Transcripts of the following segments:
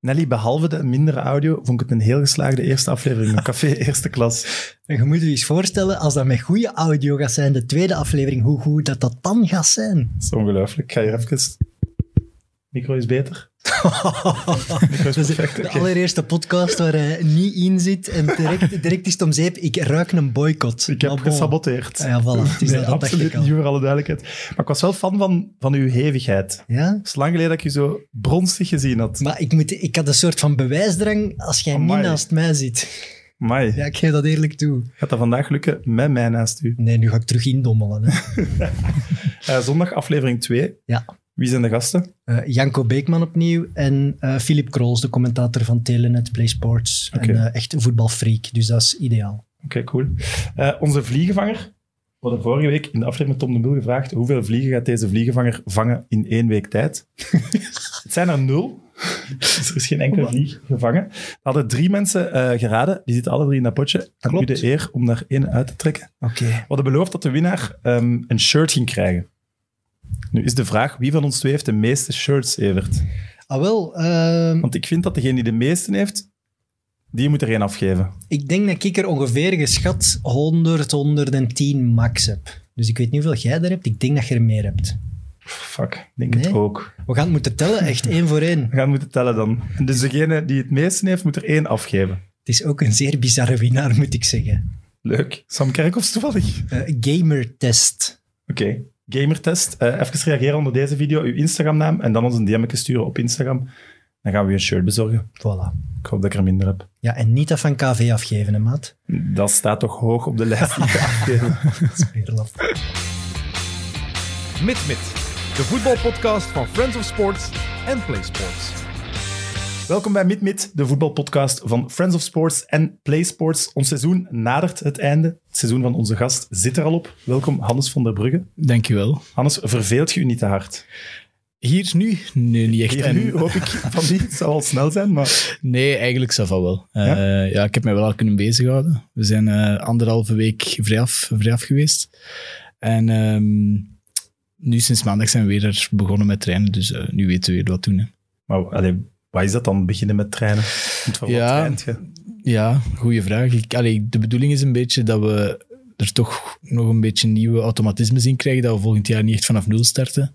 Nelly, behalve de mindere audio, vond ik het een heel geslaagde eerste aflevering. Een café eerste klas. En je moet je eens voorstellen, als dat met goede audio gaat zijn, de tweede aflevering, hoe goed dat dat dan gaat zijn. Dat is ongelooflijk. Ik ga hier even... Micro is beter. Micro is Dat is perfect. de oké. allereerste podcast waar hij niet in zit en direct, direct is het om zeep. Ik ruik een boycott. Ik heb Maar bon. gesaboteerd. Ah ja, voilà. Het is Nee, dat, dat dacht absoluut ik al. niet, voor alle duidelijkheid. Maar ik was wel fan van, van uw hevigheid. Ja? Het is lang geleden dat ik je zo bronstig gezien had. Maar ik, moet, ik had een soort van bewijsdrang als jij Amai. niet naast mij zit. Mai, Ja, ik geef dat eerlijk toe. gaat dat vandaag lukken met mij naast u? Nee, nu ga ik terug indommelen. Hè. Eh, zondag aflevering 2. Ja. Wie zijn de gasten? Eh, Janko Beekman opnieuw en eh Philip Krols, de commentator van Telenet Play Sports. Oké. En eh, echt een voetbalfreak, dus dat is ideaal. Oké, cool. Eh, onze vliegenvanger. We hadden vorige week in de aflevering met Tom de Mul gevraagd hoeveel vliegen gaat deze vliegenvanger vangen in één week tijd? het zijn er nul. Dus er is geen Oh, enkele vlieg gevangen. We hadden drie mensen eh, geraden. Die zitten alle drie in dat potje. Aan u Klopt. de eer om daar één uit te trekken. Oké. We hadden beloofd dat de winnaar ehm, een shirt ging krijgen. Nu is de vraag, wie van ons twee heeft de meeste shirts, Evert? Ah wel, ehm, Want ik vind dat degene die de meeste heeft, die moet er één afgeven. ik denk dat ik er ongeveer geschat 100, 110 max heb. Dus ik weet niet hoeveel jij er hebt, ik denk dat je er meer hebt. Fuck, ik denk het Nee? ook. We gaan het moeten tellen, echt één voor één. We gaan moeten tellen dan. En Dus degene die het meeste heeft, moet er één afgeven. Het is ook een zeer bizarre winnaar, moet ik zeggen. Leuk. Sam Kerkhoffs toevallig. Eh, gamertest. Oké. Gamertest. Eh, even reageren onder deze video. Uw Instagram-naam en dan ons een DM'tje sturen op Instagram. Dan gaan we je een shirt bezorgen. Voilà. Ik hoop dat ik er minder heb. Ja, en niet dat van KV afgeven, hè, maat. Dat staat toch hoog op de lijst die ik ga afgeven. Dat is weer laf. MidMid, de voetbalpodcast van Friends of Sports en Play Sports. Welkom bij MidMid, de voetbalpodcast van Friends of Sports en Play Sports. Ons seizoen nadert het einde. Het seizoen van onze gast zit er al op. Welkom, Hannes van der Brugge. Dankjewel. Hannes, verveelt je u niet te hard? Hier nu? Nee, niet echt. Hier En- nu hoop ik van niet. Het zou al snel zijn, maar... Nee, eigenlijk zou van wel. Eh, Ja? ja? ik heb mij wel al kunnen bezighouden. We zijn eh, anderhalve week vrijaf, vrijaf geweest. En ehm, nu sinds maandag zijn we weer er begonnen met trainen, dus eh, nu weten we weer wat doen. Hè. Maar allee, wat is dat dan, beginnen met trainen? Want voor Ja. wat traint je? Ja, goede vraag. Ik, allee, de bedoeling is een beetje dat we er toch nog een beetje nieuwe automatismes in krijgen, dat we volgend jaar niet echt vanaf nul starten.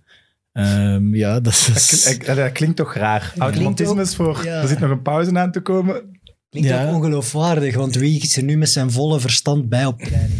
Ehm, ja, dat is... Kl- eh, Dat klinkt toch raar. Automatisme is voor... ja. Er zit nog een pauze aan te komen. Klinkt Ja. ook ongeloofwaardig, want wie is er nu met zijn volle verstand bij op training?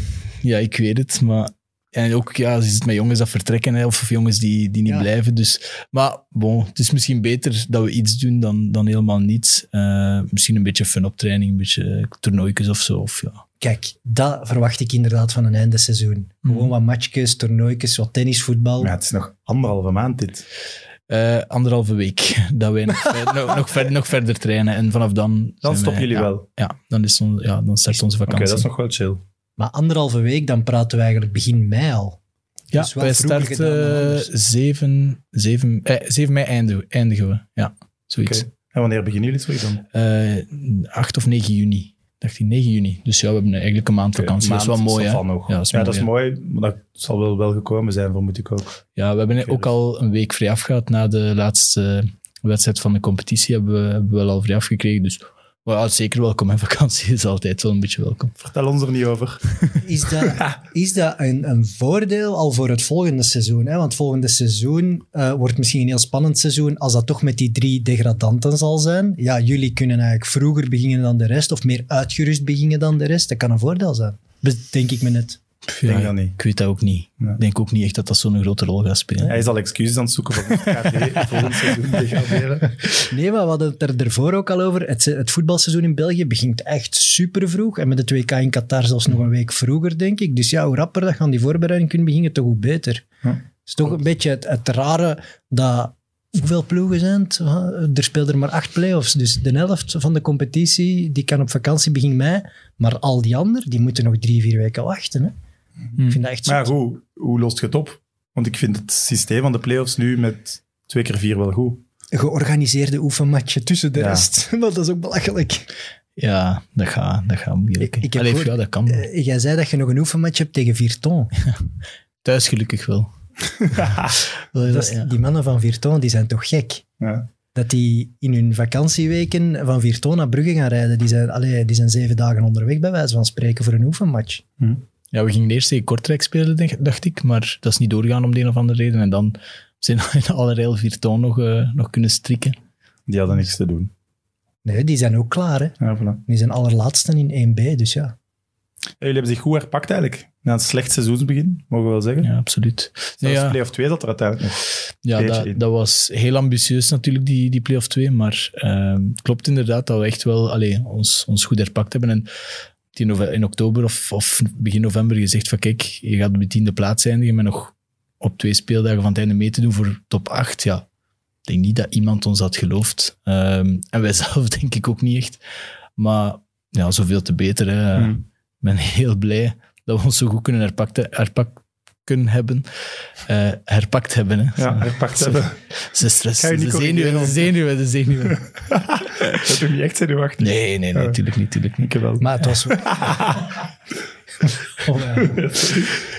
Ja, ik weet het, maar... En ook, ja, ze zit met jongens dat vertrekken, hè, of jongens die, die niet Ja. blijven. Dus, maar bon, het is misschien beter dat we iets doen dan, dan helemaal niets. Eh, misschien een beetje fun-optraining, een beetje toernooitjes of zo. Of, ja. Kijk, dat verwacht ik inderdaad van een einde seizoen. Gewoon wat matchjes, toernooitjes, wat tennisvoetbal. Maar ja, het is nog anderhalve maand dit. Eh, anderhalve week, dat wij nog, ver- nog, nog, ver- nog verder trainen. En vanaf dan... zijn Dan wij- stoppen jullie ja, wel. Oké, Ja, dan, is on- ja, dan start onze vakantie. dat is nog wel chill. Maar anderhalve week, dan praten we eigenlijk begin mei al. ja, dat is wel wij vroeger gedaan dan starten anders. 7, 7, eh, 7 mei eindigen, eindigen we. Ja, zoiets. Oké. En wanneer beginnen jullie zoiets dan? eh 8 of 9 juni. Dacht ik 9 juni. Dus ja, we hebben eigenlijk een maand vakantie. dat is wel mooi, hè? Ja, nog. Ja, Ja, dat is dat mooi, is ja. mooi. Maar dat zal wel, wel gekomen zijn, vermoed ik ook. Ja, we hebben Oké, ook dus- al een week vrij afgehaald. Na de laatste wedstrijd van de competitie hebben we, hebben we wel al vrij afgekregen. Dus maar ja, zeker welkom. En vakantie is altijd wel een beetje welkom. Vertel ons er niet over. Is dat, is dat een, een voordeel al voor het volgende seizoen? Hè? Want volgende seizoen eh, wordt misschien een heel spannend seizoen als dat toch met die drie degradanten zal zijn. Ja, jullie kunnen eigenlijk vroeger beginnen dan de rest of meer uitgerust beginnen dan de rest. Dat kan een voordeel zijn, Be- denk ik me net. denk Ja, dat niet. Ik weet dat ook niet. Ja. Ik denk ook niet echt dat dat zo'n grote rol gaat spelen. Hij is al excuses aan het zoeken voor het KD volgend seizoen degraderen. Nee, maar we hadden het er ervoor ook al over. Het, se- het voetbalseizoen in België begint echt super vroeg. En met de 2K in Qatar zelfs nog een week vroeger, denk ik. Dus ja, hoe rapper dat gaan die voorbereiding kunnen beginnen, toch hoe beter. Ja, Het is toch een beetje het, het rare dat... Hoeveel ploegen zijn het? Huh? Er speelden er maar acht play-offs. Dus de helft van de competitie die kan op vakantie begin mei. Maar al die anderen, die moeten nog drie, vier weken wachten. Hè? Ik vind dat echt zo. Mm. Maar ja, goed, hoe lost je het op? Want ik vind het systeem van de playoffs nu met twee keer vier wel goed. georganiseerde oefenmatje tussen de Ja. rest. dat is ook belachelijk. Ja, dat gaat dat gaat moeilijk. Ik- ik heb Allee, gehoord- ja, dat kan. Eh, jij zei dat je nog een oefenmatch hebt tegen Virton. Thuis gelukkig wel. Dat is- Ja. Die mannen van Virton, die zijn toch gek? Ja. dat die in hun vakantieweken van Virton naar Brugge gaan rijden. Die zijn, allee, die zijn zeven dagen onderweg, bij wijze van spreken, voor een oefenmatch. Ja, we gingen eerst tegen Kortrijk spelen, denk- dacht ik, maar dat is niet doorgaan om de een of andere reden. En dan zijn we in alle vier toon nog, eh, nog kunnen strikken. Die hadden niks te doen. Nee, die zijn ook klaar. Hè. Ja, voilà. Die zijn allerlaatsten in 1B, dus ja. Ja, Jullie hebben zich goed herpakt eigenlijk. Na een slecht seizoensbegin, mogen we wel zeggen. Ja, absoluut. Nee, Zelfs ja. play-off 2 zat er uiteindelijk nog. Ja, Beetje dat, in. dat was heel ambitieus natuurlijk, die, die play-off 2. Maar ehm, het klopt inderdaad dat we echt wel allee, ons, ons goed herpakt hebben. En die nove- in oktober of, of begin november gezegd van kijk, je gaat op de tiende plaats eindigen met nog op twee speeldagen van het einde mee te doen voor top 8. Ja, ik denk niet dat iemand ons had geloofd. Ehm, en wij zelf denk ik ook niet echt. Maar ja, zoveel te beter. Hè. Hmm. Ik ben heel blij dat we ons zo goed kunnen herpakte, herpakken hebben. Eh, herpakt hebben, hè. Ja, herpakt hebben. Ze stress, Ga je niet de corrigeren, zenuwen, de want- zenuwen, de zenuwen. Oh. Dat doe je niet echt zenuwachtig. Nee, nee, nee, Ja. natuurlijk niet, natuurlijk niet. Ik wel. Maar het was... Oh, ja.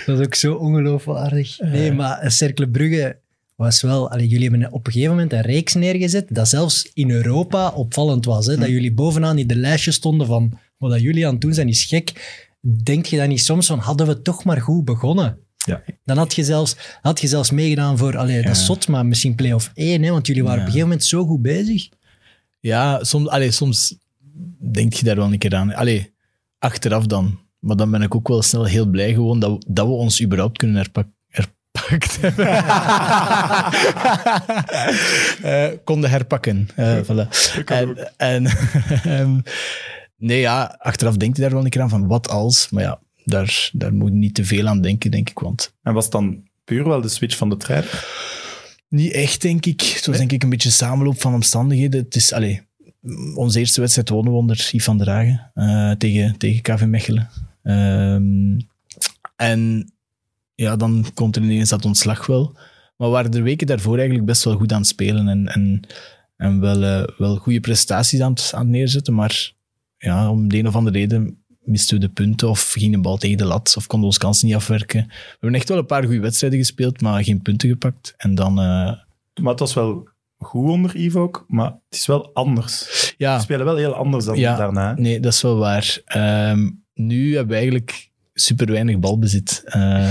Dat is ook zo ongeloofwaardig. Nee, maar eh, Cercle Brugge was wel... Allee, jullie hebben op een gegeven moment een reeks neergezet dat zelfs in Europa opvallend was. Hè? Dat Hm. jullie bovenaan in de lijstje stonden van wat dat jullie aan het doen zijn is gek. Denk je dan niet soms van, hadden we toch maar goed begonnen? Ja. Dan had je zelfs, had je zelfs meegedaan voor, allee, dat is zot, maar misschien play-off 1, hè, want jullie waren Ja. op een gegeven moment zo goed bezig. Ja, soms, allee, soms denk je daar wel een keer aan. Allee, achteraf dan. Maar dan ben ik ook wel snel heel blij gewoon dat, we- dat we ons überhaupt kunnen herpak, herpakt hebben. Eh, konden herpakken. Eh, voilà. En, en ehm, nee, ja, achteraf denk je daar wel een keer aan van wat als. Maar ja, daar, daar moet je niet te veel aan denken, denk ik. Want En was het dan puur wel de switch van de trein? Niet echt, denk ik. Het was denk ik een beetje een samenloop van omstandigheden. Het is, allee, onze eerste wedstrijd wonnen we onder Yves van der Hagen eh, tegen, tegen KV Mechelen. Ehm, en ja, dan komt er ineens dat ontslag wel. Maar we waren de weken daarvoor eigenlijk best wel goed aan het spelen en, en, en wel, eh, wel goede prestaties aan het, aan het neerzetten. Maar ja, om de een of andere reden misten we de punten of ging de bal tegen de lat of konden we ons kansen niet afwerken. We hebben echt wel een paar goede wedstrijden gespeeld, maar geen punten gepakt. En dan, eh, Maar het was wel goed onder Ivo ook, maar het is wel anders. Ze ja, spelen wel heel anders dan Ja. daarna. hè. nee, dat is wel waar. Ehm, nu hebben we eigenlijk super weinig balbezit. Eh,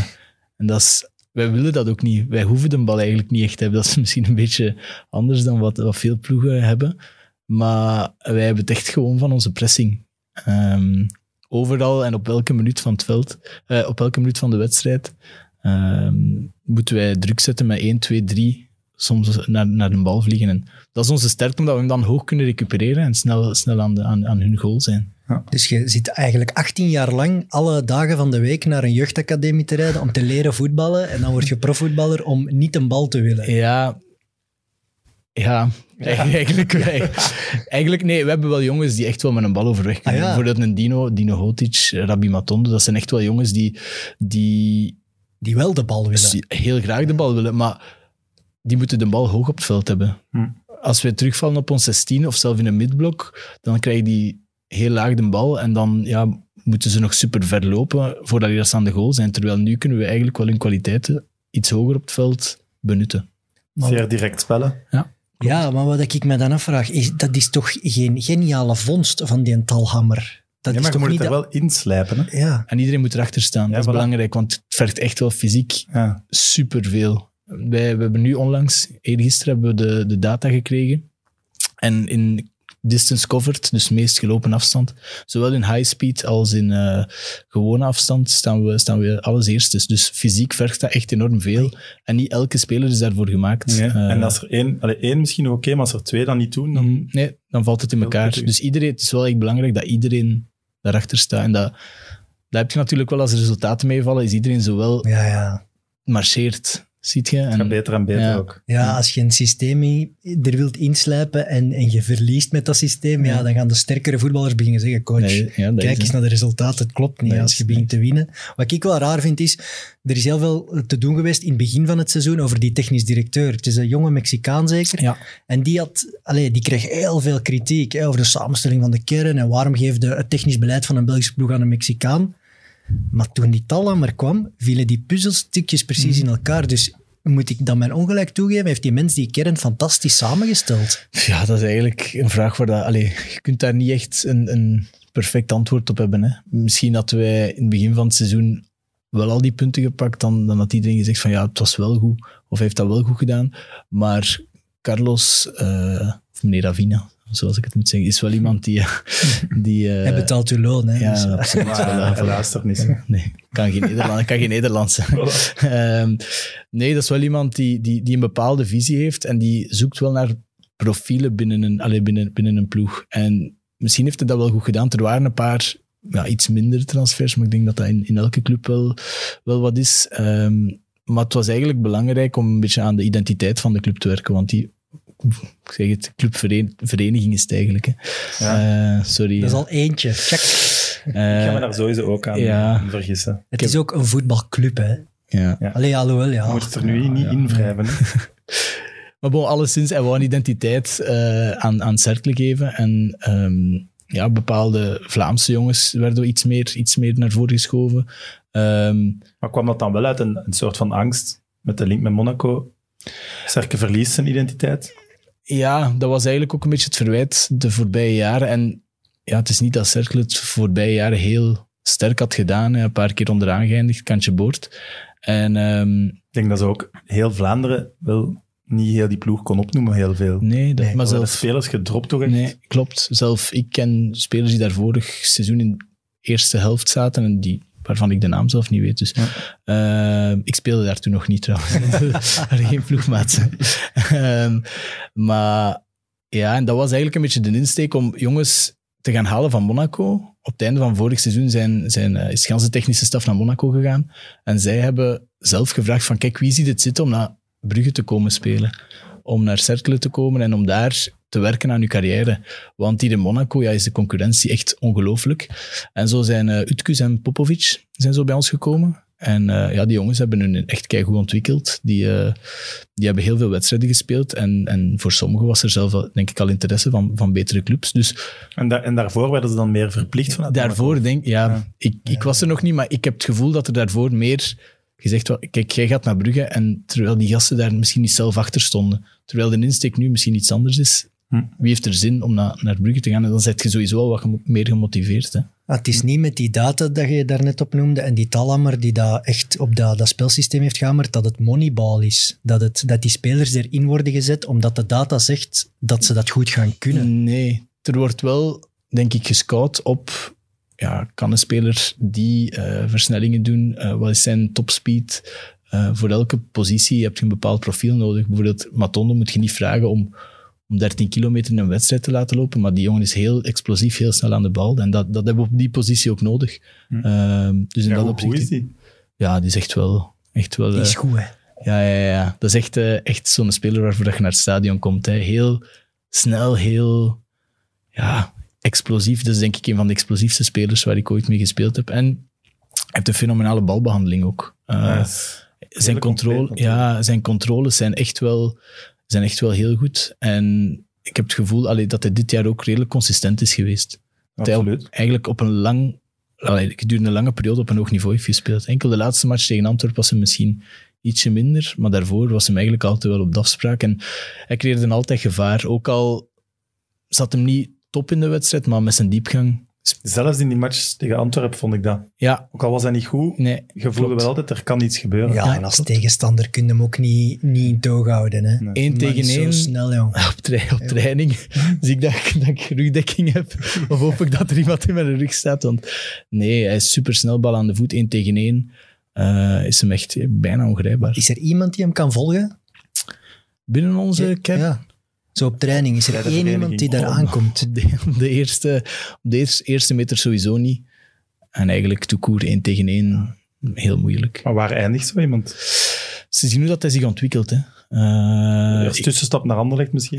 en dat is, wij willen dat ook niet. Wij hoeven de bal eigenlijk niet echt te hebben. Dat is misschien een beetje anders dan wat, wat veel ploegen hebben. Maar wij hebben het echt gewoon van onze pressing. Ehm, overal en op elke minuut van het veld, eh, op elke minuut van de wedstrijd, ehm, moeten wij druk zetten met 1, 2, 3. Soms naar, naar de bal vliegen. En dat is onze sterkte, omdat we hem dan hoog kunnen recupereren en snel, snel aan, de, aan, aan hun goal zijn. Dus je zit eigenlijk 18 jaar lang alle dagen van de week naar een jeugdacademie te rijden om te leren voetballen. En dan word je profvoetballer om niet een bal te willen. Ja. Ja, eigenlijk, eigenlijk, wij- eigenlijk nee. We hebben wel jongens die echt wel met een bal overweg kunnen. Ah, ja. Bijvoorbeeld een Dino, Dino Hotic, Rabbi Matondo. Dat zijn echt wel jongens die, die Die wel de bal willen. s- heel graag de bal willen, maar die moeten de bal hoog op het veld hebben. Hm. Als wij terugvallen op ons 16 of zelf in een midblok, dan krijgen die heel laag de bal en dan ja, moeten ze nog super ver lopen voordat die eerst aan de goal zijn. Terwijl nu kunnen we eigenlijk wel hun kwaliteiten iets hoger op het veld benutten. Zeer direct spellen. Ja, maar wat ik me dan afvraag, is, dat is toch geen geniale vondst van die talhammer? Dat Ja, is maar je toch moet niet het er dat- wel inslijpen. Hè? Ja, En iedereen moet erachter staan. Ja, dat is voilà. belangrijk, want het vergt echt wel fysiek Ja. superveel. Wij we hebben nu onlangs, eergisteren, hebben we de, de data gekregen. En in distance covered, dus meest gelopen afstand, zowel in high speed als in eh, gewone afstand, staan we, staan we alles eerstes. Dus fysiek vergt dat echt enorm veel. En niet elke speler is daarvoor gemaakt. Eh, Dus, en als er één, allee, één misschien nog oké, maar als er twee dan niet doen, dan Mhm. Nee, dan valt het in Heel elkaar. pittig. Dus iedereen, het is wel echt belangrijk dat iedereen daarachter staat. En dat, dat heb je natuurlijk wel als de resultaten meevallen, is iedereen zowel ja, ja. marcheert, ziet je. gaat het En, beter en beter Ja. ook. Ja, als je een systeem in- er wilt inslijpen en, en je verliest met dat systeem, ja. Ja. dan gaan de sterkere voetballers beginnen zeggen, coach, Nee, ja, dat Kijk is het. eens naar de resultaten, het klopt niet Nee, als je nee. begint te winnen. Wat ik wel raar vind is, er is heel veel te doen geweest in het begin van het seizoen over die technisch directeur. Het is een jonge Mexicaan zeker. Ja. En die, had, allee, die kreeg heel veel kritiek hè, over de samenstelling van de kern en waarom geeft de, het technisch beleid van een Belgische ploeg aan een Mhm. Mexicaan. Maar toen die Talhammer kwam, vielen die puzzelstukjes precies in elkaar. Dus moet ik dan mijn ongelijk toegeven? Heeft die mens die kern fantastisch samengesteld? Ja, dat is eigenlijk een vraag waar dat... Allee, je kunt daar niet echt een, een perfect antwoord op hebben. Hè. Misschien hadden wij in het begin van het seizoen wel al die punten gepakt, dan, dan had iedereen gezegd van ja, het was wel goed, of hij heeft dat wel goed gedaan. Maar Carlos, eh, of meneer Ravina, zoals ik het moet zeggen, is wel iemand die... eh, die eh, Hij betaalt uw loon, hè? Dus- ja, absoluut. Voilà, Maar eh, voilà. helaas toch niet. hè. Nee, kan geen Nederlands. kan geen Nederlands zijn. Ehm, nee, dat is wel iemand die, die, die een bepaalde visie heeft en die zoekt wel naar profielen binnen een, allee, binnen, binnen een ploeg. En misschien heeft hij dat wel goed gedaan. Er waren een paar ja, iets minder transfers, maar ik denk dat dat in, in elke club wel, wel wat is. Ehm, maar het was eigenlijk belangrijk om een beetje aan de identiteit van de club te werken, want die... Ik zeg het, clubvereniging is het eigenlijk. Hè. Eh, sorry. Dat is al eentje. Check. Ik ga Eh, me daar sowieso ook aan ja. eh, vergissen. Het heb- is ook een voetbalclub, hè? ja. Allee, alhoewel, ja. Je moet het er nu niet in wrijven. hè. Maar bon, alleszins, hij wou een identiteit eh, aan, aan Cercle geven. En ehm, ja, bepaalde Vlaamse jongens werden iets meer, iets meer naar voren geschoven. Ehm, Maar kwam dat dan wel uit een, een soort van angst met de link met Monaco? Cerke verliest zijn identiteit. ja, dat was eigenlijk ook een beetje het verwijt de voorbije jaren. En ja, het is niet dat Cercle het voorbije jaren heel sterk had gedaan. Een paar keer onderaan geëindigd, kantje boord. En ehm, Ik denk dat ze ook heel Vlaanderen wel niet heel die ploeg kon opnoemen, heel veel. nee, dat, Nee, maar Er worden zelf, spelers gedropt toch echt? Nee, klopt. Zelf, ik ken spelers die daar vorig seizoen in de eerste helft zaten en die, waarvan ik de naam zelf niet weet. Dus, Ehm, ik speelde daar toen nog niet trouwens. Er waren geen ploegmaat. Ehm, maar ja, en dat was eigenlijk een beetje de insteek om jongens te gaan halen van Monaco. Op het einde van vorig seizoen zijn, zijn, eh, is gans de technische staf naar Monaco gegaan. En zij hebben zelf gevraagd van kijk, wie ziet het zitten om naar Brugge te komen spelen? Om naar Cercle te komen en om daar te werken aan uw carrière. Want hier in Monaco ja, is de concurrentie echt ongelooflijk. En zo zijn eh Utkus en Popovic zijn zo bij ons gekomen. En eh, ja, die jongens hebben hun echt keigoed ontwikkeld. Die, eh, die hebben heel veel wedstrijden gespeeld. En, en voor sommigen was er zelf al, denk ik al interesse van, van betere clubs. Dus En, da- en daarvoor werden ze dan meer verplicht vanuit daarvoor Monaco. denk ja, ik, ik was er nog niet, maar ik heb het gevoel dat er daarvoor meer gezegd was, kijk, jij gaat naar Brugge, en terwijl die gasten daar misschien niet zelf achter stonden. Terwijl de insteek nu misschien iets anders is. Hm. Wie heeft er zin om naar naar Brugge te gaan? En dan zet je sowieso al wat gemo- meer gemotiveerd. Hè? Ah, Het is niet met die data dat je daarnet opnoemde en die Talammer die dat echt op dat, dat spelsysteem heeft gehamerd, dat het moneyball is. Dat, het, dat die spelers erin worden gezet omdat de data zegt dat ze dat goed gaan kunnen. Nee, er wordt wel, denk ik, gescout op. Ja, kan een speler die eh, versnellingen doen? eh, wat is zijn topspeed? Eh, voor elke positie heb je een bepaald profiel nodig. Bijvoorbeeld, Matondo moet je niet vragen om, om 13 kilometer in een wedstrijd te laten lopen. Maar die jongen is heel explosief, heel snel aan de bal. En dat, dat hebben we op die positie ook nodig. Ehm, dus in Hm. Ja, dat hoe, hoe opzicht. is die? Ja, die is echt wel. Echt wel Die eh, is goed, hè. ja, ja, ja. Dat is echt, eh, echt zo'n speler waarvoor dat je naar het stadion komt. Hè. Heel snel, heel ja, explosief. Dat is denk ik een van de explosiefste spelers waar ik ooit mee gespeeld heb. En hij heeft een fenomenale balbehandeling ook. Eh, Ja. zijn, controle, compleet ja, zijn controles zijn echt, wel, zijn echt wel heel goed. En ik heb het gevoel allee, dat hij dit jaar ook redelijk consistent is geweest. Dat hij op- Absoluut. eigenlijk op een lang, allee, gedurende een lange periode op een hoog niveau heeft gespeeld. Enkel de laatste match tegen Antwerpen was hem misschien ietsje minder, maar daarvoor was hem eigenlijk altijd wel op de afspraak. En hij creëerde altijd gevaar. Ook al zat hem niet top in de wedstrijd, maar met zijn diepgang. Zelfs in die match tegen Antwerpen vond ik dat. Ja, Ook al was hij niet goed, nee. je voelde klopt. wel altijd, er kan iets gebeuren. Ja, Ja, en als klopt. tegenstander kun je hem ook niet, niet in toog houden, hè. Nee. Eén Die man tegen is één. Zo snel, jong. op, tra- op training zie ik dat, ik- dat ik rugdekking heb. Of hoop ik dat er iemand in mijn rug staat. Want nee, hij is supersnel, bal aan de voet, één tegen één. Eh, is hem echt bijna ongrijpbaar. Is er iemand die hem kan volgen? Binnen onze cap, Ja. Zo op training. Is er één Rijdenvereniging. iemand die daar Oh. aankomt? op de, op de eerste, op de eerste, eerste meter sowieso niet. En eigenlijk tout court één tegen één, heel moeilijk. Maar waar eindigt zo iemand? Ze zien hoe dat hij zich ontwikkelt. Hè. Eh, Eerst tussenstap naar Anderlecht misschien.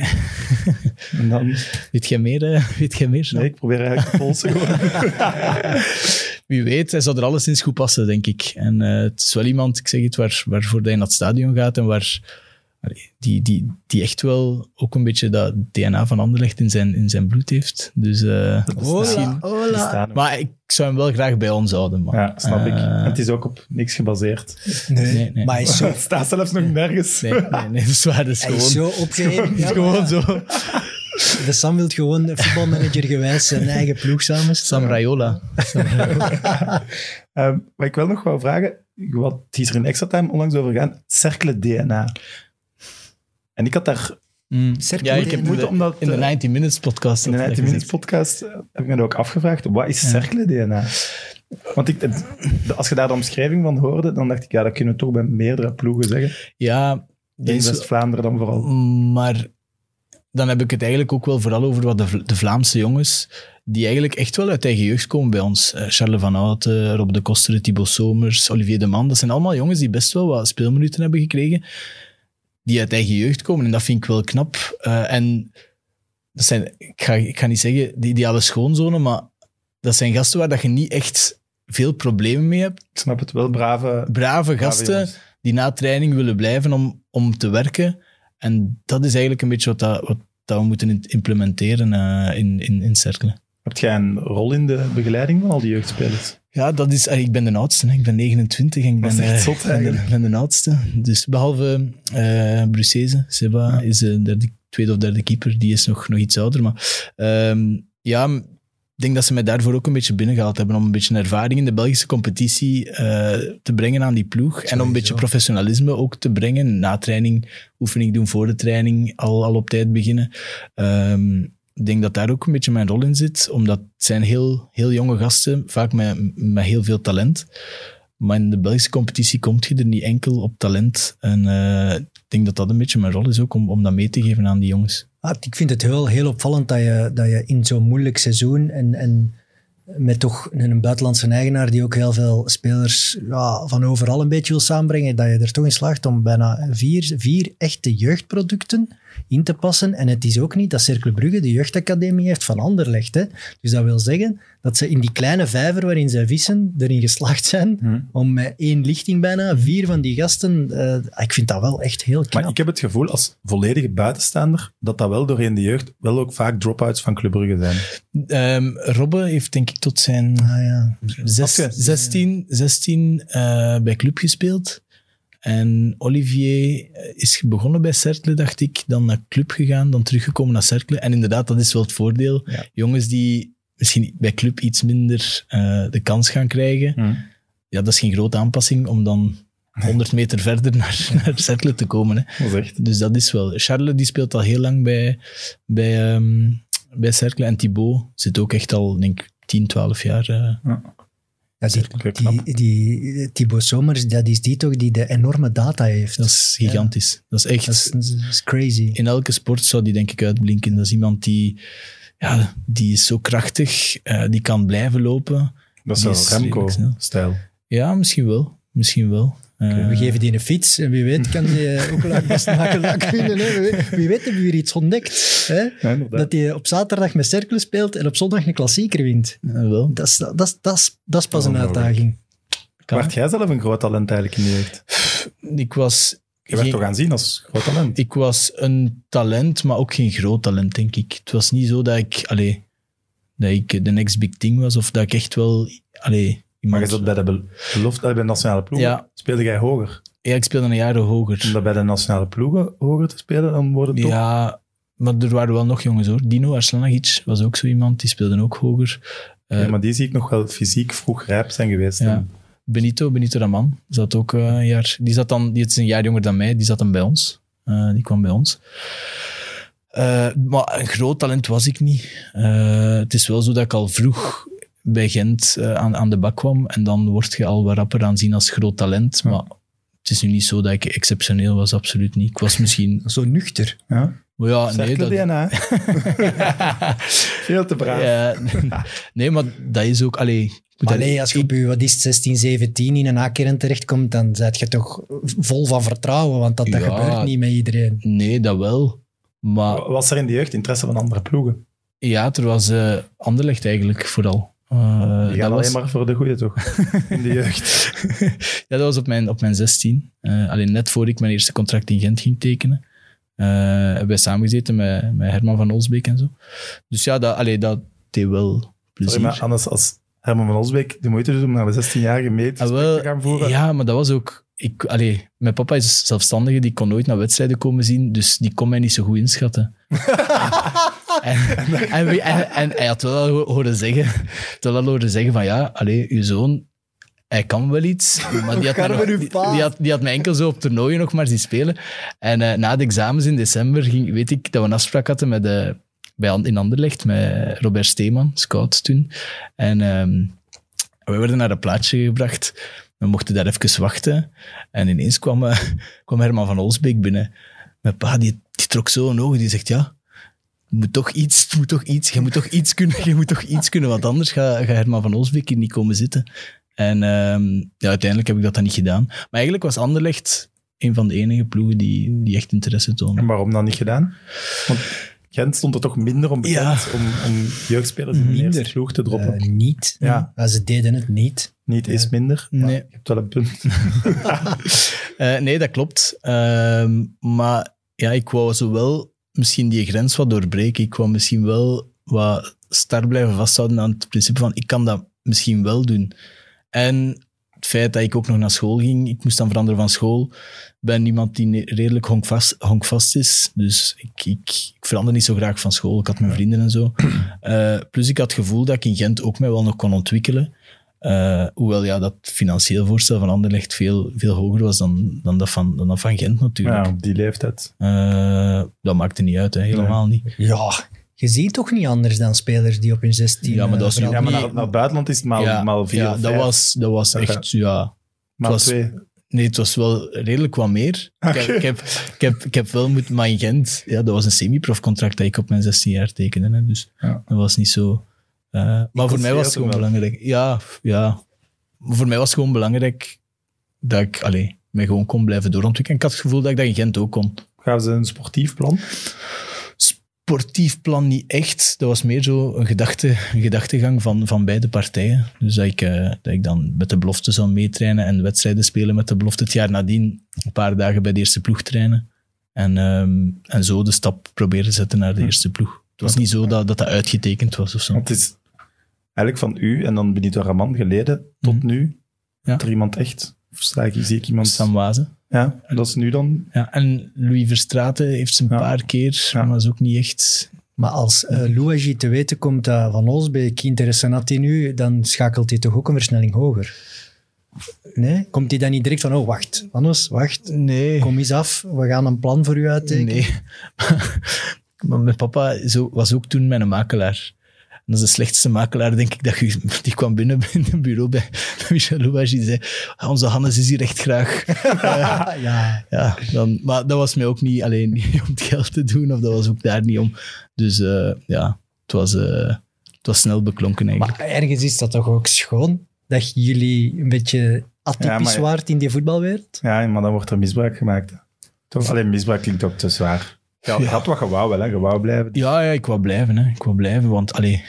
en dan, nee, weet jij meer? eh? weet jij meer? Snap? ik probeer eigenlijk de polsen gewoon. wie weet, hij zou er alleszins goed passen, denk ik. En eh, het is wel iemand, ik zeg het, waar, waarvoor hij naar het stadion gaat en waar, allee, die, die, die echt wel ook een beetje dat DNA van Anderlecht in zijn, in zijn bloed heeft. Dus, eh, Hola, Die hola. staan er. maar ik zou hem wel graag bij ons houden. Maar, ja, snap ik. eh, En het is ook op niks gebaseerd. Nee, Nee, nee. maar hij is zo, Het staat zelfs nog nergens. Nee, nee, nee, dat is waar. Dat is hij is gewoon, zo opgeheven. is Ja, gewoon zo. maar De Sam wil gewoon een voetbalmanager gewijs zijn eigen ploeg samen. Sam Raiola. Ehm, maar ik wil nog wel vragen, wat het is er in extra time onlangs over gegaan, cerkelen DNA. En ik had daar Mm. Ja, ik heb Moet de- omdat, in de eh, 90 Minutes podcast. in de had 90 ik Minutes gezegd. podcast eh, heb ik me dat ook afgevraagd, wat is cerkelen DNA? Want ik, het- de- als je daar de omschrijving van hoorde, dan dacht ik, ja, dat kunnen we toch bij meerdere ploegen zeggen. Ja, dat In is- West-Vlaanderen dan vooral. Maar dan heb ik het eigenlijk ook wel vooral over wat de, Vla- de Vlaamse jongens, die eigenlijk echt wel uit eigen jeugd komen bij ons. Eh, Charles van Houten, Rob de Koster, Thibaut Somers, Olivier de Man. Dat zijn allemaal jongens die best wel wat speelminuten hebben gekregen, die uit eigen jeugd komen. En dat vind ik wel knap. Eh, en dat zijn, ik ga, ik ga niet zeggen de ideale schoonzonen, maar dat zijn gasten waar dat je niet echt veel problemen mee hebt. Ik snap het wel, brave, Brave brave gasten jongens. die na training willen blijven om, om te werken. En dat is eigenlijk een beetje wat, dat, wat dat we moeten in- implementeren eh, in, in, in cirkelen. Heb jij een rol in de begeleiding van al die jeugdspelers? Ja, dat is, eh, ik ben de oudste. hè. Ik ben 29 en ik Dat ben, is echt eh, zot ik ben, de, eigenlijk. ben de oudste. Dus behalve eh Brucese, Seba is de derde, tweede of derde keeper. Die is nog, nog iets ouder. Maar ehm, ja, m- ik denk dat ze mij daarvoor ook een beetje binnengehaald hebben. Om een beetje ervaring in de Belgische competitie eh, te brengen aan die ploeg. En om een beetje professionalisme ook te brengen. Na training, oefening doen voor de training, al, al op tijd beginnen. Ehm, ik denk dat daar ook een beetje mijn rol in zit. Omdat het zijn heel, heel jonge gasten, vaak met, met heel veel talent. Maar in de Belgische competitie kom je er niet enkel op talent. En eh, ik denk dat dat een beetje mijn rol is ook, om, om dat mee te geven aan die jongens. Ah, ik vind het heel, heel opvallend dat je, dat je in zo'n moeilijk seizoen en, en met toch een buitenlandse eigenaar die ook heel veel spelers ja, van overal een beetje wil samenbrengen, dat je er toch in slaagt om bijna vier, vier echte jeugdproducten in te passen. En het is ook niet dat Cercle Brugge de jeugdacademie heeft van Anderlecht. Hè? Dus dat wil zeggen dat ze in die kleine vijver waarin zij vissen erin geslaagd zijn Hmm. om met één lichting bijna vier van die gasten... eh, ik vind dat wel echt heel knap. Maar ik heb het gevoel als volledige buitenstaander dat dat wel doorheen de jeugd wel ook vaak drop-outs van Club Brugge zijn. Ehm Robbe heeft denk ik tot zijn Ah, ja. zes- Oké. 16, 16 eh, bij club gespeeld. En Olivier eh, is begonnen bij Cercle, dacht ik. Dan naar club gegaan, dan teruggekomen naar Cercle. En inderdaad, dat is wel het voordeel. Ja. Jongens die misschien bij club iets minder eh, de kans gaan krijgen. Hmm. Ja, dat is geen grote aanpassing om dan 100 meter verder naar, naar Cercle te komen. Hè. Dat is echt. Dus dat is wel. Charles die speelt al heel lang bij, bij, ehm, bij Cercle. En Thibaut zit ook echt al, denk ik, 10, 12 jaar. eh. Ja, die, Zeker knap. die, die Thibaut Somers, dat is die toch die de enorme data heeft. dat is gigantisch. Dat is echt. Dat is, dat is crazy. In elke sport zou die, denk ik, uitblinken. Dat is iemand die. Ja, die is zo krachtig. eh, die kan blijven lopen. Dat Die is is wel redelijk snel. Remco-stijl. Ja, misschien wel. Misschien wel. Eh, We geven die een fiets en wie weet kan die eh, ook wel aan best maken. laat kunnen, hè. Wie weet- Wie weet hebben we hier iets ontdekt. Hè? Ja, inderdaad. Dat hij op zaterdag met cirkel speelt en op zondag een klassieker wint. eh, wel. Dat is, dat, is- dat, is, dat is pas een Ongelooflijk. uitdaging. kan. Werd jij zelf een groot talent eigenlijk in de jeugd? Ik was. Je werd geen- toch aanzien als groot talent? Ik was een talent, maar ook geen groot talent, denk ik. Het was niet zo dat ik, allee, dat ik de next big thing was, of dat ik echt wel, allee, maar je iemand... zat bij de bel- belofte, eh, bij de nationale ploegen, Ja. speelde jij hoger. Ja, ik speelde een jaren Om hoger. dat bij de nationale ploegen hoger te spelen, dan worden toch... Ja, maar er waren wel nog jongens hoor. Dino Arslanagic was ook zo iemand, die speelde ook hoger. Ja, maar die zie ik nog wel fysiek vroeg rijp zijn geweest. eh, Ja. Benito, Benito Raman, zat ook eh, een jaar. Die, zat dan, die is een jaar jonger dan mij, die zat dan bij ons. Eh, die kwam bij ons. Eh, maar een groot talent was ik niet. Eh, het is wel zo dat ik al vroeg bij Gent eh, aan, aan de bak kwam. En dan word je al wat rapper aanzien als groot talent. Maar het is nu niet zo dat ik exceptioneel was, absoluut niet. Ik was misschien... Zo nuchter. Ja. Maar ja, Oh, nee, Cercle dat, DNA. Veel te braaf. Ja, nee, maar dat is ook... Allee, ik moet Maar dat- nee, als je op je, wat is het, 16, 17 in een A-kern terechtkomt, dan ben je toch vol van vertrouwen, want dat, dat Ja. gebeurt niet met iedereen. nee, dat wel. Maar Was er in de jeugd interesse van andere ploegen? Ja, er was eh Anderlecht eigenlijk vooral. Eh, Die dat gaan was- alleen maar voor de goede, toch? In de jeugd. ja, dat was op mijn, op mijn 16. Eh, alleen net voor ik mijn eerste contract in Gent ging tekenen. eh, hebben wij samengezeten met, met Herman van Olsbeek en zo. Dus ja, dat, allee, dat deed wel plezier. Sorry, maar anders als Herman van Osbeek de moeite doet om naar de 16-jarige mee te Ah, wel, te gaan voeren. Ja, maar dat was ook... Ik, allee, mijn papa is zelfstandige, die kon nooit naar wedstrijden komen zien, dus die kon mij niet zo goed inschatten. en, en, we- en- en hij had wel al horen zeggen, had wel al horen zeggen van ja, allee, uw zoon, hij kan wel iets, maar die had, mij Karmer, nog- uw die, pa. die had, die had mij enkel zo op toernooien nog maar zien spelen. En eh, na de examens in december ging, weet ik dat we een afspraak hadden met, eh, bij, An- in Anderlecht met Robert Steeman, scout toen. En... ehm, we werden naar een plaatsje gebracht. We mochten daar even wachten. En ineens kwam, eh, kwam Herman van Olsbeek binnen. Mijn pa, die, die trok zo een ogen. Die zegt, ja, je moet toch iets, je moet toch iets, je moet toch iets kunnen, je moet toch iets kunnen. Want anders gaat gaat Herman van Olsbeek hier niet komen zitten. En ehm, ja, uiteindelijk heb ik dat dan niet gedaan. Maar eigenlijk was Anderlecht een van de enige ploegen die, die echt interesse toonde. En waarom dan niet gedaan? Want Gent stond er toch minder om bekend om, om jeugdspelers in de Minder. eerste ploeg te droppen. Eh, niet. Ja. Maar ze deden het niet. Niet is minder, maar Nee. je hebt wel een punt. Eh, nee, dat klopt. Ehm, maar ja, ik wou zo wel misschien die grens wat doorbreken. Ik wou misschien wel wat star blijven vasthouden aan het principe van ik kan dat misschien wel doen. En het feit dat ik ook nog naar school ging, ik moest dan veranderen van school. Ik ben iemand die ne- redelijk honkvast, honkvast is. Dus ik, ik, ik verander niet zo graag van school. Ik had mijn vrienden en zo. Eh, plus ik had het gevoel dat ik in Gent ook mij wel nog kon ontwikkelen. Eh, hoewel ja, dat financieel voorstel van Anderlecht veel, veel hoger was dan, dan, dat van, dan dat van Gent natuurlijk. Ja, op die leeftijd. Eh, dat maakte niet uit, hè, helemaal niet. Ja, je ziet toch niet anders dan spelers die op hun 16 Ja, maar dat eh, is niet- Ja, branden. maar Nee. naar, naar het buitenland is het maal, ja, maal vier ja, of dat vijf. was, dat was Dat echt, ja... maal was- twee. Nee, het was wel redelijk wat meer. Ik, heb, ik, heb, ik, heb, ik heb wel moeten... Maar in Gent, ja, dat was een semi-prof-contract dat ik op mijn 16 jaar tekende. Hè, dus Ja. dat was niet zo... eh, maar voor mij was het constateer gewoon het wel. belangrijk. Ja, ja. Maar Voor mij was het gewoon belangrijk dat ik allee, mij gewoon kon blijven doorontwikkelen. Ik had het gevoel dat ik dat in Gent ook kon. Gaven ze een sportief plan? sportief plan niet echt. Dat was meer zo een, gedachte, een gedachtegang van, van beide partijen. Dus dat ik, eh, dat ik dan met de belofte zou meetrainen en wedstrijden spelen met de belofte. Het jaar nadien een paar dagen bij de eerste ploeg trainen. En, ehm, en zo de stap proberen te zetten naar de eerste ploeg. Het was niet zo dat dat, dat uitgetekend was of zo. Hm. Want het is eigenlijk van u en dan Benito Raman geleden tot Mhm. nu. Ja. Is er iemand echt? Of sta ik, zie ik iemand? Sam Wazen. Ja, dat is nu dan. Ja, en Louis Verstraeten heeft ze een Ja. paar keer, Ja. maar is ook niet echt... Maar als eh Louagie te weten komt dat Van Olsbeek interesse had in u, dan schakelt hij toch ook een versnelling hoger? Nee? Komt hij dan niet direct van, oh wacht, Van Os, wacht, Nee. kom eens af, we gaan een plan voor u uittekenen? Nee. maar mijn papa zo, was ook toen mijn makelaar. En dat is de slechtste makelaar, denk ik, dat je, die kwam binnen in een bureau bij, bij Michel Louage. Die zei, "Ah, onze Hannes is hier echt graag. ja, ja, dan, maar dat was mij ook niet alleen niet om het geld te doen, of dat was ook daar niet om. Dus eh, ja, het was, eh, het was snel beklonken eigenlijk. maar ergens is dat toch ook schoon? Dat jullie een beetje atypisch Ja, maar- waard in die voetbalwereld? Ja, maar dan wordt er misbruik gemaakt. Toch? Alleen misbruik klinkt ook te zwaar. Ja, je had wat je wou wel, hè. Je wou blijven. Ja, ja, ik wou blijven. Hè. Ik wou blijven, want allee,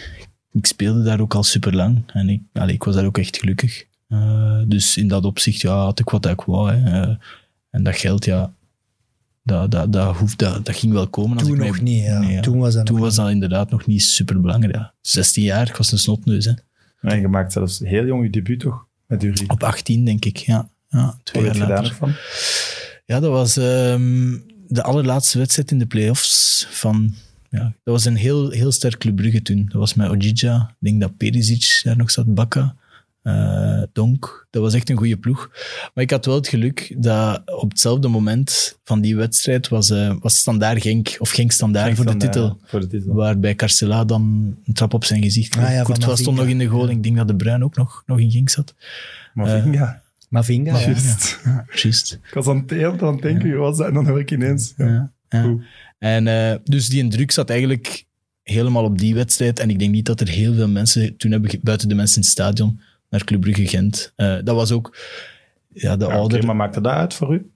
ik speelde daar ook al super lang. En ik, allee, ik was daar ook echt gelukkig. Eh, dus in dat opzicht ja, had ik wat dat ik wou. Hè. Eh, en dat geld, ja, dat, dat, dat, hoeft, dat, dat ging wel komen. als Toen ik nog niet, ja. Nee, ja. Toen was dat Toen nog was dat inderdaad nog niet super belangrijk. Ja. 16 jaar, ik was een snotneus. Hè. En je maakt zelfs heel jong je debuut, toch? Met Uri. Op 18, denk ik. Ja, Oh, ja twee Hoe heb jaar je daar later. nog van? Ja, dat was ehm, de allerlaatste wedstrijd in de play-offs van... Ja, dat was een heel, heel sterk Club Brugge toen. Dat was met Ojija. Ik denk dat Perisic daar nog zat, Bakka, eh, Donk. Dat was echt een goede ploeg. Maar ik had wel het geluk dat op hetzelfde moment van die wedstrijd was, eh was Standaard Genk, of Genk Standaard voor de Dan, eh, titel. voor de titel. Waarbij Carcela dan een trap op zijn gezicht kreeg. Ah ja, van Courtois stond nog Mavinga. in de goal. Ik denk dat De Bruin ook nog, nog in Genk zat. Maar ja, Mavinga, ja. juist. Juist. Ik was aan het heel- aan het denken, wie was dat? En dan hoor ik ineens. Ja. Ja. ja. Goed. En eh, dus die indruk zat eigenlijk helemaal op die wedstrijd. En ik denk niet dat er heel veel mensen toen hebben, ge- buiten de mensen in het stadion, naar Club Brugge Gent. Eh, dat was ook ja, de Ja, oké, ouder. maar maakte dat uit voor u?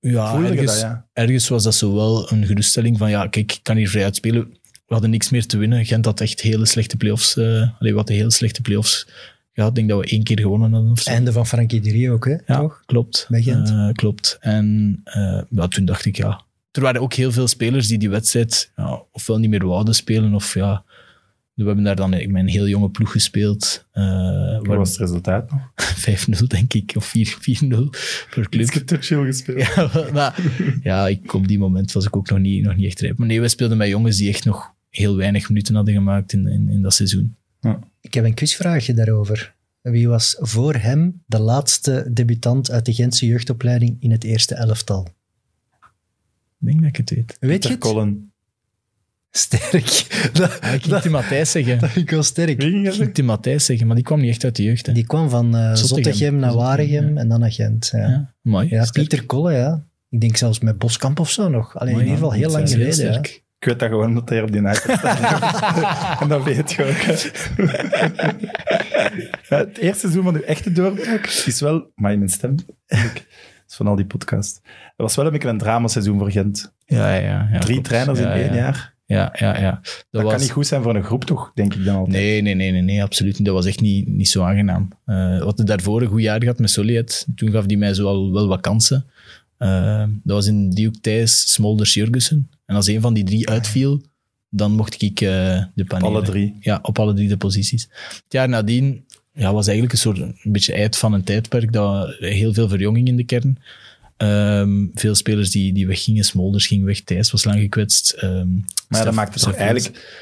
ja, Voelde je ergens, dat, ja? ergens was dat zo wel een geruststelling van ja, kijk, ik kan hier vrij uitspelen. we hadden niks meer te winnen. Gent had echt hele slechte play-offs. eh allee, we hadden hele slechte play-offs gehad. Ik denk dat we één keer gewonnen hadden of zo. Einde van Frankie de Rio ook, hè? Ja, toch? klopt. Bij Gent. Eh, klopt. En eh, ja, toen dacht ik, ja... Er waren ook heel veel spelers die die wedstrijd ja, ofwel niet meer wouden spelen, of ja... We hebben daar dan met een heel jonge ploeg gespeeld. eh, Wat waar was het resultaat nog? 5-0, denk ik, of 4-4-0 per club. Ietske te chill gespeeld. Ja, maar- maar, ja ik, op die moment was ik ook nog niet, nog niet echt rijp. Maar nee, wij speelden met jongens die echt nog heel weinig minuten hadden gemaakt in, in, in dat seizoen. Ik heb een quizvraagje daarover. Wie was voor hem de laatste debutant uit de Gentse jeugdopleiding in het eerste elftal? Ik denk dat ik het weet. Weet je Ter het? Colin. Sterk. Dat, Ja, ik ging dat, die Matthijs zeggen. dat vind ik wel sterk. Wie ging Ik dat ging die Matthijs zeggen, maar die kwam niet echt uit de jeugd. Hè. Die kwam van eh Zottegem. Zottegem naar Zottegem, Waregem en dan naar Gent. Ja, ja, Ja, mooi. sterk. Pieter Kolle, ja. Ik denk zelfs met Boskamp of zo nog. Alleen in Mooi, ieder geval ja. heel lang Dat is heel geleden. ja. sterk. Ik weet dat gewoon omdat hij op die nacht staat. en dat weet je ook. Ja, het eerste seizoen van uw echte doorbraak is wel... Maar in mijn stem... Dat is van al die podcast. Het was wel een beetje een dramaseizoen voor Gent. Ja, ja, ja, ja, Drie klopt. trainers Ja, in één ja. jaar. Ja, ja, ja. Dat, Dat was... kan niet goed zijn voor een groep, toch? Denk ik dan altijd. Nee, nee, nee, nee, nee, absoluut niet. Dat was echt niet, niet zo aangenaam. Eh, we hadden daarvoor een goed jaar gehad met Soliet. Toen gaf die mij zo al wel wat kansen. Eh, dat was in Duke Thijs, Smolders, Jurgensen. En als een van die drie uitviel, dan mocht ik eh, de panelen. Ah, Alle drie. Ja, op alle drie de posities. Het jaar nadien ja, was eigenlijk een soort een beetje eind van een tijdperk. Dat, heel veel verjonging in de kern. Ehm, veel spelers die, die weggingen. Smolders ging weg, Thijs was lang gekwetst. Ehm, Maar ja, Stef- dat maakt het toch Stef- eigenlijk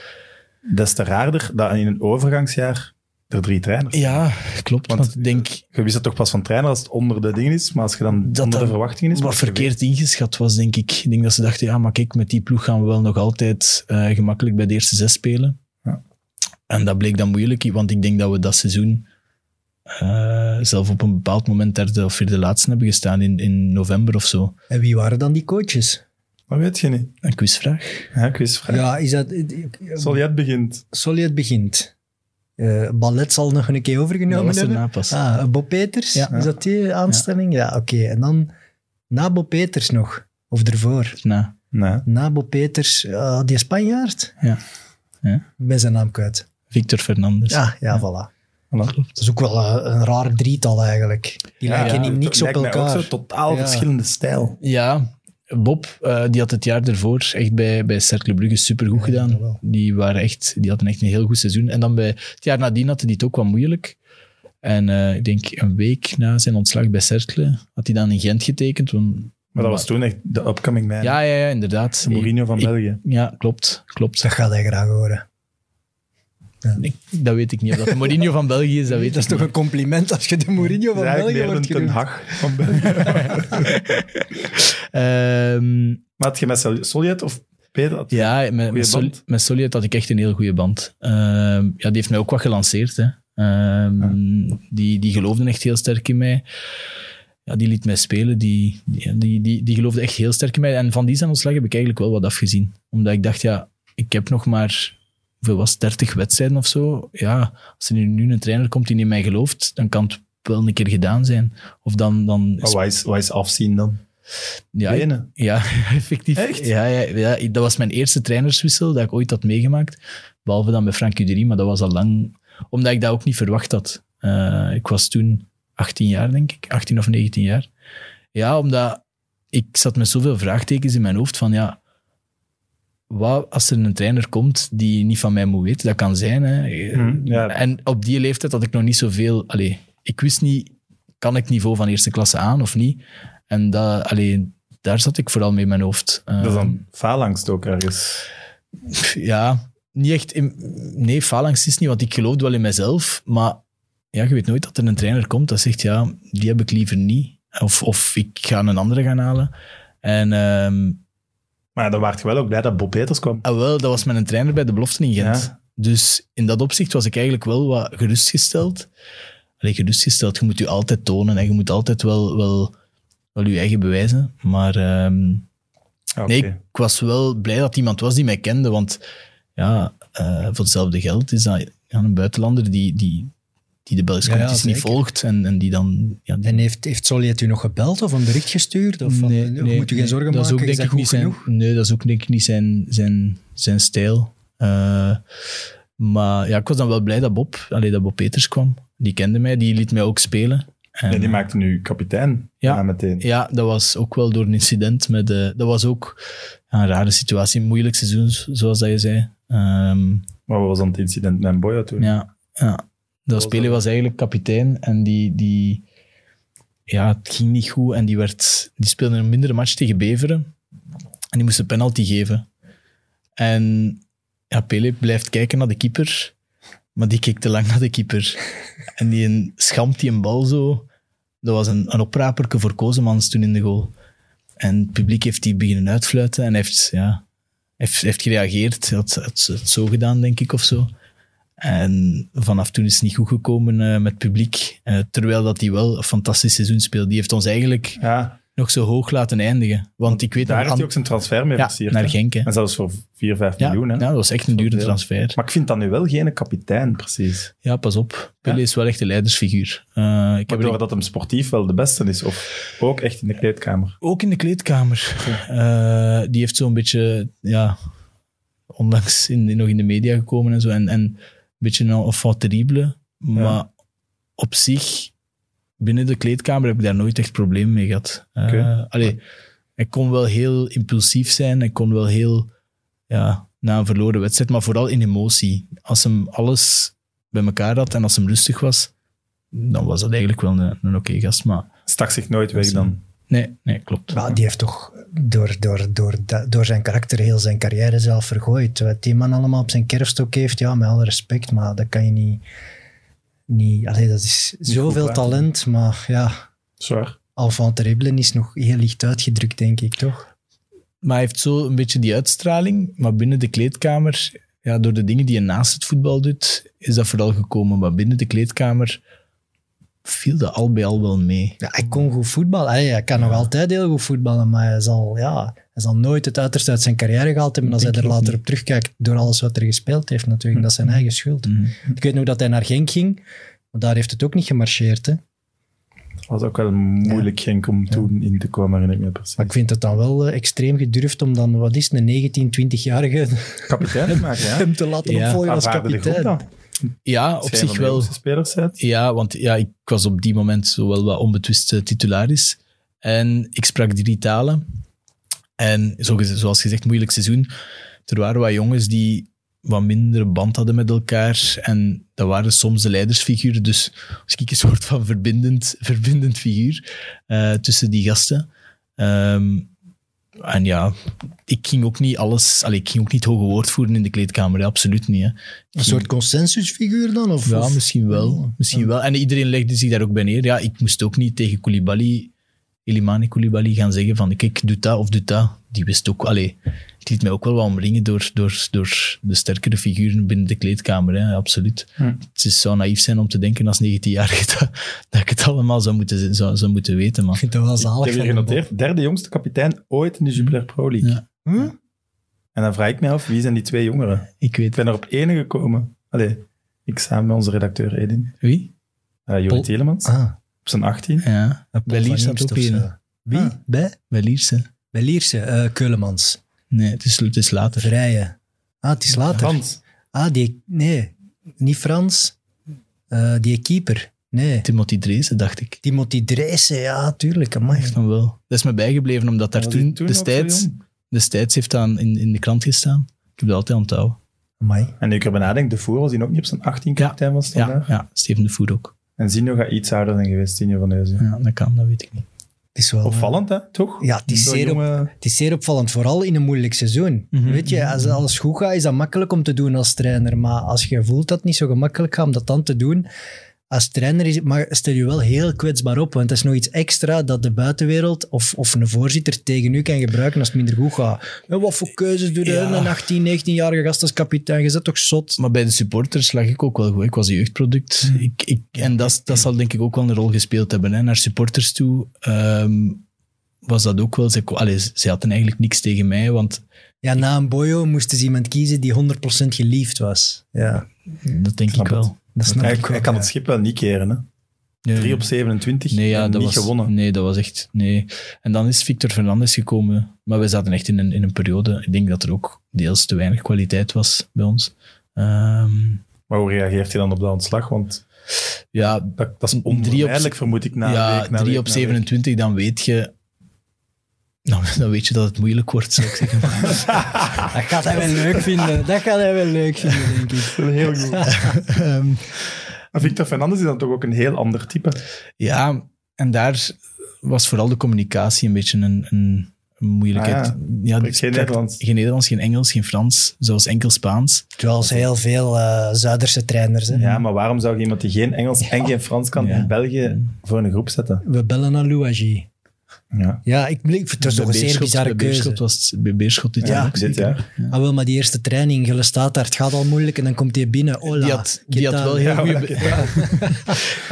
des te raarder dat in een overgangsjaar er drie trainers zijn. Ja, klopt. Want- Want, ik denk, Je wist dat toch pas van trainer als het onder de dingen is, maar als je dan Dat onder de dat verwachtingen is... wat moet je verkeerd ingeschat was, denk ik. Ik denk dat ze dachten, ja, maar kijk, met die ploeg gaan we wel nog altijd eh, gemakkelijk bij de eerste zes spelen. Ja. En dat bleek dan moeilijk, want ik denk dat we dat seizoen eh, zelf op een bepaald moment derde of vierde laatste hebben gestaan in, in november of zo. En wie waren dan die coaches? weten. Dat weet je niet. Een quizvraag. Ja, ik wist vraag. Ja, is dat... Zal jij het begint? Solly het begint. Eh Ballet zal nog een keer Dat overgenomen was er hebben. napas. Ah, Bob Peters, Ja. is dat die aanstelling? Ja, oké. En dan na Bob Peters nog, of ervoor. Na. Nee. Na Bob Peters, ah, die Spanjaard. Ja. Ja. Ik ben zijn naam kwijt. Victor Fernandes. Ah, ja, voilà. Voilà. Dat is ook wel eh, een raar drietal eigenlijk. Die lijken ja, in niks op lijkt mij elkaar. Ook zo, totaal Ja. verschillende stijl. Ja, Bob, eh, die had het jaar daarvoor echt bij, bij Cercle Brugge supergoed dat gedaan. wel. Die, waren echt, die hadden echt een heel goed seizoen. En dan bij het jaar nadien had hij het ook wat moeilijk. En eh, ik denk een week na zijn ontslag bij Cercle had hij dan in Gent getekend. Want, Maar dat was toen echt de upcoming man. ja, ja, ja, inderdaad. de Mourinho van Ik- België. Ja, klopt. klopt. Dat gaat hij graag horen. Ik, dat weet ik niet. Of dat de Mourinho van België is, dat weet Dat is ik niet. toch een compliment als je de Mourinho Dat van is eigenlijk België meer een Ten wordt genoemd. Hag van België. Ehm, maar had je met Sol- Soljet of Peter... had- Ja, met, Goeie met, Sol- band. met Soliet had ik echt een heel goede band. Ehm, ja, die heeft mij ook wat gelanceerd. Hè. Ehm, Ah. die, die geloofden echt heel sterk in mij. Ja, die liet mij spelen. Die, die, die, die, die geloofde echt heel sterk in mij. En van die zijn ontslag heb ik eigenlijk wel wat afgezien. Omdat ik dacht, ja, ik heb nog maar... Hoeveel was het? 30 wedstrijden of zo? Ja, als er nu- nu een trainer komt die niet in mij gelooft, dan kan het wel een keer gedaan zijn. Of dan... dan Maar wat is, wat is afzien dan? ja, ik- Benen. ja, effectief. Echt? Ja, ja, ja, dat was mijn eerste trainerswissel dat ik ooit had meegemaakt. Behalve dan met Frank Uderie, maar dat was al lang... Omdat ik dat ook niet verwacht had. Eh, ik was toen 18 jaar, denk ik. 18 of 19 jaar. Ja, omdat ik zat met zoveel vraagtekens in mijn hoofd van ja... Wat als er een trainer komt die niet van mij moet weten? Dat kan zijn, hè. Hm, ja. En op die leeftijd had ik nog niet zoveel... Allee, ik wist niet, kan ik niveau van eerste klasse aan of niet? En dat, allee, daar zat ik vooral mee in mijn hoofd. Dat is Ehm, dan faalangst ook ergens. pff, ja, niet echt... in- nee, phalanx is niet, want ik geloofde wel in mezelf. Maar ja, je weet nooit dat er een trainer komt dat zegt, ja, die heb ik liever niet. Of, of ik ga een andere gaan halen. En ehm, Maar dan waart je wel ook blij dat Bob Peters kwam. ah, wel, dat was mijn trainer bij de belofte in Gent. Ja. Dus in dat opzicht was ik eigenlijk wel wat gerustgesteld. Allee, gerustgesteld, je moet je altijd tonen en je moet altijd wel, wel, wel je eigen bewijzen. Maar... ehm, Ah, oké. Nee, ik, ik was wel blij dat iemand was die mij kende, want ja, eh, voor hetzelfde geld is dat ja, een buitenlander die, die, die de Belgische Ja, ja, competitie niet zeker. volgt en, en die dan... Ja, die- En heeft, heeft Solly het u nog gebeld of een bericht gestuurd? Of van, eh, moet u geen zorgen dat is maken, ook, denk is dat ik goed niet zijn, genoeg? Nee, dat is ook denk ik niet zijn, zijn, zijn stijl. Eh, maar ja, ik was dan wel blij dat Bob, allee, dat Bob Peters kwam. Die kende mij, die liet mij ook spelen. En, Ja, die maakt nu kapitein. Ja. Ja. meteen. ja, dat was ook wel door een incident. Met, eh, dat was ook ja, een rare situatie, een moeilijk seizoen, zoals dat je zei. Ehm, Maar wat was dan het incident met Boya toen? ja, ja. Dat was speler dat? was eigenlijk kapitein en die, die ja, het ging niet goed en die, werd, die speelde een mindere match tegen Beveren en die moest een penalty geven. En ja, Pele blijft kijken naar de keeper, maar die keek te lang naar de keeper. En die een, schampt die een bal zo. Dat was een, een opraperke voor Kozemans toen in de goal. En het publiek heeft die beginnen uitfluiten en heeft, ja, heeft, heeft gereageerd. Hij had, had het zo gedaan, denk ik, of zo. En vanaf toen is het niet goed gekomen eh, met het publiek. Eh, terwijl dat hij wel een fantastisch seizoen speelde. Die heeft ons eigenlijk Ja, nog zo hoog laten eindigen. Want ik weet daar nog... heeft hij aan- ook zijn transfer mee ja, versierd. hè. naar Genk, hè. En zelfs voor 4, 5 Ja, miljoen. Hè? ja, dat was echt een dure transfer. Maar ik vind dat nu wel geen kapitein, precies. Ja, pas op. Pele Ja. is wel echt een leidersfiguur. Eh, ik heb er Waardoor dat hem sportief wel de beste is. Of ook echt in de kleedkamer. Ook in de kleedkamer. Eh, die heeft zo'n beetje, ja, onlangs in, nog in de media gekomen en zo. En, en een beetje een enfant terrible. Maar op zich, binnen de kleedkamer heb ik daar nooit echt problemen mee gehad. Eh Oké. allee, ik kon wel heel impulsief zijn. Ik kon wel heel, ja, na een verloren wedstrijd, maar vooral in emotie. Als hem alles bij elkaar had en als hem rustig was, dan was dat eigenlijk wel een, een oké gast. Maar Stak zich nooit weg dan. nee, nee, klopt. Maar die heeft toch door, door, door, da- door zijn karakter heel zijn carrière zelf vergooid. Wat die man allemaal op zijn kerfstok heeft, ja, met alle respect, maar dat kan je niet... niet allee, dat is zoveel goed praten. talent, maar ja, Zwaar. Alphonse Terrible is nog heel licht uitgedrukt, denk ik, toch? Maar hij heeft zo een beetje die uitstraling. Maar binnen de kleedkamer, ja, door de dingen die hij naast het voetbal doet, is dat vooral gekomen. Maar binnen de kleedkamer viel dat al bij al wel mee. Ja, hij kon goed voetballen. Allee, hij kan nog altijd heel goed voetballen, maar hij zal, ja, hij zal nooit het uiterste uit zijn carrière gehaald hebben. En als hij Denk er ik later niet. Mm-hmm. op terugkijkt, door alles wat er gespeeld heeft natuurlijk, dat is zijn eigen schuld. Ik weet nog dat hij naar Genk ging, maar daar heeft het ook niet gemarcheerd, hè. Dat was ook wel moeilijk Genk om toen in te komen, herinner ik me precies. Maar ik vind het dan wel eh, extreem gedurfd om dan, wat is het, een 19, 20-jarige kapitein te maken, ja. hem te laten Ja, opvolgen als Aanvaarden de groep kapitein. dan. Ja, op Als jij een zich van de wel. jongste spelers bent. Ja, want ja, ik was op die moment zo wel wat onbetwist eh, titularis. En ik sprak drie talen. En zo gez- zoals gezegd, moeilijk seizoen. Er waren wat jongens die wat minder band hadden met elkaar. En dat waren soms de leidersfiguren. Dus was ik een soort van verbindend, verbindend figuur eh, tussen die gasten. Ehm, en ja, ik ging ook niet alles... Allee, ik ging ook niet hoge woord voeren in de kleedkamer. hè, absoluut niet. Hè. Een soort consensusfiguur dan? Of, Ja, of- Oh. misschien wel. Misschien wel. En iedereen legde zich daar ook bij neer. Ja, ik moest ook niet tegen Koulibaly, Elimane Koulibaly, gaan zeggen van kijk, doe dat of doe dat. Die wist ook, allee, het liet mij ook wel wat omringen door, door, door de sterkere figuren binnen de kleedkamer, hè, absoluut. Hm. Het is, zou naïef zijn om te denken als 19-jarige dat, dat ik het allemaal zou moeten, zou, zou moeten weten, Ik maar vind dat wel Ik zalig. heb hier van hem. genoteerd, derde jongste kapitein ooit in de Jupiler Pro League. Ja. Hm? En dan vraag ik mij af, wie zijn die twee jongeren? ik Ik weet... ben er op ene gekomen. Allee, ik samen met onze redacteur Edin. Wie? eh Joey Pol- Telemans, Ah, op zijn 18. Ja, bij Paul van Lierse had Imst ook of zo. een. Wie? Ah. Bij? Bij Lierse. Bij Lierse, eh, Keulemans. Nee, het is, het is later. Vrijen. Ah, het is later. Frans. Ah, die... Nee, niet Frans. Eh, die keeper. Nee. Timothy Dreesen, dacht ik. Timothy Dreysen, ja, tuurlijk. Amai. Echt van wel. Dat is me bijgebleven, omdat daar Was toen, hij toen ook zo destijds, jong? destijds heeft aan in, in de krant gestaan. Ik heb dat altijd onthouden. Amai. En nu ik erbij nadenk, de Voer was die ook niet op zijn 18 kapitein was Ja, vandaag. ja Steven de Voer ook. En Zino gaat iets ouder zijn geweest, Zino van Heuzen. Ja, dat kan, dat weet ik niet. Het is wel... eh, Opvallend, hè? Toch? Ja, het is Zo'n zeer op- jonge- Het is zeer opvallend, vooral in een moeilijk seizoen. Mhm. Weet je, als alles goed gaat, is dat makkelijk om te doen als trainer. Maar als je voelt dat het niet zo gemakkelijk gaat om dat dan te doen, als trainer is het, maar stel je wel heel kwetsbaar op. Want dat is nog iets extra dat de buitenwereld of, of een voorzitter tegen u kan gebruiken als het minder goed gaat. En wat voor keuzes doe je? Ja. Een 18, 19-jarige gast als kapitein, je zet toch zot? Maar bij de supporters lag ik ook wel goed. Ik was een jeugdproduct. Hmm. Ik, ik, en dat, dat zal denk ik ook wel een rol gespeeld hebben. Hè. Naar supporters toe ehm, was dat ook wel... Ze, allee, ze- ze hadden eigenlijk niks tegen mij, want Ja, na een boyo moesten ze iemand kiezen die 100% geliefd was. Ja, dat denk Hmm. Snap ik wel. dat snap Hij, ik wel, hij kan ja. het schip wel niet keren, hè? Nee. 3 op 27. Nee, ja, en dat niet was, gewonnen. Nee, dat was echt... Nee. En dan is Victor Fernandes gekomen. Maar we zaten echt in een, in een periode... Ik denk dat er ook deels te weinig kwaliteit was bij ons. Ehm, Maar hoe reageert hij dan op dat ontslag? Want ja, dat, dat is Drie op- onvermijdelijk, vermoed ik, na ja, week, na 3 week, op na week. 27, dan weet je... Nou, dan weet je dat het moeilijk wordt, zou ik zeggen. Dat gaat hij wel leuk vinden. Dat gaat hij wel leuk vinden, denk ik. Heel goed. Ehm, Maar Victor Fernandes is dan toch ook een heel ander type. ja, en daar was vooral de communicatie een beetje een, een, een moeilijkheid. Ah ja, ja, spreekt dus geen praat- Nederlands. Geen Nederlands, geen Engels, geen Frans. Zoals enkel Spaans. Terwijl ze heel veel eh, Zuiderse trainers. Hè. Ja, maar waarom zou je iemand die geen Engels en geen Frans kan Ja. in België voor een groep zetten? We bellen naar Louagie. Ja. Ja, ik, ik, het is Bij toch een zeer Beerschot- bizarre bij Beerschot keuze. was het- bij Beerschot dit Ja, jaar ook dit zeker. jaar. Ah, wel, maar die eerste training, Gele staat daar, het gaat al moeilijk en dan komt hij binnen. Hola, Die had, ¿qué die had tal? wel heel goede...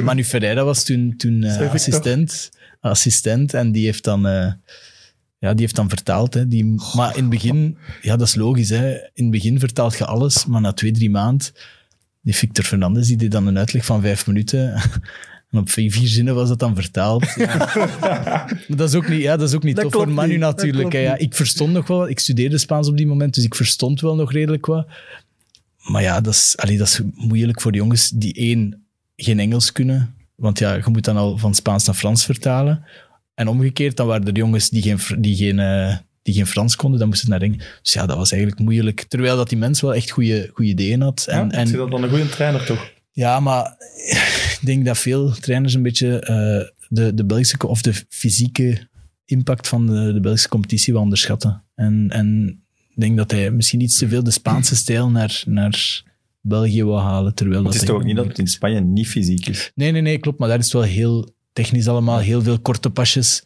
Manu Ferreira was toen, toen eh, Zeg ik toch? assistent, assistent en die heeft dan, eh, ja, die heeft dan vertaald. Hè, die, maar in het begin, ja, dat is logisch. Hè, in het begin vertaalt je alles, maar na twee, drie maanden, die Victor Fernandez, die deed dan een uitleg van vijf minuten. En op vier, vier zinnen was dat dan vertaald. Maar dat is ook niet, ja, dat is ook niet Dat tof voor klopt Manu niet, dat natuurlijk. klopt hè. Ja, ik verstond nog wel wat. Ik studeerde Spaans op die moment, dus ik verstond wel nog redelijk wat. Maar ja, dat is, allee, dat is moeilijk voor de jongens die één, geen Engels kunnen. Want ja, je moet dan al van Spaans naar Frans vertalen. En omgekeerd, dan waren er jongens die geen, Fr- die geen, eh, die geen Frans konden, dan moesten ze naar Engels. Dus ja, dat was eigenlijk moeilijk. Terwijl dat die mens wel echt goede goede ideeën had. En, En, en, dat dan een goede trainer toch? ja, maar ik denk dat veel trainers een beetje eh, de, de Belgische co- of de fysieke impact van de, de Belgische competitie wel onderschatten. En, en ik denk dat hij misschien iets te veel de Spaanse stijl naar, naar België wil halen. Terwijl Het is dat hij- toch ook niet dat het in Spanje niet fysiek is? Nee, nee, nee, klopt. Maar daar is het wel heel technisch allemaal, heel veel korte pasjes.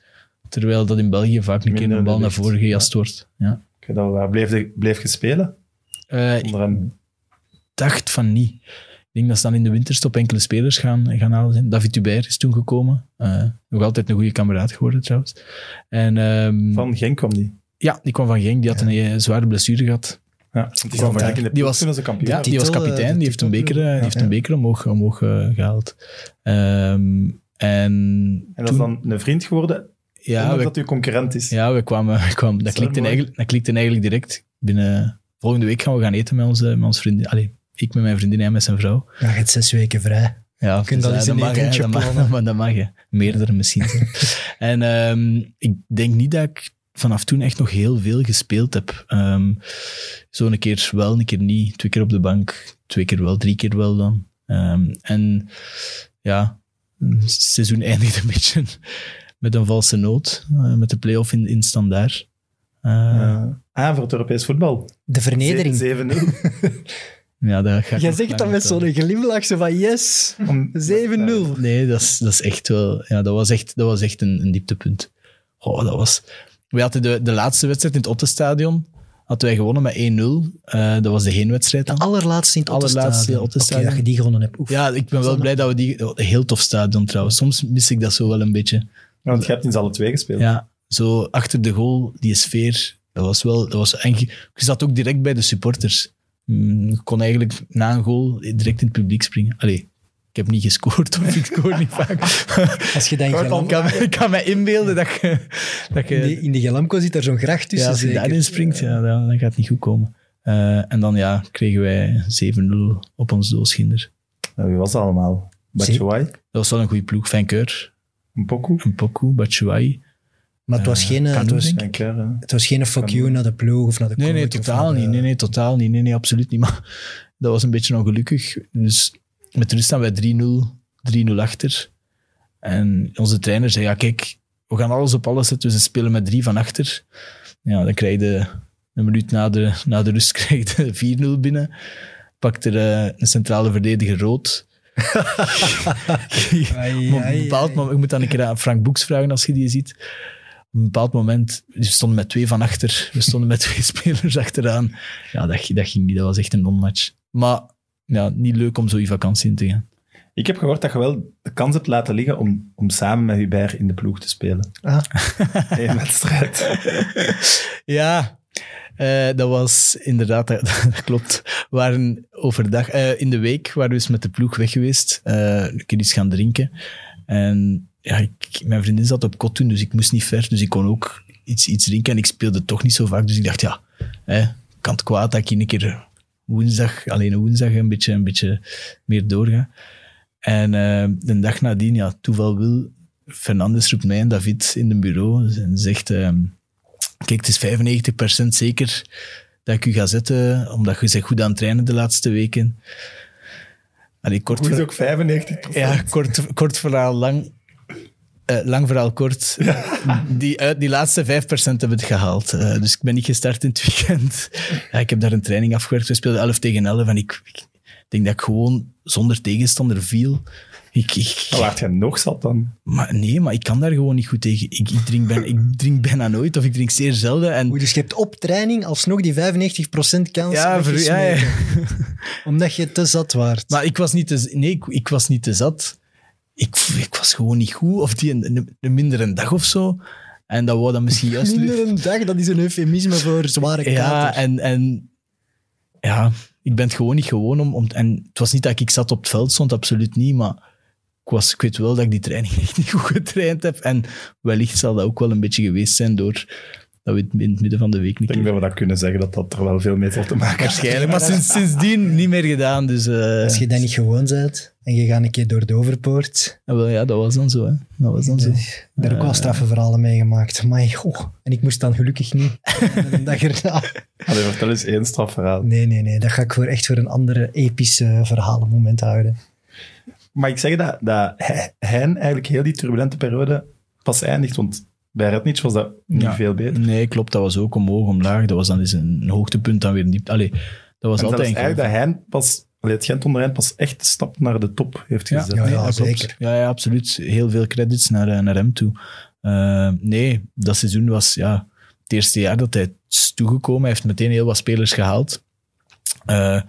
Terwijl dat in België vaak een keer Minder een bal naar bewegend, voren gejast wordt. Ja. Ik weet dat wel. Bleef, de- bleef je spelen Eh, ik onder hem? dacht van niet. Ik denk dat ze dan in de winterstop enkele spelers gaan, gaan halen. zijn. David Hubert is toen gekomen. Eh, nog altijd een goede kameraad geworden trouwens. En, ehm, Van Genk kwam die. Ja, die kwam van Genk. Die had een eh, zware blessure gehad. Ja, want die Kwam kwam van daar. Genk in de Die was- toen als een kampioen. Ja, werd. die was titel, eh, kapitein. de Die heeft een titel, beker, eh, die heeft een beker omhoog, omhoog eh, gehaald. Ehm, en En dat is dan een vriend geworden, ja, omdat we, dat uw concurrent is. ja, we kwamen... We kwamen dat, Zo klikte mooi. eigenlijk, dat klikte eigenlijk direct. Binnen, volgende week gaan we gaan eten met onze, met onze vriendin. Allee, ik met mijn vriendin en met zijn vrouw. Ja, je hebt zes weken vrij. Ja, kunt dus, al eens eh, een mag, hè, etentje dat mag, plannen. Maar dat mag je. Meerdere misschien. en ehm, ik denk niet dat ik vanaf toen echt nog heel veel gespeeld heb. Ehm, zo een keer wel, een keer niet. Twee keer op de bank. Twee keer wel, drie keer wel dan. Ehm, en ja, het seizoen eindigde een beetje met een valse noot. eh, met de play-off in, in standaard. Eh, Eh, ah, voor het Europees voetbal. De vernedering. 7-0. ja, dat ga ik nog lang vertellen. glimlach, zo van yes, Om- Nee, dat is, dat is echt wel... Ja, dat was echt, dat was echt een, een dieptepunt. Oh, dat was... We hadden de, de laatste wedstrijd in het Ottenstadion. Hadden wij gewonnen met 1-0. Eh, dat was de heenwedstrijd De dan. allerlaatste in het Allerlaatste Ottenstadion. Ottenstadion. Oké, dat je die gewonnen hebt. Oef. Ja, ik ben wel Zonde. blij dat we die... oh, Heel tof stadion trouwens. Soms mis ik dat zo wel een beetje. Want je hebt in z'n alle twee gespeeld. Ja, zo achter de goal, die sfeer. Dat was wel... Dat was, en je, je zat ook direct bij de supporters. Mm, Je kon eigenlijk na een goal direct in het publiek springen. Allee, ik heb niet gescoord of ik scoor niet vaak. Als je dan in Kort Ik Gelam- kan, ik kan me inbeelden dat je... Dat je in die- in de Gelamco zit er zo'n gracht eh. tussen. ja, als je zeker. daarin springt, ja, dan, dan gaat het niet goed komen. Eh, en dan ja, kregen wij 7-0 op ons doelschinder. En Nou, wie was dat allemaal? Batshuayi, Dat was wel een goede ploeg. Vankeur, Mpoku. een Poku, Batshuayi. Maar het was geen, eh, kan het doen, was, denk Denk ik, hè. het was geen fuck you naar de ploeg of naar de Nee, nee, coach of eh, totaal naar de- niet. Nee, nee, totaal niet. Nee, nee, absoluut niet. Maar dat was een beetje ongelukkig. Dus met rust staan wij 3-0, 3-0 achter. En onze trainer zei, ja kijk, we gaan alles op alles zetten. Dus ze spelen met drie van achter. Ja, dan krijg je een minuut na de, na de rust krijg je de 4-0 binnen. Pakt er eh, een centrale verdediger rood. Ai, Maar op een ai, bepaald ai. moment, ik moet dan een keer aan Frank Boeks vragen als je die ziet. Op een bepaald moment, we stonden met twee van achter. We stonden met twee spelers achteraan. Ja, dat, dat ging niet. Dat was echt een non-match. Maar ja, niet leuk om zo je vakantie in te gaan. Ik heb gehoord dat je wel de kans hebt laten liggen om, om samen met Hubert in de ploeg te spelen. Ah. Eén wedstrijd. Ja, eh, dat was inderdaad, dat, dat klopt. We waren overdag, eh, in de week waren we eens met de ploeg weg geweest. eh een keer iets gaan drinken. En ja, ik, mijn vriendin zat op kot toen, dus ik moest niet ver. Dus ik kon ook iets, iets drinken. En ik speelde toch niet zo vaak. Dus ik dacht, ja, hè, kan het kwaad dat ik een keer woensdag, alleen een woensdag, een beetje, een beetje meer doorga. En eh, de dag nadien, ja, toeval wil, Fernandes roept mij en David in het bureau en zegt... ehm, Kijk, het is 95% zeker dat ik u ga zetten, omdat je bent goed aan het trainen de laatste weken. Allee, kort, Hoe is ver- ook 95 ja, kort, kort verhaal lang. Eh, lang verhaal kort. Die, uit die laatste 5% hebben het gehaald. Eh, dus ik ben niet gestart in het weekend. Ja, ik heb daar een training afgewerkt. We speelden 11 tegen 11 en ik, ik denk dat ik gewoon zonder tegenstander viel. Ik, ik, Dan waart je Nou, nog zat dan. maar nee, maar ik kan daar gewoon niet goed tegen. Ik, ik, drink, bijna, ik drink bijna nooit of ik drink zeer zelden. En Hoe, dus je hebt op training alsnog die 95% kans Ja, ver- ja, ja. omdat je te zat waart. Maar ik was niet te, z- nee, ik, ik was niet te zat. Ik, ik was gewoon niet goed. Of die een, een, een mindere dag of zo. En dat wou dan misschien juist... lu- Minder een dag, dat is een eufemisme voor zware kater. Ja, en, en ja, ik ben het gewoon niet gewoon om, om... En het was niet dat ik zat op het veld stond, absoluut niet, maar ik, was, ik weet wel dat ik die training echt niet goed getraind heb. En wellicht zal dat ook wel een beetje geweest zijn door dat we het in het midden van de week niet Ik denk dat we dat kunnen zeggen, dat dat er wel veel mee zal te maken heeft. Waarschijnlijk, maar sinds, sindsdien niet meer gedaan. Dus, eh, Als je dat niet gewoon bent en je gaat een keer door de overpoort. ah, wel, ja, dat was dan zo. Hè. Dat was dan zo. Daar heb ik wel straffe verhalen mee gemaakt. Maar goh, en ik moest dan gelukkig niet. een dag erna. Allee, vertel eens één strafverhaal. Nee, nee, nee. Dat ga ik voor echt voor een andere epische verhalenmoment houden. Maar ik zeg dat, dat hij, hen eigenlijk heel die turbulente periode pas eindigt. Want bij Rednitsch was dat niet Ja. veel beter. Nee, klopt. Dat was ook omhoog, omlaag. Dat was dan eens een een hoogtepunt, dan weer een diepte. Allee, dat was en dat is altijd een eigenlijk dat hen pas, allee, het Gent onder hen pas echt de stap naar de top heeft gezet. Ja, nee, ja, dat klopt. zeker. Ja, ja, absoluut. Heel veel credits naar, eh, naar hem toe. Eh, nee, dat seizoen was ja, het eerste jaar dat hij is toegekomen. Hij heeft meteen heel wat spelers gehaald. Eh,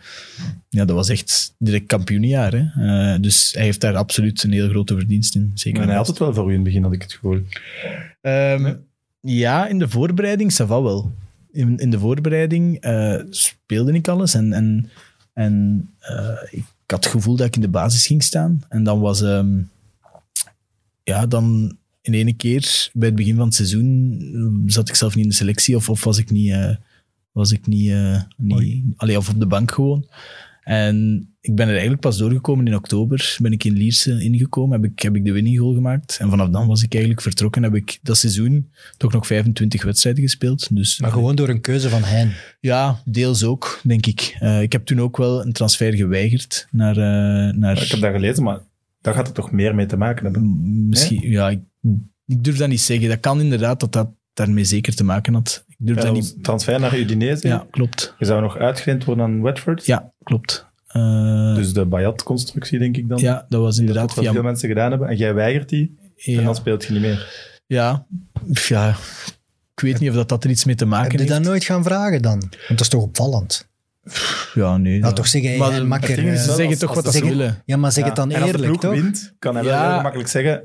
ja, dat was echt direct kampioenjaar. Hè? Eh, dus hij heeft daar absoluut een heel grote verdienst in. Zeker. En hij had het wel voor u in het begin, had ik het gevoel. Ehm, Ja, in de voorbereiding, ça va wel. In, in de voorbereiding eh, speelde ik alles en, en, en eh, ik had het gevoel dat ik in de basis ging staan. En dan was, ehm, ja, dan in ene keer bij het begin van het seizoen zat ik zelf niet in de selectie of, of was ik niet, eh, was ik niet, eh, niet allee, of op de bank gewoon. En ik ben er eigenlijk pas doorgekomen in oktober. Ben ik in Lierse ingekomen, heb ik, heb ik de winning goal gemaakt. En vanaf dan was ik eigenlijk vertrokken. Heb ik dat seizoen toch nog 25 wedstrijden gespeeld. Dus Maar gewoon door een keuze van hen. ja, deels ook, denk ik. Eh, ik heb toen ook wel een transfer geweigerd naar... eh, naar Ik heb dat gelezen, maar daar gaat het toch meer mee te maken hebben. M- Misschien, ja, ik, ik durf dat niet zeggen. Dat kan inderdaad dat dat daarmee zeker te maken had. Ik durf Ja, dat dat niet. was Transfer naar Udinese. Ja, klopt. Je zou nog uitgeleend worden aan Watford. Ja, klopt. Eh, Dus de Bayat-constructie, denk ik dan. ja, dat was inderdaad dat wat via. veel mensen gedaan hebben. En jij weigert die, en Ja, dan speelt je niet meer. ja, Pff, ja, ik weet niet of dat, dat er iets mee te maken Heb je heeft. dat nooit gaan vragen dan? Want dat is toch opvallend? Ja, nee. Nou, dat- toch zeggen, hey, Maar hey, de- makker, het ding is eh, Ze Wel, zeggen als- toch als wat ze dat ze zeggen- willen. Ja, maar zeg Ja. het dan en als de eerlijk, ploeg toch? wint, kan hij wel Ja. heel gemakkelijk zeggen...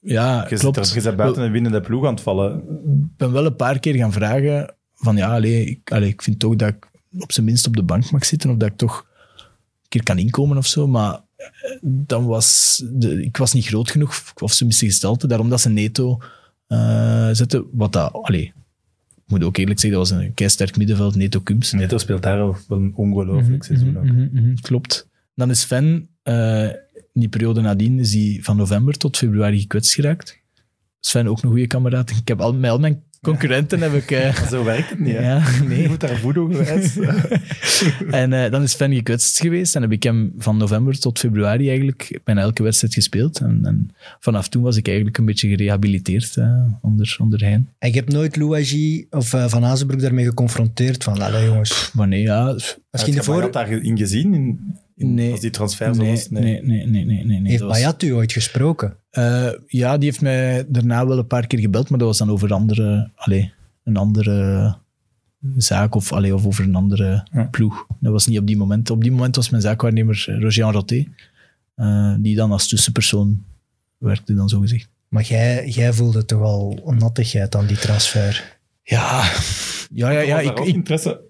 Ja, Je zit, klopt. er, je zit buiten een winnende ploeg aan het vallen. Ik ben wel een paar keer gaan vragen van ja, allee, ik, allee, ik vind toch dat ik op zijn minst op de bank mag zitten of dat ik toch een keer kan inkomen of zo, maar eh, dan was de, ik was niet groot genoeg of ze miste gestalte, daarom dat ze Neto eh zetten, wat dat, allee, ik moet ook eerlijk zeggen, dat was een keisterk middenveld, Neto Cubs. Neto speelt daar wel een ongelooflijk Mhm, seizoen ook. Klopt. Dan is Sven, eh, in die periode nadien, is hij van november tot februari gekwetst geraakt. Sven ook een goede kameraad. Ik heb al, met al mijn concurrenten heb ik... eh, Zo werkt het niet, hè? ja, Je nee. moet daar voedo geweest. En eh, dan is Sven gekwetst geweest en heb ik hem van november tot februari eigenlijk bijna elke wedstrijd gespeeld. En, en vanaf toen was ik eigenlijk een beetje gerehabiliteerd eh, onder, onder hen. En je hebt nooit Louagie of eh, Van Azenbroek daarmee geconfronteerd van, laat dat jongens. Maar nee, ja... pff, Misschien de Had voor... daarin gezien, in, in- Nee. als die transfer zo Nee, was? nee, nee, nee, nee. nee, nee, Heeft dus. dat was- Bayat u ooit gesproken? Eh, ja, die heeft mij daarna wel een paar keer gebeld, maar dat was dan over andere, allee, een andere zaak of, allee, of over een andere Ja. ploeg. Dat was niet op die moment. Op die moment was mijn zaakwaarnemer eh, Roger Roté, eh, die dan als tussenpersoon werkte, dan zogezegd. Maar jij, jij voelde toch al een nattigheid aan die transfer. Ja, ja, ja, ja ik, ik, ik, interesse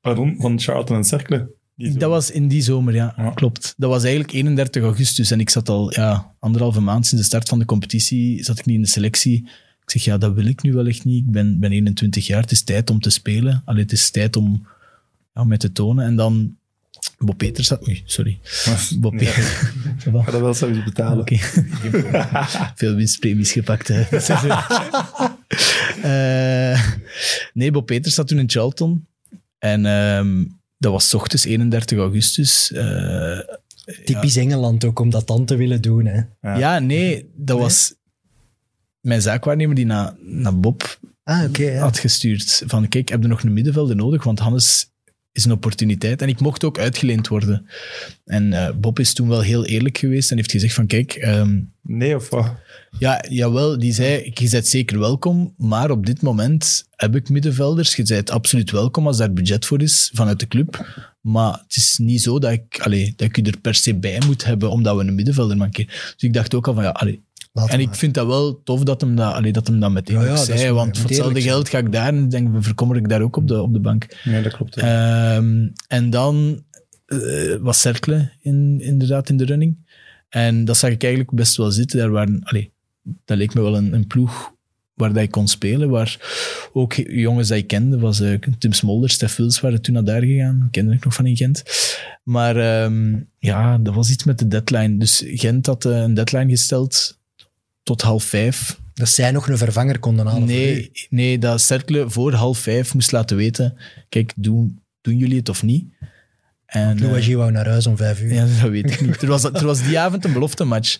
pardon, van Charlton en Cercle. Die zomer. Dat was in die zomer, ja. Ja. Klopt. Dat was eigenlijk 31 augustus. En ik zat al ja, anderhalve maand sinds de start van de competitie, zat ik niet in de selectie. Ik zeg, ja, dat wil ik nu wel echt niet. Ik ben, ben 21 jaar, het is tijd om te spelen. Allee, het is tijd om ja, om mij te tonen. En dan... Bob Peters had... Oei, sorry. Bob Ja. Peters. Ça va? Ga dat wel zelfs betalen. Oké. Veel winstpremies gepakt. hè. Eh, nee, Bob Peters zat toen in Charlton. En ehm, dat was 's ochtends 31 augustus. Eh, Typisch Engeland ook, om dat dan te willen doen. Hè. Ja. ja. nee, dat was mijn zaakwaarnemer die naar na Bob Ah, oké. ja. had gestuurd. Van kijk, heb je nog een middenvelder nodig? Want Hannes is een opportuniteit. En ik mocht ook uitgeleend worden. En eh, Bob is toen wel heel eerlijk geweest en heeft gezegd van kijk... ehm, Nee of wat? Ja, jawel, die zei, je bent zeker welkom, maar op dit moment heb ik middenvelders. Je bent absoluut welkom als daar budget voor is vanuit de club. Maar het is niet zo dat ik, allee, dat ik je er per se bij moet hebben, omdat we een middenvelder mankeer. Dus ik dacht ook al van, ja, allee. Laat En ik maar. vind dat wel tof dat hem dat, allee, dat, hem dat meteen Ja, ja, ook dat is zei, waar, want ja. voor hetzelfde Eerlijk geld ga ik daar en denk, verkommer ik daar ook op de, op de bank. Nee, dat klopt. Ehm, en dan eh, was Cercle in, inderdaad in de running. En dat zag ik eigenlijk best wel zitten. Daar waren, allee, dat leek me wel een, een ploeg waar dat ik kon spelen. Waar ook jongens die ik kende, was eh, Tim Smolders, Stef Wils, waren toen naar daar gegaan. Kende ik nog van in Gent. Maar ehm, ja, dat was iets met de deadline. Dus Gent had eh, een deadline gesteld tot half vijf. Dat zij nog een vervanger konden halen. voor u. Nee, nee, dat Cercle voor half vijf moest laten weten: kijk, doen, doen jullie het of niet? En, eh, Louagie wou naar huis om vijf uur. ja, dat weet ik niet. Er was, er was die avond een belofte match.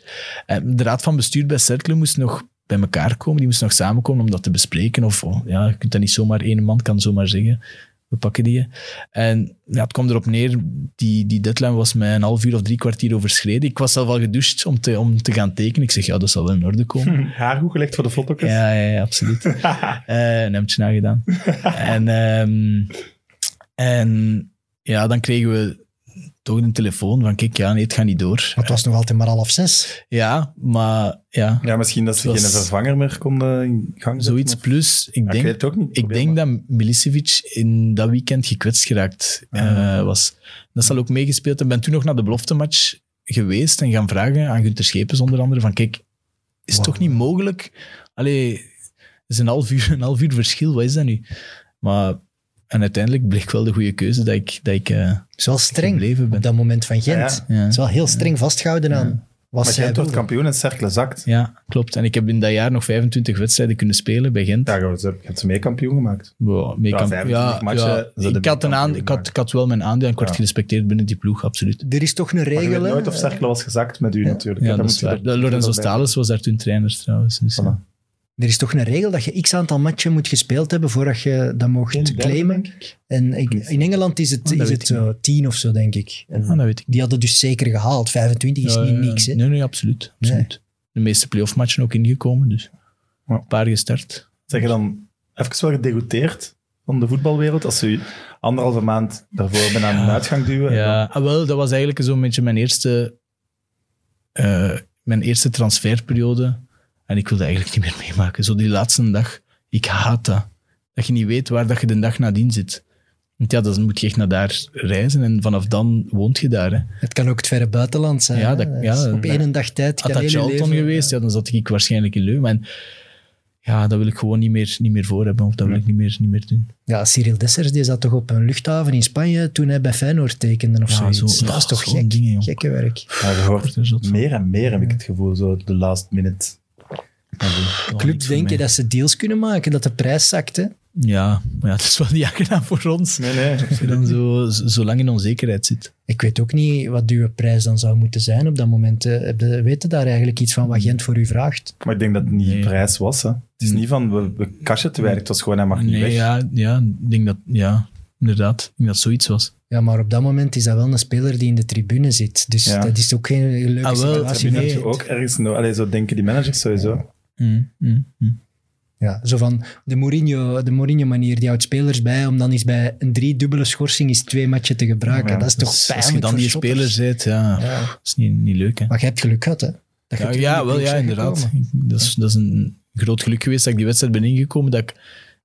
De raad van bestuur bij Cercle moest nog bij elkaar komen. Die moest nog samenkomen om dat te bespreken. Of oh, ja, je kunt dat niet zomaar, één man kan zomaar zeggen. We pakken die. En ja, het kwam erop neer, die, die deadline was mij een half uur of drie kwartier overschreden. Ik was zelf al gedoucht om te, om te gaan tekenen. Ik zeg, ja, dat zal wel in orde komen. Haar goed gelegd voor de foto's. Ja, ja, ja, absoluut. Eh, een hemdje nagedaan. en, ehm, en ja, dan kregen we toch een telefoon van, kijk, ja, nee, het gaat niet door. Maar het was nog altijd maar half zes. Ja, maar ja, Ja, misschien dat ze Het was- geen vervanger meer konden in gang zetten. zoiets of- plus. Ik Ja, ik weet denk, het ook niet. ik denk dat Milicevic in dat weekend gekwetst geraakt eh, Ah. was. Dat zal ook meegespeeld hebben. Ik ben toen nog naar de beloftematch geweest en gaan vragen aan Gunther Schepens onder andere van, kijk, is het Wow. toch niet mogelijk? Allee, het is een half uur, een half uur verschil, wat is dat nu? Maar, en uiteindelijk bleek wel de goede keuze dat ik, dat ik eh, Het is wel streng gebleven ben. op dat moment van Gent. Ja, ja. Het Ja. is wel heel streng vastgehouden aan wat Maar zij Gent wordt wilden. kampioen en Cercle zakt. ja, klopt. En ik heb in dat jaar nog 25 wedstrijden kunnen spelen bij Gent. Ja, je hebt ze mee kampioen gemaakt. Wow, mee Ja, kamp- 25 matchen, ze hadden ik, mee had een aan, kampioen ik, had, gemaakt. ik had wel mijn aandeel en ik werd Ja. gerespecteerd binnen die ploeg, absoluut. Er is toch een Maar je regel. weet hè? nooit of Cercle was gezakt met u natuurlijk. Ja, hè. dat Dan is moet je waar. er- Lorenzo erbij. Stalis was daar toen trainer trouwens. Dus, ja. Voilà. Er is toch een regel dat je x aantal matchen moet gespeeld hebben voordat je dat mocht Geen derde, claimen. denk En ik, in Engeland is het, Oh, dat is weet het ik zo tien of zo, denk ik. En Ah, dat weet ik niet. die hadden dus zeker gehaald. 25 is Ja, niet ja, ja. niks. Hè? Nee, nee, absoluut. absoluut. De meeste playoff matchen ook ingekomen, dus Ja. een paar gestart. Zeg je dan even wel gedegoteerd van de voetbalwereld als ze u anderhalve maand daarvoor bijna aan de uitgang duwen? en Ja, ah, wel, dat was eigenlijk zo'n beetje mijn eerste, eh, mijn eerste transferperiode. En ik wilde eigenlijk niet meer meemaken. Zo die laatste dag, ik haat dat. Dat je niet weet waar dat je de dag nadien zit. Want ja, dan moet je echt naar daar reizen en vanaf dan woont je daar. Hè. Het kan ook het verre buitenland zijn. Ja, hè. dat- ja, is dat- op één dag tijd. Had kan dat heel je Charlton leven- geweest, ja, dan zat ik waarschijnlijk in Leuven. En ja, dat wil ik gewoon niet meer, niet meer voor hebben. Of dat wil ik niet meer, niet meer doen. Ja, Cyril Dessers die zat toch op een luchthaven in Spanje toen hij bij Feyenoord tekende of Ja, zoiets. zo- dat ja, is toch zo'n gek? dingen, joh. Gekke werk. dan- Ja, je hoort Wordt er zot van. meer en meer, heb ik het gevoel, zo de last minute. Nog niet Clubs voor denken mij. dat ze deals kunnen maken, dat de prijs zakt. Hè? Ja, maar ja, dat is wel niet aangenaam voor ons. Nee, nee. Als je dan zo, zo lang in onzekerheid zit. Ik weet ook niet wat uw prijs dan zou moeten zijn op dat moment. Weten daar eigenlijk iets van wat Gent voor u vraagt? Maar ik denk dat het niet Nee. Hm. prijs was. Hè. Het is niet van, we, we cashen te weinig. Het was gewoon, hij mag niet Nee, weg. ja, ja, ik denk dat, ja, inderdaad. Ik denk dat zoiets was. Ja, maar op dat moment is dat wel een speler die in de tribune zit. Dus Ja. dat is ook geen leuke Ah, wel, Dat situatie. heb nee. je ook ergens nodig. Allee, zo denken die managers sowieso. Mm, mm, mm. Ja, zo van de Mourinho, de Mourinho manier, die houdt spelers bij om dan eens bij een driedubbele schorsing eens twee matchen te gebruiken. Ja, dat is toch Dus pijnlijk als je dan voor die shotters. speler bent, ja, Ja. dat is niet, niet leuk. Hè. Maar jij hebt geluk gehad, hè? Dat je Ja, terug in Nou ja, de wel, ploeg ja, bent inderdaad. gekomen. Ik- Dat is, dat is een groot geluk geweest dat ik die wedstrijd ben ingekomen. Dat ik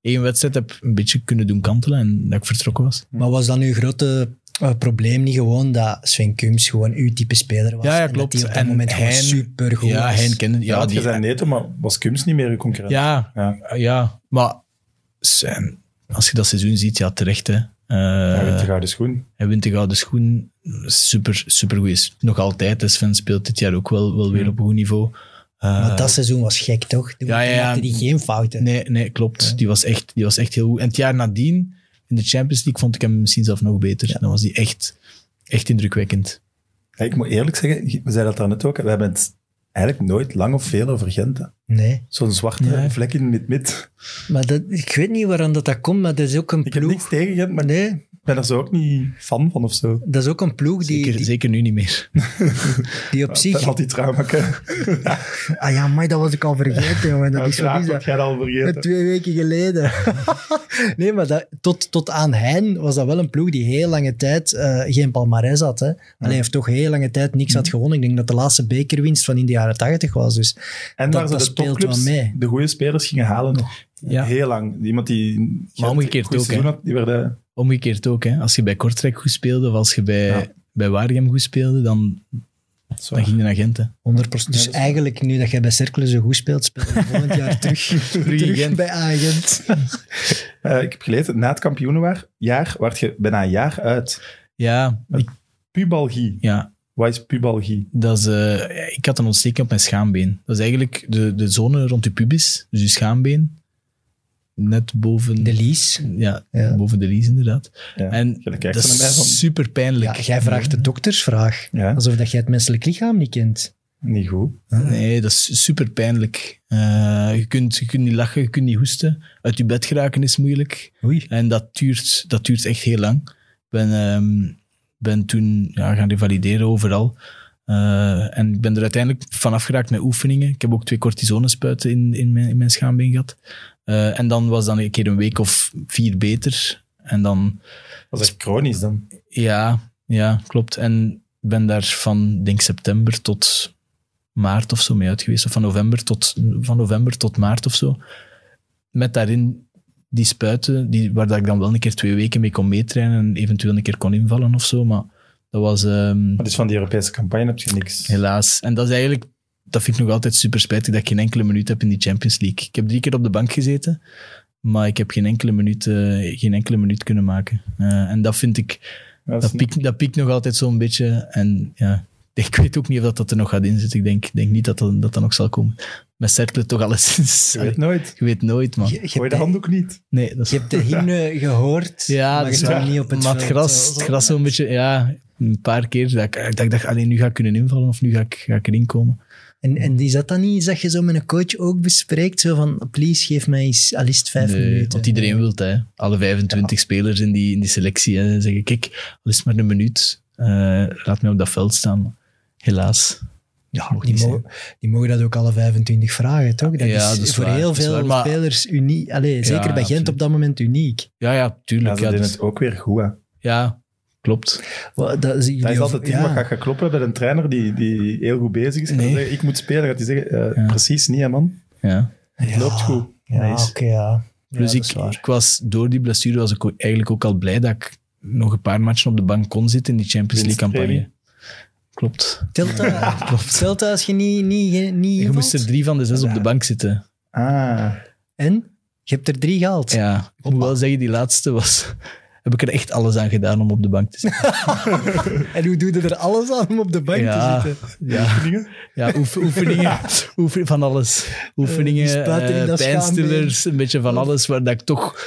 één wedstrijd heb een beetje kunnen doen kantelen en dat ik vertrokken was. Maar was dat nu een grote eh, probleem niet gewoon dat Sven Kums gewoon uw type speler was. Ja, ja, en klopt. dat hij op dat En moment gewoon Hein- super goed Ja, was. Hein kende... Ja, Ja, want die, je zei nee, toch, maar was Kums niet meer uw concurrent? ja, Ja. ja, maar Sam, als je dat seizoen ziet, ja, terecht. Hè. Eh, Hij wint de gouden schoen. hij wint de gouden schoen. Super, super goed is. Nog altijd. hè. Sven speelt dit jaar ook wel, wel weer op een goed niveau. Eh, Maar dat seizoen was gek, toch? Toen Ja, ja, ja. maakte die geen fouten. Nee, nee klopt. Die, was echt, die was echt heel goed. En het jaar nadien, in de Champions League, vond ik hem misschien zelf nog beter. Dan was hij echt, echt indrukwekkend. Ja, ik moet eerlijk zeggen, we zeiden dat daarnet ook, we hebben het eigenlijk nooit lang of veel over Gent. hè. Nee. Zo'n zwarte Nee. vlek in het mid. Maar dat, ik weet niet waarom dat, dat komt, maar dat is ook een Ik heb niks ploeg... tegen Gent, maar Nee, ik ben er zo ook niet fan van of zo. dat is ook een ploeg die, Zeker, die, zeker nu niet meer. die op zich... Dat had die trauma. Ah ja, maar dat was ik al vergeten, jongen. Dat is zo Uiteraard bizar. had jij dat al Eh, vergeten. Twee weken geleden. nee, maar dat, tot, tot aan hen was dat wel een ploeg die heel lange tijd eh, geen palmarès had. Hè? Alleen heeft toch heel lange tijd Mhm. niks had gewonnen. Ik denk dat de laatste bekerwinst van in de jaren 80 was. Dus En dat- waar ze de dat speelt topclubs wel mee. de goede spelers gingen halen nog. Ja. Heel lang. Iemand die Gent omgekeerd een goed ook, hè. seizoen had, die werden... Omgekeerd ook. Hè. Als je bij Kortrijk goed speelde, of als je bij, Ja. bij Waregem goed speelde, dan, Zo. dan ging de agenten. 100%. Dus dat is- eigenlijk, nu dat jij bij Cercle zo goed speelt, speel je volgend jaar terug, terug bij Agent. Eh, ik heb gelezen, na het kampioenenjaar waard je bijna een jaar uit. Ja, ik- Pubalgie. ja, Wat is pubalgie? Dat is, eh, ik had een ontsteking op mijn schaambeen. Dat is eigenlijk de, de zone rond je pubis, dus je schaambeen. Net boven De Lies. Ja, Ja. boven de lies inderdaad. Ja. En Jij dat kijkt er naar mij van. is super Ja, pijnlijk. jij vraagt de doktersvraag. Ja, Alsof dat jij het menselijk lichaam niet kent. niet goed. Nee, dat is super pijnlijk. Eh, je, kunt, je kunt niet lachen, je kunt niet hoesten. Uit je bed geraken is moeilijk. Oei. En dat duurt, dat duurt echt heel lang. Ik ben, ehm, ben toen ja, gaan revalideren overal. Eh, en ik ben er uiteindelijk vanaf geraakt met oefeningen. Ik heb ook twee cortisonespuiten in, in, mijn, in mijn schaambeen gehad. Eh, en dan was dan een keer een week of vier beter. En dan Dat is echt chronisch dan. Ja, ja, klopt. En ik ben daar van, denk september tot maart of zo mee uit geweest. Of van november tot, van november tot maart of zo. Met daarin die spuiten, die, waar dat ik dan wel een keer twee weken mee kon meetrainen en eventueel een keer kon invallen of zo. Maar dat was ehm, Maar dus van die Europese campagne heb je niks. helaas. En dat is eigenlijk, dat vind ik nog altijd super spijtig dat ik geen enkele minuut heb in die Champions League. Ik heb drie keer op de bank gezeten. Maar ik heb geen enkele minuut, eh, geen enkele minuut kunnen maken. Eh, en dat vind ik, Ja, dat is dat piekt, dat piekt nog altijd zo'n beetje. En ja, ik weet ook niet of dat, dat er nog gaat inzitten. Ik denk, denk niet dat dat, dat dat nog zal komen. Met Cercle toch alleszins. Je Allee, weet nooit. Je weet nooit, man. Je, je Gooi hebt de de, handdoek niet. Nee, dat is... je hebt de hymne gehoord, Ja, maar dat je is staat waar. niet op het maar het veld. eh, gras, het gras zo'n beetje... Ja, een paar keer dat ik, dat ik dacht, alleen nu ga ik kunnen invallen of nu ga ik, ga ik erin komen. En, en is dat dan niet iets dat je zo met een coach ook bespreekt? Zo van, please, geef mij eens al is het vijf Nee, minuten. Want iedereen wil dat, hè. Alle 25 spelers in die, in die selectie hè, zeggen, kijk, al is het maar een minuut, eh, laat mij op dat veld staan. Helaas. Ja, Mocht die, niet zijn. mogen, die mogen dat ook alle 25 vragen, toch? Dat, Ja, is, dat is voor waar, heel dat is veel waar, maar- spelers uniek. Allee, zeker bij Gent absoluut. op dat moment uniek. Ja, ja, Ja, tuurlijk. ze Ja, dus- deden dat- het ook weer goed. Hè. ja klopt. Wel, Dat is, Dat is jullie- altijd het ding ja. wat gaat gekloppen bij een trainer die, die heel goed bezig is. Gaat Nee. hij zeggen, ik moet spelen. Gaat hij zeggen, eh, Ja. precies niet hè, man. Ja. Het Ja. loopt goed. Ja, oké, Nice. ja. Ja, Plus dat ik, is waar. ik was door die blessure was ik ook- eigenlijk ook al blij dat ik nog een paar matchen op de bank kon zitten in die Champions League campagne. Winstpremie. Klopt. Telt dat, telt dat als je niet, niet, niet Je invalt? moest er drie van de zes op de bank zitten. Ah, En? Je hebt er drie gehaald. Ja, ik moet wel zeggen, die laatste was... Heb ik er echt alles aan gedaan om op de bank te zitten. En hoe doe je er alles aan om op de bank Ja. te zitten? Ja, dingen? ja oef- oefeningen, oefen- van alles. Eh, Oefeningen, die spuiten in eh, dat Oh. pijnstillers, een beetje van alles waar dat ik toch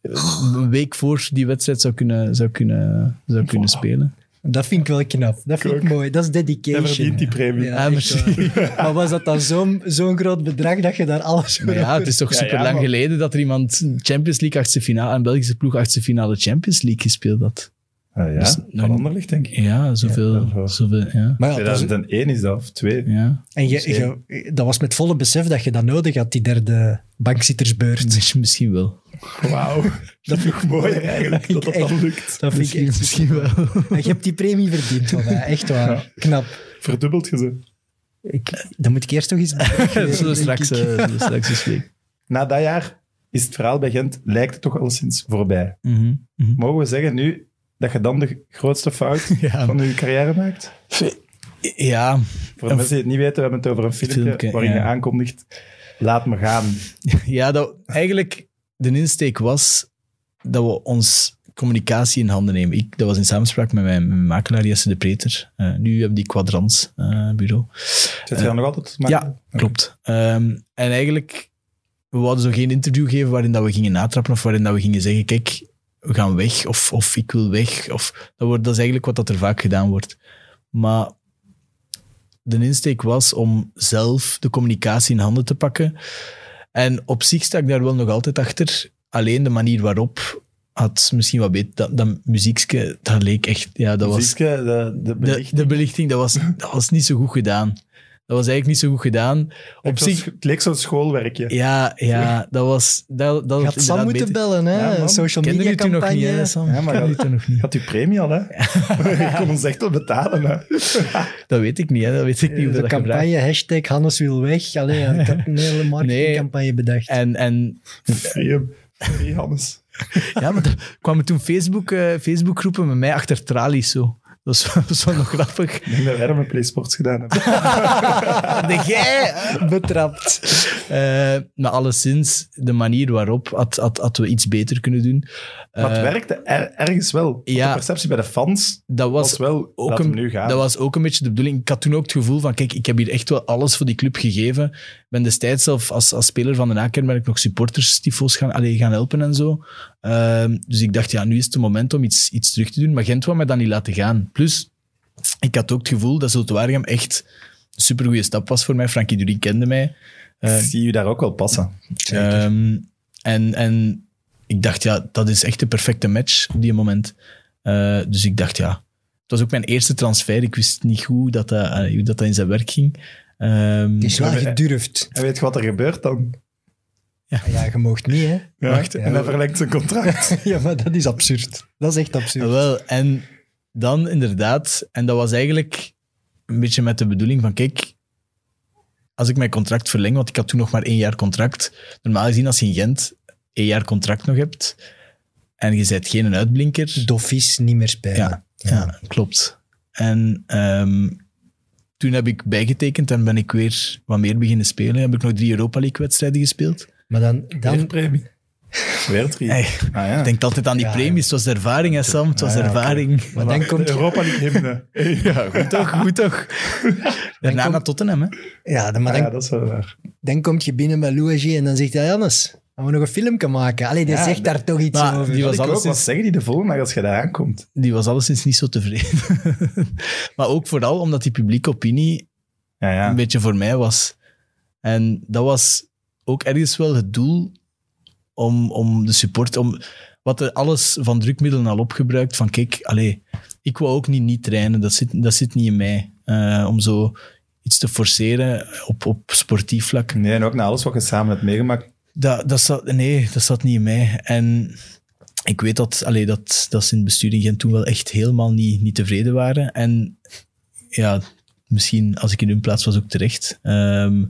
eh, een week voor die wedstrijd zou kunnen, zou kunnen, zou kunnen spelen. Dat vind ik wel knap. Dat vind ik Kijk. mooi. Dat is Hij dedication. verdient die premie. Ja, Ah, echt merci. waar. Maar was dat dan zo'n zo'n groot bedrag dat je daar alles voor Maar ja, had? het is toch Ja, super ja, lang maar- geleden dat er iemand Champions League achtste finale, een Belgische ploeg achtste finale Champions League gespeeld had. Ah, ja, Dus- van Anderlicht denk ik. Ja, zoveel. Ja, daarvoor. zoveel ja. Maar ja, dat is- 2001 is dat, of twee. ja. en je, je- dat was met volle besef dat je dat nodig had, die derde bankzittersbeurt. Dus misschien wel. Wauw. Dat vind ik mooi eigenlijk, dat dat dan lukt. Dat vind ik echt misschien wel. En je hebt die premie verdiend van mij, echt waar. Knap. Verdubbelt je ze. Ik, dan moet ik eerst toch eens... Zullen we straks, eh, denk ik. zullen we straks eens spreken. Na dat jaar is het verhaal bij Gent, lijkt het toch alleszins voorbij. Mhm, mhm. Mogen we zeggen nu, dat je dan de grootste fout Ja. van je carrière maakt? Ja, Voor de Een mensen die het niet weten, we hebben het over een filmpje, filmpje, waarin je ja. aankondigt, laat me gaan. ja dat, eigenlijk de insteek was dat we ons communicatie in handen nemen. Ik, dat was in samenspraak met mijn, met mijn makelaar Jesse de Preter. Eh, nu hebben die Quadrans eh, bureau. Zit je dan nog altijd? Maar, Ja, klopt. Ehm, en eigenlijk, we wilden zo geen interview geven waarin dat we gingen natrappen of waarin dat we gingen zeggen, kijk, we gaan weg of, of ik wil weg. Of, dat, wordt, dat is eigenlijk wat dat er vaak gedaan wordt. Maar de insteek was om zelf de communicatie in handen te pakken. En op zich sta ik daar wel nog altijd achter. Alleen de manier waarop had misschien wat beter. Dat, dat muziekske, dat leek echt... Ja, dat was, Zieke, eh, de, de de, de belichting, dat was, dat was niet zo goed gedaan. Dat was eigenlijk niet zo goed gedaan. Op Het was- zich, Het leek zo'n schoolwerkje. ja, ja, dat was. Dat, dat Je was had Sam inderdaad moeten beter. bellen, hè? Ja, man. Social Kende media je toen nog niet, campagne. hè, Sam? Ja, maar Kende je dat- toen nog niet. Je had uw premie al, hè? Je kon ons echt wel betalen, hè? Dat weet ik niet, hè. dat weet ik niet. hoe de dat gebruikt campagne, hashtag Hannes wil weg. Allee, ja, ik had een hele marketingcampagne bedacht. En, en Free, free Hannes. ja, maar er kwamen toen Facebook, eh, Facebookgroepen met mij achter tralies zo. Dat was, dat was wel nog grappig. Ik denk dat wij dat met PlaySports gedaan hebben. Ah, De jij betrapt. Eh, maar alleszins, de manier waarop had, had, had we iets beter kunnen doen. Maar het Eh, werkte er- ergens wel. ja. De perceptie bij de fans dat was, was wel, ook laat een- hem nu gaan. Dat was ook een beetje de bedoeling. Ik had toen ook het gevoel van, kijk, ik heb hier echt wel alles voor die club gegeven. Ik ben destijds zelf als, als speler van de Aken ben ik nog supporters, tyfo's gaan, allee, gaan helpen en zo. Ehm, dus ik dacht, ja, nu is het moment om iets, iets terug te doen. Maar Gent wou mij dan niet laten gaan. Plus, ik had ook het gevoel dat Zulte Waregem echt een supergoeie stap was voor mij. Frankie Durie kende mij. Ik zie je daar ook wel passen. Ehm, en, en ik dacht, ja, dat is echt de perfecte match op die moment. Eh, dus ik dacht, ja. Het was ook mijn eerste transfer. Ik wist niet goed dat dat, eh, hoe dat, dat in zijn werk ging. Ehm, Het is wel we- gedurfd. Ah, En weet je wat er gebeurt dan? Ja, je moogt niet, hè? Ja. Wacht, en hij verlengt zijn contract. Ja, maar dat is absurd. Dat is echt absurd. Wel, en dan inderdaad, en dat was eigenlijk een beetje met de bedoeling van, kijk, als ik mijn contract verleng, want ik had toen nog maar één jaar contract. Normaal gezien, als je in Gent één jaar contract nog hebt, en je bent geen uitblinker, Dof is niet meer spijt. Ja, ja, klopt. En ehm, toen heb ik bijgetekend en ben ik weer wat meer beginnen spelen. Heb ik nog drie Europa League-wedstrijden gespeeld. Maar dan, Weer dan premie. Weer drie. Hey, Ah, ja. Ik denk altijd aan die Ja, premies. Het was de ervaring, hè, Sam. Het was de Ah, ja, oké. ervaring. Maar dan de komt- Europa League hymne. ja, Goed toch, goed toch. Daarna komt- naar Tottenham, hè. ja, dan, maar dan, ja, dat is wel waar. dan kom je binnen met Louis en dan zegt hij, Jannes, gaan we nog een filmpje maken? Allee, die Ja, zegt daar toch iets maar over. die Dat was ik ook alleszins- wat zeggen die de volgende dag als je daar aankomt. Die was alleszins niet zo tevreden. maar ook vooral omdat die publieke opinie Ja, ja. een beetje voor mij was. En dat was ook ergens wel het doel om, om de support, om wat er alles van drukmiddelen al opgebruikt. Van kijk, allee, ik wou ook niet niet trainen, dat zit, dat zit niet in mij. eh, om zo iets te forceren op, op sportief vlak. Nee, en ook na alles wat je samen hebt meegemaakt. Dat, dat zat, nee, dat zat niet in mij. En ik weet dat, allee, dat, dat ze in het bestuur in Gent toen wel echt helemaal niet, niet tevreden waren. En ja, misschien als ik in hun plaats was ook terecht. Ehm,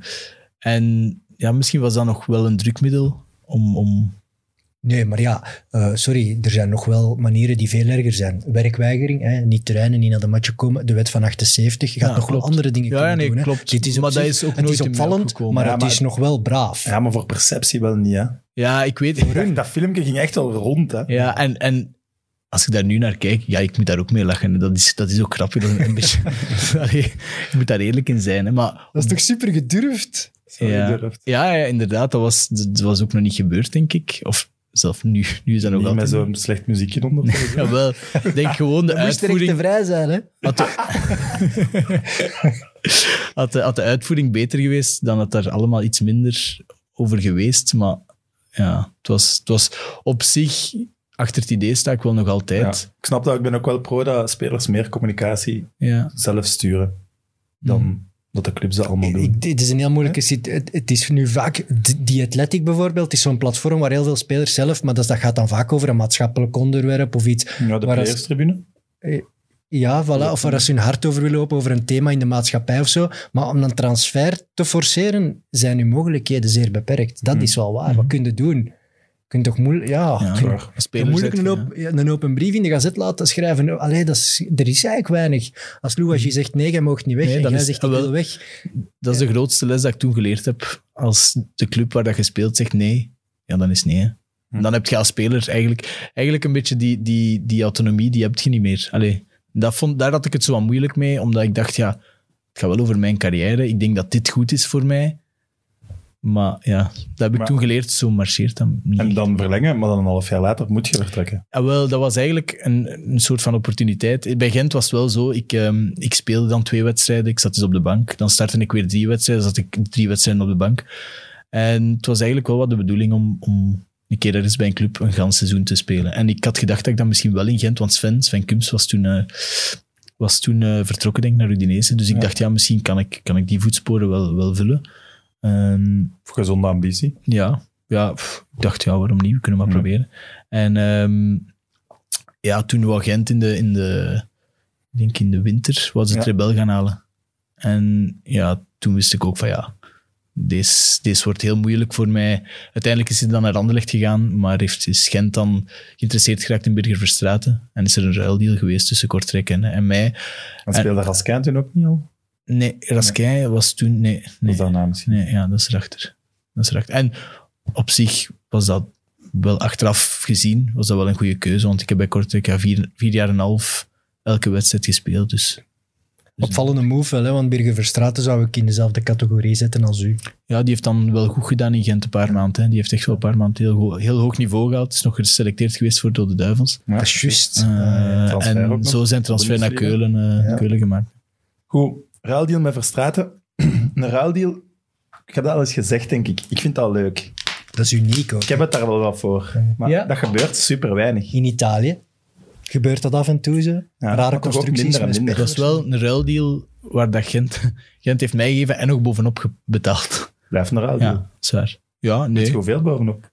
en ja, misschien was dat nog wel een drukmiddel om... om Nee, maar ja, eh, sorry, er zijn nog wel manieren die veel erger zijn. Werkweigering, hè, niet trainen, niet naar de matje komen. De wet van 78, je gaat Ja, nog wel klopt. andere dingen Ja, kunnen nee, doen. hè. klopt. Dit is op Maar dat zich- is ook het nooit is in mij opvallend, opgekomen. maar Ja, het maar- is nog wel braaf. Ja, maar voor perceptie wel niet, hè. ja, ik weet... Dat, dat filmpje ging echt wel rond, hè. Ja, en, en als ik daar nu naar kijk, ja, ik moet daar ook mee lachen. Dat is, dat is ook grappig. Dat is een beetje, allee, ik moet daar eerlijk in zijn. Hè, maar Dat is toch super gedurfd? Zo ja, gedurfd. ja, ja, inderdaad. Dat was, dat was ook nog niet gebeurd, denk ik. Of zelf nu, nu is dat nog Niet met altijd... zo'n slecht muziekje onder. Jawel, ik denk gewoon de Dat moest direct te uitvoering... vrij zijn, hè? Had de, had, de, had de uitvoering beter geweest, dan had daar allemaal iets minder over geweest. Maar ja, het was, het was op zich... Achter het idee sta ik wel nog Ja. altijd. Ik snap dat, ik ben ook wel pro dat spelers meer communicatie Ja. zelf sturen dan Hmm. dat de clubs dat allemaal doen. Ik, het is een heel moeilijke situatie. Het, het is nu vaak, d- die Athletic bijvoorbeeld, is zo'n platform waar heel veel spelers zelf, maar dat, dat gaat dan vaak over een maatschappelijk onderwerp of iets. ja, de waar als- playerstribune. Ja, voilà. Of waar ze hun hart over willen open over een thema in de maatschappij of zo. Maar om een transfer te forceren, zijn uw mogelijkheden zeer beperkt. Dat Hmm. is wel waar. Hmm. Wat kun je doen? kunt toch moeilijk... Ja, Ja, je een kunt speler moeilijk zet een, je, op, een open brief in de gazet laten schrijven. Allee, dat is, er is eigenlijk weinig. Als Hmm. Louwagie zegt nee, jij mag niet weg, Nee, en dan jij is- ah, zegt ik wel- wil Dus- weg. Dat is de grootste les dat ik toen geleerd heb. Als de club waar dat je speelt zegt nee, ja, dan is nee. hè. Hm. Dan heb je als speler eigenlijk, eigenlijk een beetje die, die, die autonomie, die heb je niet meer. Allee, dat vond, daar had ik het zo wat moeilijk mee, omdat ik dacht, ja, het gaat wel over mijn carrière. Ik denk dat dit goed is voor mij. Maar ja, dat heb ik Maar- toen geleerd. Zo marcheert dat niet. En dan verlengen, maar dan een half jaar later moet je vertrekken. Ah, wel, dat was eigenlijk een, een soort van opportuniteit. Bij Gent was het wel zo, ik, ehm, ik speelde dan twee wedstrijden, ik zat dus op de bank. Dan startte ik weer drie wedstrijden, zat ik drie wedstrijden op de bank. En het was eigenlijk wel wat de bedoeling om, om een keer ergens bij een club een gans seizoen te spelen. En ik had gedacht dat ik dat misschien wel in Gent, want Sven, Sven Kums was toen, eh, was toen eh, vertrokken denk ik, naar Udinese. Dus ik Ja. dacht, ja, misschien kan ik, kan ik die voetsporen wel, wel vullen. Ehm, Voor gezonde ambitie. ja, ja pff, ik dacht, ja, waarom niet? We kunnen maar Ja. proberen. En ehm, ja, toen wou Gent in de, in de, ik denk in de winter, was ze Ja. het rebel gaan halen. En ja, toen wist ik ook van ja, deze, deze wordt heel moeilijk voor mij. Uiteindelijk is hij dan naar Anderlecht gegaan, maar heeft, is Gent dan geïnteresseerd geraakt in Birger Verstraeten. En is er een ruildeal geweest tussen Kortrijk en, en mij. En En- speelde Raskin toen ook niet al? Nee, Raskin was toen... Nee, Nee. nee. Dat daarna misschien. Nee, ja, dat is erachter. Dat is erachter. En op zich was dat wel achteraf gezien, was dat wel een goede keuze. Want ik heb bij Kortrijk ja, vier, vier jaar en een half elke wedstrijd gespeeld. Dus Opvallende move wel, hè, want Birger Verstraeten zou ik in dezelfde categorie zetten als u. ja, die heeft dan wel goed gedaan in Gent een paar maanden. Hè. Die heeft echt wel een paar maanden heel, ho- heel hoog niveau gehaald. Is nog geselecteerd geweest voor Dode Duivels. Ja. Dat is juist. Eh, transfer ook en nog. zo zijn transfer naar Bundesliga. Keulen, eh, Ja. Keulen gemaakt. Goed, ruildeal met Verstraten. een ruildeal, ik heb dat al eens gezegd, denk ik. Ik vind dat leuk. Dat is uniek ook. Ik heb het daar wel wat voor. Maar Ja. dat gebeurt super weinig. In Italië gebeurt dat af en toe. Zo. maar toch Rare ook constructies. minder en met minder. Het was wel een ruildeal waar dat Gent, Gent heeft mij gegeven en nog bovenop ge- betaald. Blijf een ruildeal. Ja, zwaar. Ja, Weet je nee. hoeveel bovenop?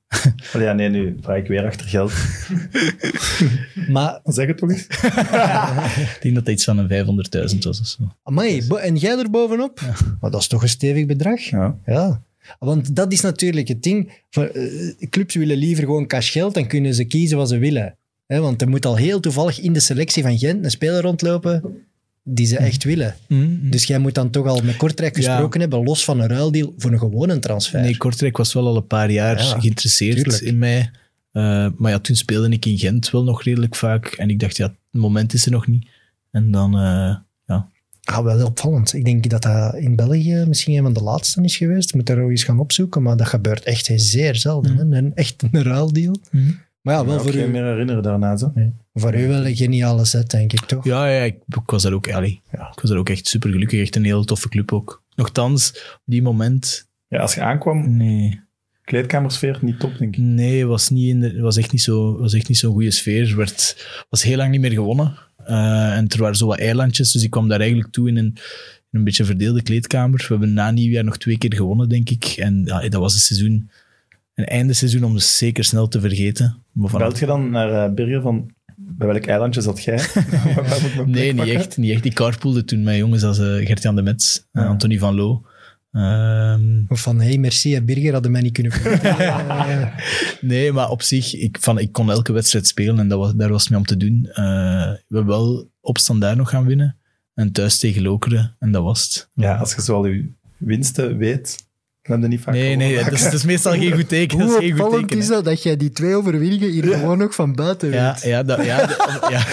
Allee, ja, nee, nu vraag ik weer achter geld. spelers. Maar, Zeg het toch eens. Ik denk dat dat iets van een 500.000 was of zo. amai, bo- en jij er bovenop? Maar dat is toch een stevig bedrag? Ja. Ja. Want dat is natuurlijk het ding. Van, eh, Clubs willen liever gewoon cash geld, dan kunnen ze kiezen wat ze willen. Hè, want er moet al heel toevallig in de selectie van Gent een speler rondlopen die ze echt willen. Dus Dus jij moet dan toch al met Kortrijk Ja. gesproken hebben, los van een ruildeal voor een gewone transfer. nee, Kortrijk was wel al een paar jaar Ja, geïnteresseerd tuurlijk. in mij. Eh, maar ja, toen speelde ik in Gent wel nog redelijk vaak. En ik dacht, ja, het moment is er nog niet. En dan, eh, Ah, wel opvallend. Ik denk dat dat in België misschien een van de laatste is geweest. Moet daar ook eens gaan opzoeken, maar dat gebeurt echt zeer zelden. Mm. hè. Een, echt een ruildeal. Maar ja, wel Ik voor, kan me u, meer herinneren daarna. Zo. voor u wel een geniale set, denk ik, toch? ja, ja ik, ik was daar ook, allee, ik was daar ook echt super gelukkig. Echt een heel toffe club ook. Nochtans, op die moment, Ja, als je aankwam, nee. kleedkamersfeer niet top, denk ik. Nee, was, niet in de, was echt niet zo- was echt niet zo'n goede sfeer. Er werd, was heel lang niet meer gewonnen. Eh, en er waren zo wat eilandjes, dus ik kwam daar eigenlijk toe in een, in een beetje verdeelde kleedkamer. We hebben na nieuwjaar nog twee keer gewonnen, denk ik. En ja, dat was een seizoen, een einde seizoen om dus zeker snel te vergeten. Maar vanaf- Belt je dan naar eh, Birger van, bij welk eilandje zat jij? Waar moet ik mijn plek Nee, niet pakken? echt, niet echt. Ik carpoolde toen met jongens als eh, Gert-Jan de Mets, eh, Ja. Anthony van Loo. Ehm, Of van, hey, merci en Birger hadden mij niet kunnen vergeten. Eh, Nee, maar op zich, ik, van, ik kon elke wedstrijd spelen en dat was, daar was het mee om te doen. Eh, we hebben wel op standaard nog gaan winnen. En thuis tegen Lokeren, en dat was het. Ja, als je zo al je winsten weet, dan heb je niet vaak Nee, nee, dat is, dat is meestal geen goed teken. Dat Ah, is Hoe geen goed opvallend teken. is hè. dat, dat jij die twee overwinningen hier gewoon nog van buiten weet. Ja, ja, dat, ja, dat- ja,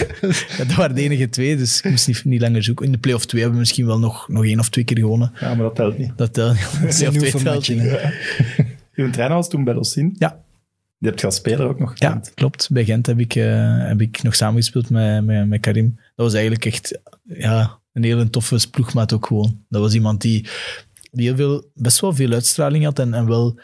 Ja, dat waren de enige twee, dus ik moest niet, niet langer zoeken. In de play-off 2 hebben we misschien wel nog, nog één of twee keer gewonnen. Ja, maar dat telt niet. Dat telt niet. Dat is een Play-off nieuw 2 telt formatje, niet. hè. Je trainer was toen bij Lossin. Ja. Die hebt je als speler ook nog Ja, gekend. klopt. Bij Gent heb ik, eh, heb ik nog samengespeeld met, met, met Karim. Dat was eigenlijk echt ja, een hele toffe ploegmaat ook gewoon. Dat was iemand die, die heel veel, best wel veel uitstraling had en, en wel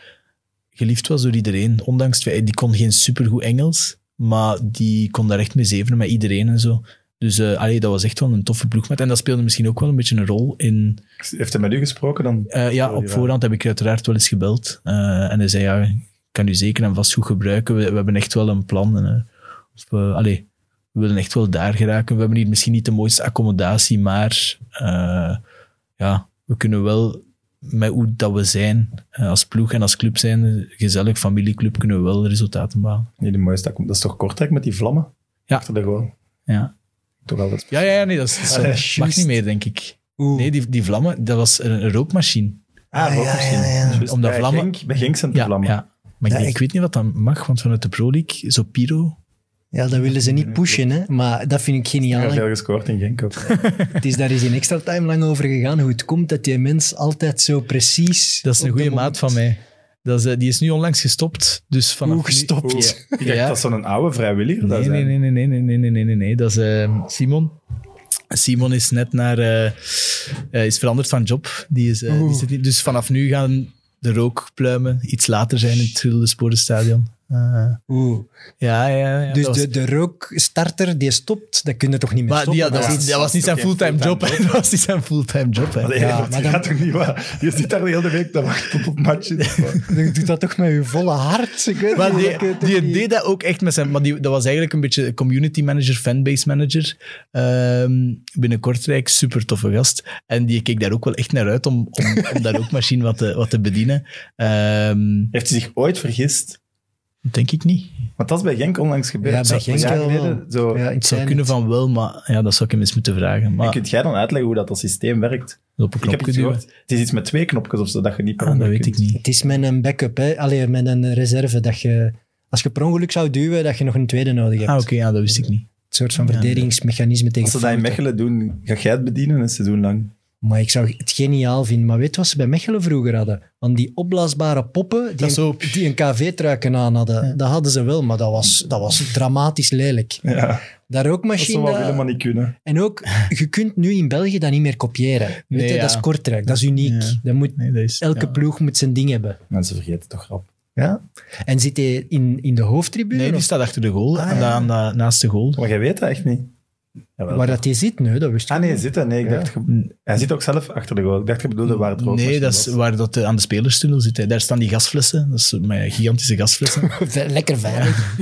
geliefd was door iedereen. Ondanks, het feit- die kon geen supergoed Engels, maar die kon daar echt mee zevenen met iedereen en zo. Dus eh, allee, dat was echt wel een toffe ploegmaat. En dat speelde misschien ook wel een beetje een rol in, Heeft hij met u gesproken dan? eh, ja, Sorry, op waar. voorhand heb ik uiteraard wel eens gebeld. Eh, en hij zei, ja, ik kan u zeker en vast goed gebruiken. We, we hebben echt wel een plan. En, eh, of, eh, allee, we willen echt wel daar geraken. We hebben hier misschien niet de mooiste accommodatie, maar eh, ja, we kunnen wel met hoe dat we zijn eh, als ploeg en als club zijn, gezellig familieclub, kunnen we wel resultaten behalen. Nee, de mooiste, dat is toch Kortrijk met die vlammen? Ja. Achter de goal. Ja, Toch altijd. ja, ja, ja, nee, dat, is, dat is- Ah, dat is mag juist. niet meer, denk ik. Oeh. Nee, die, die vlammen, dat was een, een rookmachine. Ah, ja, ja, ja. Juist, Omdat bij vlammen- Genk- bij Genk zijn de Ja, vlammen. ja. Maar Ja, ik, ik- weet niet wat dat mag, want vanuit de Pro League, zo Piro, Ja, dat willen ze niet pushen, hè. maar dat vind ik Ja, geniaal. veel gescoord in Genk ook. Het is daar is in extra time lang over gegaan hoe het komt dat die mens altijd zo precies... dat is een op de goede moment- maat van mij. Dat is, eh, die is nu onlangs gestopt, dus vanaf Hoe nu- gestopt? Oeh, Ja. Ik dacht Ja. dat zo'n oude vrijwilliger dat Nee, zijn. nee, nee, nee, nee, nee, nee, nee, nee, nee, nee. Dat is eh, Simon. Simon is net naar... eh, eh, is veranderd van job. Die is, eh, die zit niet- dus vanaf nu gaan de rookpluimen iets later zijn in het Sporenstadion. Oeh. ja, ja, ja. Dus dat was- de, de rookstarter die stopt, dat kun je toch niet meer maar die- stoppen? ja, dat, maar was, ja, dat was niet dat zijn is ook geen fulltime fulltime job. hè. dat was niet zijn fulltime job. hè. Allee, Ja, want maar je dan- gaat toch niet waar? Je zit daar de hele week te wachten op een match. Je doet dat toch met je volle hart? Ik weet Maar niet, die, dat kun je toch die niet- deed dat ook echt met zijn... Maar die, dat was eigenlijk een beetje community manager, fanbase manager. Ehm binnen Kortrijk, super toffe gast. En die keek daar ook wel echt naar uit om, om, om daar ook machine wat te, wat te bedienen. Ehm, Heeft hij zich ooit vergist? denk ik niet. Want dat is bij Genk onlangs gebeurd. Ja, bij Zo, een Genk jaar wel. geleden, Zo. Ja, ik Het zou zei kunnen het. van wel, maar ja, dat zou ik hem eens moeten vragen. En Maar kunt jij dan uitleggen hoe dat, dat systeem werkt? op een Ik heb iets knopje duwen? gehoord. Het is iets met twee knopjes of zo, dat je niet per Ah, dat ander weet ik kunt. niet. Het is met een backup, hè. Allee, met een reserve. Dat je, als je per ongeluk zou duwen, dat je nog een tweede nodig hebt. Ah, oké, ja, dat wist ik niet. Een soort van Ja, verdedigingsmechanisme tegen Als ze dat in fouten. Mechelen doen, ga jij het bedienen een seizoen lang? Maar ik zou het geniaal vinden. Maar weet je wat ze bij Mechelen vroeger hadden? Van die opblaasbare poppen die Dat is een, zo... die een KV-truiken aan hadden. Dat hadden ze wel, maar dat was, dat was dramatisch lelijk. Ja, Daar dat ook zou machine. wel helemaal niet kunnen. En ook, je kunt nu in België dat niet meer kopiëren. Weet Nee, je, ja. dat is kortrijk, dat is uniek. Ja. Dat moet, Nee, dat is... elke ja. ploeg moet zijn ding hebben. Mensen vergeten toch rap. Ja? En zit hij in, in de hoofdtribune? Nee, die of- staat achter de goal, Ah, aan de- ja. aan de- naast de goal. Maar jij weet dat echt niet. Jawel. waar dat hij zit? Nee, dat wist ik Ah nee, niet. zitten. Nee, ik Ja. dacht, ge- hij zit ook zelf achter de goal. Ik dacht, je bedoelde waar het rood Nee, was. dat is waar dat eh, aan de spelerstunnel zit. hè. Daar staan die gasflessen. Dat is eh, mijn gigantische gasflessen. Lekker veilig.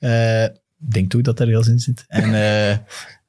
Eh, Ik denk toch dat daar gas in zit. En, eh,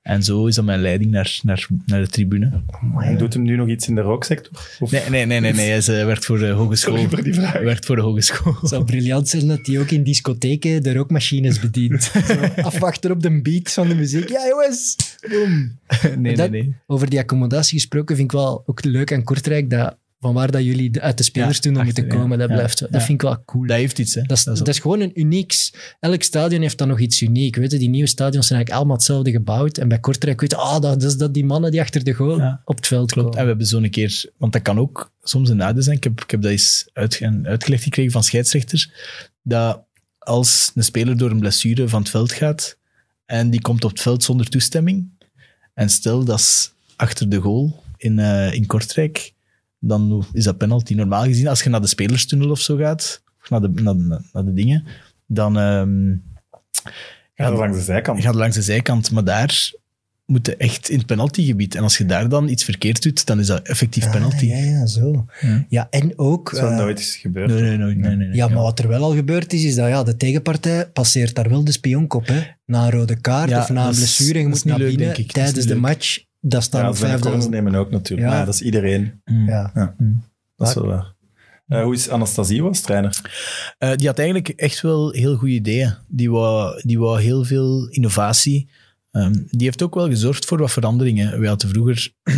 en zo is dat mijn leiding naar, naar, naar de tribune. En doet hem nu nog iets in de rooksector? Of Nee, nee, nee, nee. nee. Ze werkt voor de hogeschool. Sorry voor die vraag. Werkt voor de hogeschool. Het zou briljant zijn dat hij ook in discotheken de rookmachines bedient. Zo afwachten op de beat van de muziek. Ja, jongens! Boom. Nee, nee, Dat- nee. Over die accommodatie gesproken vind ik wel ook leuk aan Kortrijk dat van waar dat jullie de- uit de spelers Ja, toen nog achter, moeten komen, ja. dat blijft. Ja. Dat vind ik wel cool. Dat heeft iets, hè. Dat is, dat, is ook- gewoon een unieks. Elk stadion heeft dan nog iets uniek. Weet je, die nieuwe stadions zijn eigenlijk allemaal hetzelfde gebouwd. En bij Kortrijk weet je, ah, dat, dat is dat die mannen die achter de goal Ja. op het veld Klopt. Ah, En komen. we hebben zo'n keer, want dat kan ook soms een nadeel zijn. Ik heb, ik heb dat eens uitge- uitgelegd gekregen van scheidsrechters. Dat als een speler door een blessure van het veld gaat en die komt op het veld zonder toestemming. En stel dat is achter de goal in, eh, in Kortrijk, dan is dat penalty. Normaal gezien, als je naar de spelerstunnel of zo gaat, of naar de, naar de, naar de dingen, dan. ehm, Gaat dat langs de je zijkant? gaat langs de zijkant, maar daar moet je echt in het penaltygebied. En als je daar dan iets verkeerd doet, dan is dat effectief penalty. Ah, ja, ja, zo. Ja. Ja, en ook... Dat is wel eh, nooit eens gebeurd. Nee, nee, nee, nee, nee, nee. ja, maar wat er wel al gebeurd is, is dat ja, de tegenpartij passeert daar wel de spionkop. Hè? Na een rode kaart Ja, of na dat een is- blessure. Je dat moet is niet naar leuk, binnen denk ik. Dat is tijdens niet de leuk. match. Dat staat Ja, op als wij corners 5000. nemen ook natuurlijk. Ja. Maar dat is iedereen. Mm. Ja. Dat is wel waar. Eh, hoe is Anastasie was trainer? Eh, die had eigenlijk echt wel heel goede ideeën. Die wou, die wou heel veel innovatie. Ehm, die heeft ook wel gezorgd voor wat veranderingen. We hadden vroeger...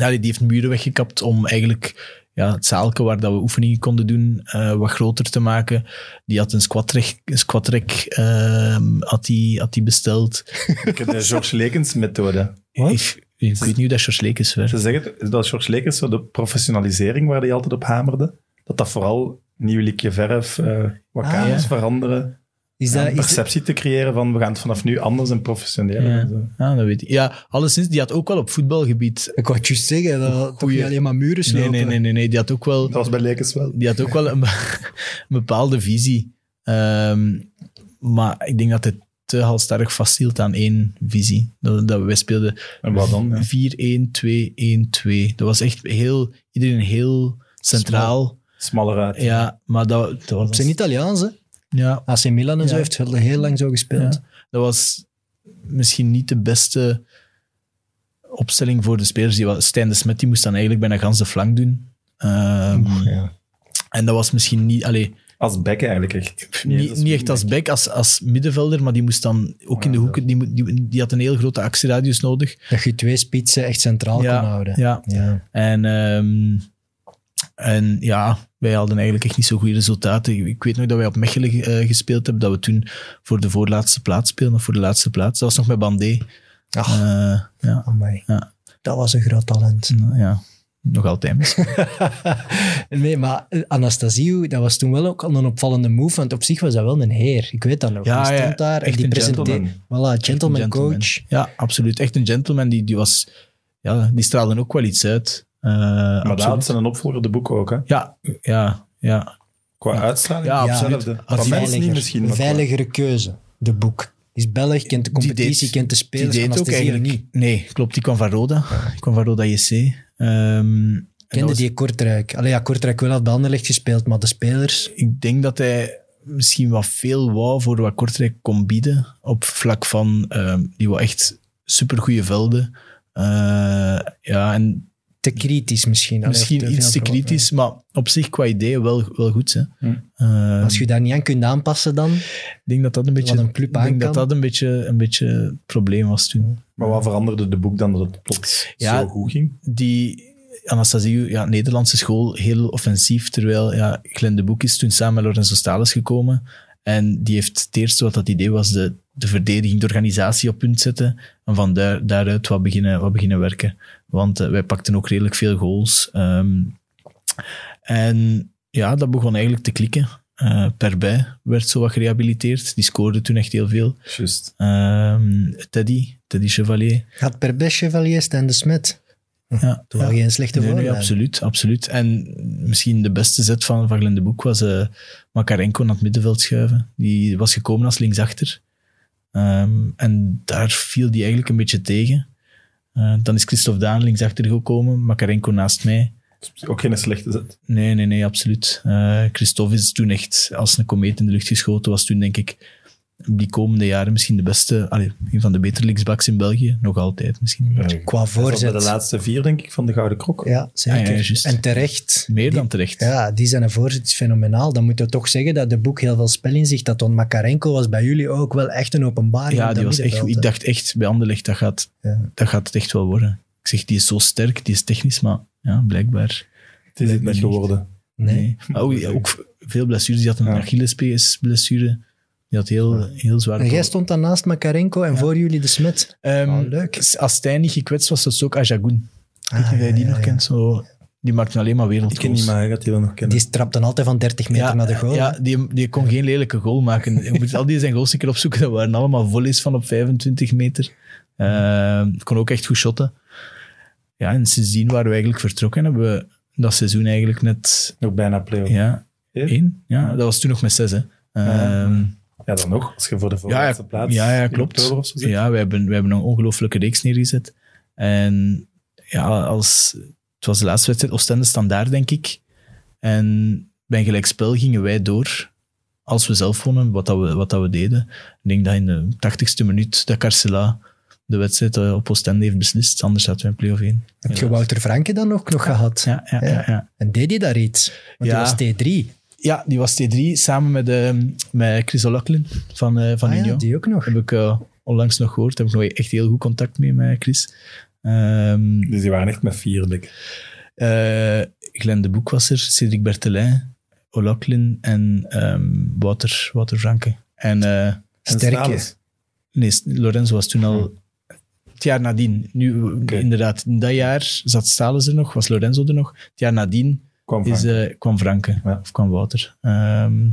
ja, die heeft muren weggekapt om eigenlijk ja, het zaalke waar dat we oefeningen konden doen eh, wat groter te maken. Die had een squatrek, een squatrek ehm, had die, had die besteld. Ik heb de George Lekens methode. Ik, ik weet niet hoe dat George Lekens werkt. Ze zeggen dat George Lekens zo de professionalisering waar hij altijd op hamerde, dat dat vooral nieuw likje verf, eh wat Ah, kamers ja. veranderen, Is en dat, is, perceptie te creëren van we gaan het vanaf nu anders en professioneler. Ja. en zo. Ah, dat weet ik. Ja, alleszins, die had ook wel op voetbalgebied... ik wou het juist zeggen, dat toch Goeie- niet alleen maar muren Nee, slopen. nee, nee, nee, nee, die had ook wel... Dat was bij Lekens wel. die had ook wel een, be- een bepaalde visie. Ehm, maar ik denk dat hij te halstarrig vasthield aan één visie. Dat, dat wij speelden En wat dan? ja. 4-1-2-1-2. Dat was echt heel, iedereen heel centraal. Smaller uit. Ja, maar dat, dat Op was... zijn Italiaans, hè. Ja, AC Milan en Ja. zo heeft heel, heel lang zo gespeeld. Ja. dat was misschien niet de beste opstelling voor de spelers. Die, wa- Stijn de Smet die moest dan eigenlijk bijna gans de flank doen. Ehm, Ja. En dat was misschien niet... Allee, Als bekken eigenlijk echt. niet, eens niet echt als wingback. back, als, als middenvelder, maar die moest dan ook in de Ja, hoeken... Die, moet- die, die had een heel grote actieradius nodig. Dat je twee spitsen echt centraal Ja, kan houden. Ja, Ja. En, ehm, en ja, wij hadden eigenlijk echt niet zo goede resultaten. Ik weet nog dat wij op Mechelen eh, gespeeld hebben, dat we toen voor de voorlaatste plaats speelden, of voor de laatste plaats. Dat was nog met Bandé. Ach. Eh, ja, Amai. Ja. Dat was een groot talent. nou ja, nog altijd misschien. nee, maar eh, Anastasiou, dat was toen wel ook al een opvallende move, want op zich was dat wel een heer. Ik weet dat nog. Ja, die ja, stond daar en echt die een presenteerde... Voilà, gentleman, Een coach. Ja, absoluut. Echt een gentleman. Die, die, was, ja, die straalde ook wel iets uit. Eh, Maar daar had absoluut. ze een opvolger de boek ook, hè? Ja, ja, ja. Qua uitstraling. Ja, Ja, hetzelfde. absoluut. Qua Als mens Veiliger. niet misschien. Een maar qua- veiligere keuze, de boek. Is Belg, kent de Die competitie, deed- kent de spelers, die deed ook Anastasiou eigenlijk niet. Nee, klopt. Die kwam van Roda. Die kwam van Roda JC. Ehm, en dat Kende was- die Kortrijk. Allee, ja, Kortrijk wel had bij Anderlecht gespeeld, maar de spelers... ik denk dat hij misschien wat veel wou voor wat Kortrijk kon bieden. Op vlak van, ehm, die wou echt supergoeie velden. Eh, ja, en Te kritisch misschien. Allee, misschien veel iets te verwacht, kritisch, maar op zich qua idee wel, wel goed. Hè. Hm. Ehm, ja. Als je daar niet aan kunt aanpassen dan... ik denk dat dat een beetje, een club ik denk aan dat kan. dat een beetje, een beetje het probleem was toen. Maar wat veranderde de boek dan dat het plots Ja. zo goed ging? Die Anastasiou, ja, Nederlandse school, heel offensief. Terwijl ja, Glenn de Boek is toen samen met Lorenzo Stalis gekomen. En die heeft het eerste wat dat idee was, de, de verdediging, de organisatie op punt zetten. En van daar, daaruit wat beginnen, wat beginnen werken. Want eh, wij pakten ook redelijk veel goals. Ehm, en ja, dat begon eigenlijk te klikken. Eh Perbij werd zo wat gerehabiliteerd. Die scoorde toen echt heel veel. Juist. Ehm, Teddy, Teddy Chevalier. Gaat per best Chevalier Stijn de Smet. Ja, Toch wel ja. geen slechte Nee, nee, voornaam. absoluut, absoluut. En misschien de beste zet van, van Glenn de Boek was eh, Makarenko naar het middenveld schuiven. Die was gekomen als linksachter. Ehm, en daar viel die eigenlijk een beetje tegen. Eh, dan is Christophe Daan linksachter gekomen, Makarenko naast mij. Dat is Ook geen slechte zet. Nee, nee, nee, absoluut. Eh Christophe is toen echt als een komeet in de lucht geschoten. Was toen, denk ik, die komende jaren misschien de beste, allee, een van de betere linksbacks in België. Nog altijd misschien. Qua Voorzet. voorzet. de laatste vier, denk ik, van de Gouden Krok. Ja, zeker. Ah, ja, juist. en terecht. Meer Die- dan terecht. Ja, die zijn een voorzet is fenomenaal. Dan moeten we toch zeggen dat de boek heel veel spel in zich had. Want Makarenko was bij jullie ook wel echt een openbaring. Ja, op die dat was echt, middenveld, ik hè. dacht echt bij Anderlecht, dat gaat, Ja. dat gaat het echt wel worden. Ik zeg, die is zo sterk, die is technisch, maar ja, blijkbaar. Het is het niet niet. geworden. Nee. Maar ook, ook veel blessures. Die had een Ja. Achillespees-blessure. Die had heel, heel zwaar. En jij stond dan naast Makarenko en voor jullie de Smet. Ehm, Ah, leuk. s- Als Stijn niet gekwetst was, was ook Ajagun. Ik weet niet of jij ja, die Ah, ja, nog ja. kent. Zo, die maakte alleen maar Ik ken niet, wereldgoals. maar hij gaat die wel nog kennen. Die trapte altijd van 30 meter naar de goal. ja, hè. die, die kon geen lelijke goal maken. Je moet al die zijn goals een keer opzoeken. Dat waren allemaal volleys van op 25 meter. Eh, kon ook echt goed shotten. Ja, en sindsdien waren we eigenlijk vertrokken. en Hebben we dat seizoen eigenlijk net... Nog bijna play-off. Ja. Ja, één? Ja, dat was toen nog met zes, hè. Ehm, dan nog. Als je voor de ja, voorlaatste plaats ja, ja, in klopt. oktober of zo zit. Ja, we hebben, we hebben een ongelooflijke reeks neergezet. En ja, als, het was de laatste wedstrijd, Oostende standaard, denk ik. En bij een gelijkspel gingen wij door. Als we zelf wonnen, wat, dat we, wat dat we deden. Ik denk dat in de 80ste minuut dat Carcela de wedstrijd eh, op Oostende heeft beslist. Anders hadden we een play-off in. Heb je Wouter Franke dan ook nog gehad? Ja, ja, ja. ja. En deed hij daar iets? Want Ja. die was T3. ja, die was T3 samen met, ehm met Chris O'Loughlin van, eh van Ah ja, Union. die ook nog. Heb ik eh, onlangs nog gehoord. Heb ik nog echt heel goed contact mee met Chris. Ehm Dus die waren echt met vier, denk ik. eh Glenn de Boek was er, Cedric Bertelijn, O'Loughlin en ehm Wouter, Wouter Franke. En eh, En Sterke. Stalis. nee, Lorenzo was toen al Hm. het jaar nadien. Nu, eh, inderdaad, in dat jaar zat Stalen er nog, was Lorenzo er nog. Het jaar nadien Kwam is, Frank. eh, kwam Franke, Ja. of kwam Wouter. Ehm,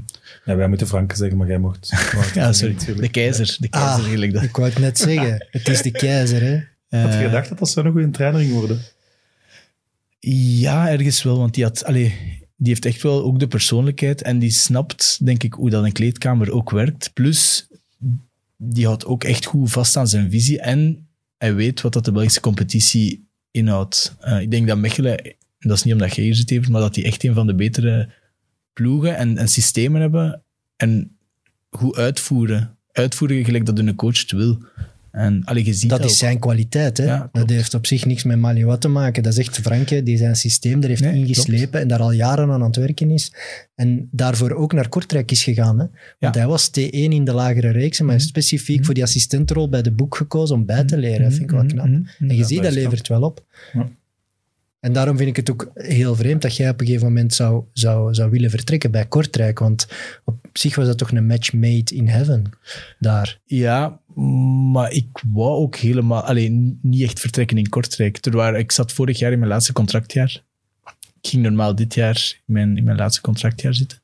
Ja, wij moeten Frank zeggen, maar jij mocht. ja, sorry, natuurlijk. de keizer. De keizer, Ah. eigenlijk. Dat. Ik wou het net zeggen. Het is de keizer, hè? Had je Eh, gedacht dat dat zo'n goede trainer ging worden? Ja, ergens wel, want die had... Allee, die heeft echt wel ook de persoonlijkheid en die snapt, denk ik, hoe dat een kleedkamer ook werkt. Plus, die houdt ook echt goed vast aan zijn visie en hij weet wat dat de Belgische competitie inhoudt. Eh, ik denk dat Mechelen, en dat is niet omdat jij hier zit, Evert, maar dat die echt een van de betere ploegen en, en systemen hebben en goed uitvoeren. Uitvoeren gelijk dat hun coach het wil. En allee, je ziet Dat dat is ook. zijn kwaliteit. Hè? Ja, dat klopt. heeft op zich niks met Maliwa te maken. Dat is echt Franke die zijn systeem er heeft Nee, ingeslepen en daar al jaren aan aan het werken is. En daarvoor ook naar Kortrijk is gegaan. Hè? Want Ja. Mhm. hij was T1 in de lagere reeks, maar hij is specifiek voor die assistentrol bij de boek gekozen om bij te leren. Dat vind ik wel Mhm, knap. mhm, mhm. En je Ja, ziet, dat dat is knap. levert wel op. Ja. En daarom vind ik het ook heel vreemd dat jij op een gegeven moment zou, zou, zou willen vertrekken bij Kortrijk. Want op zich was dat toch een match made in heaven daar. Ja, maar ik wou ook helemaal... Alleen niet echt vertrekken in Kortrijk. Terwijl ik zat vorig jaar in mijn laatste contractjaar. Ik ging normaal dit jaar in mijn, in mijn laatste contractjaar zitten.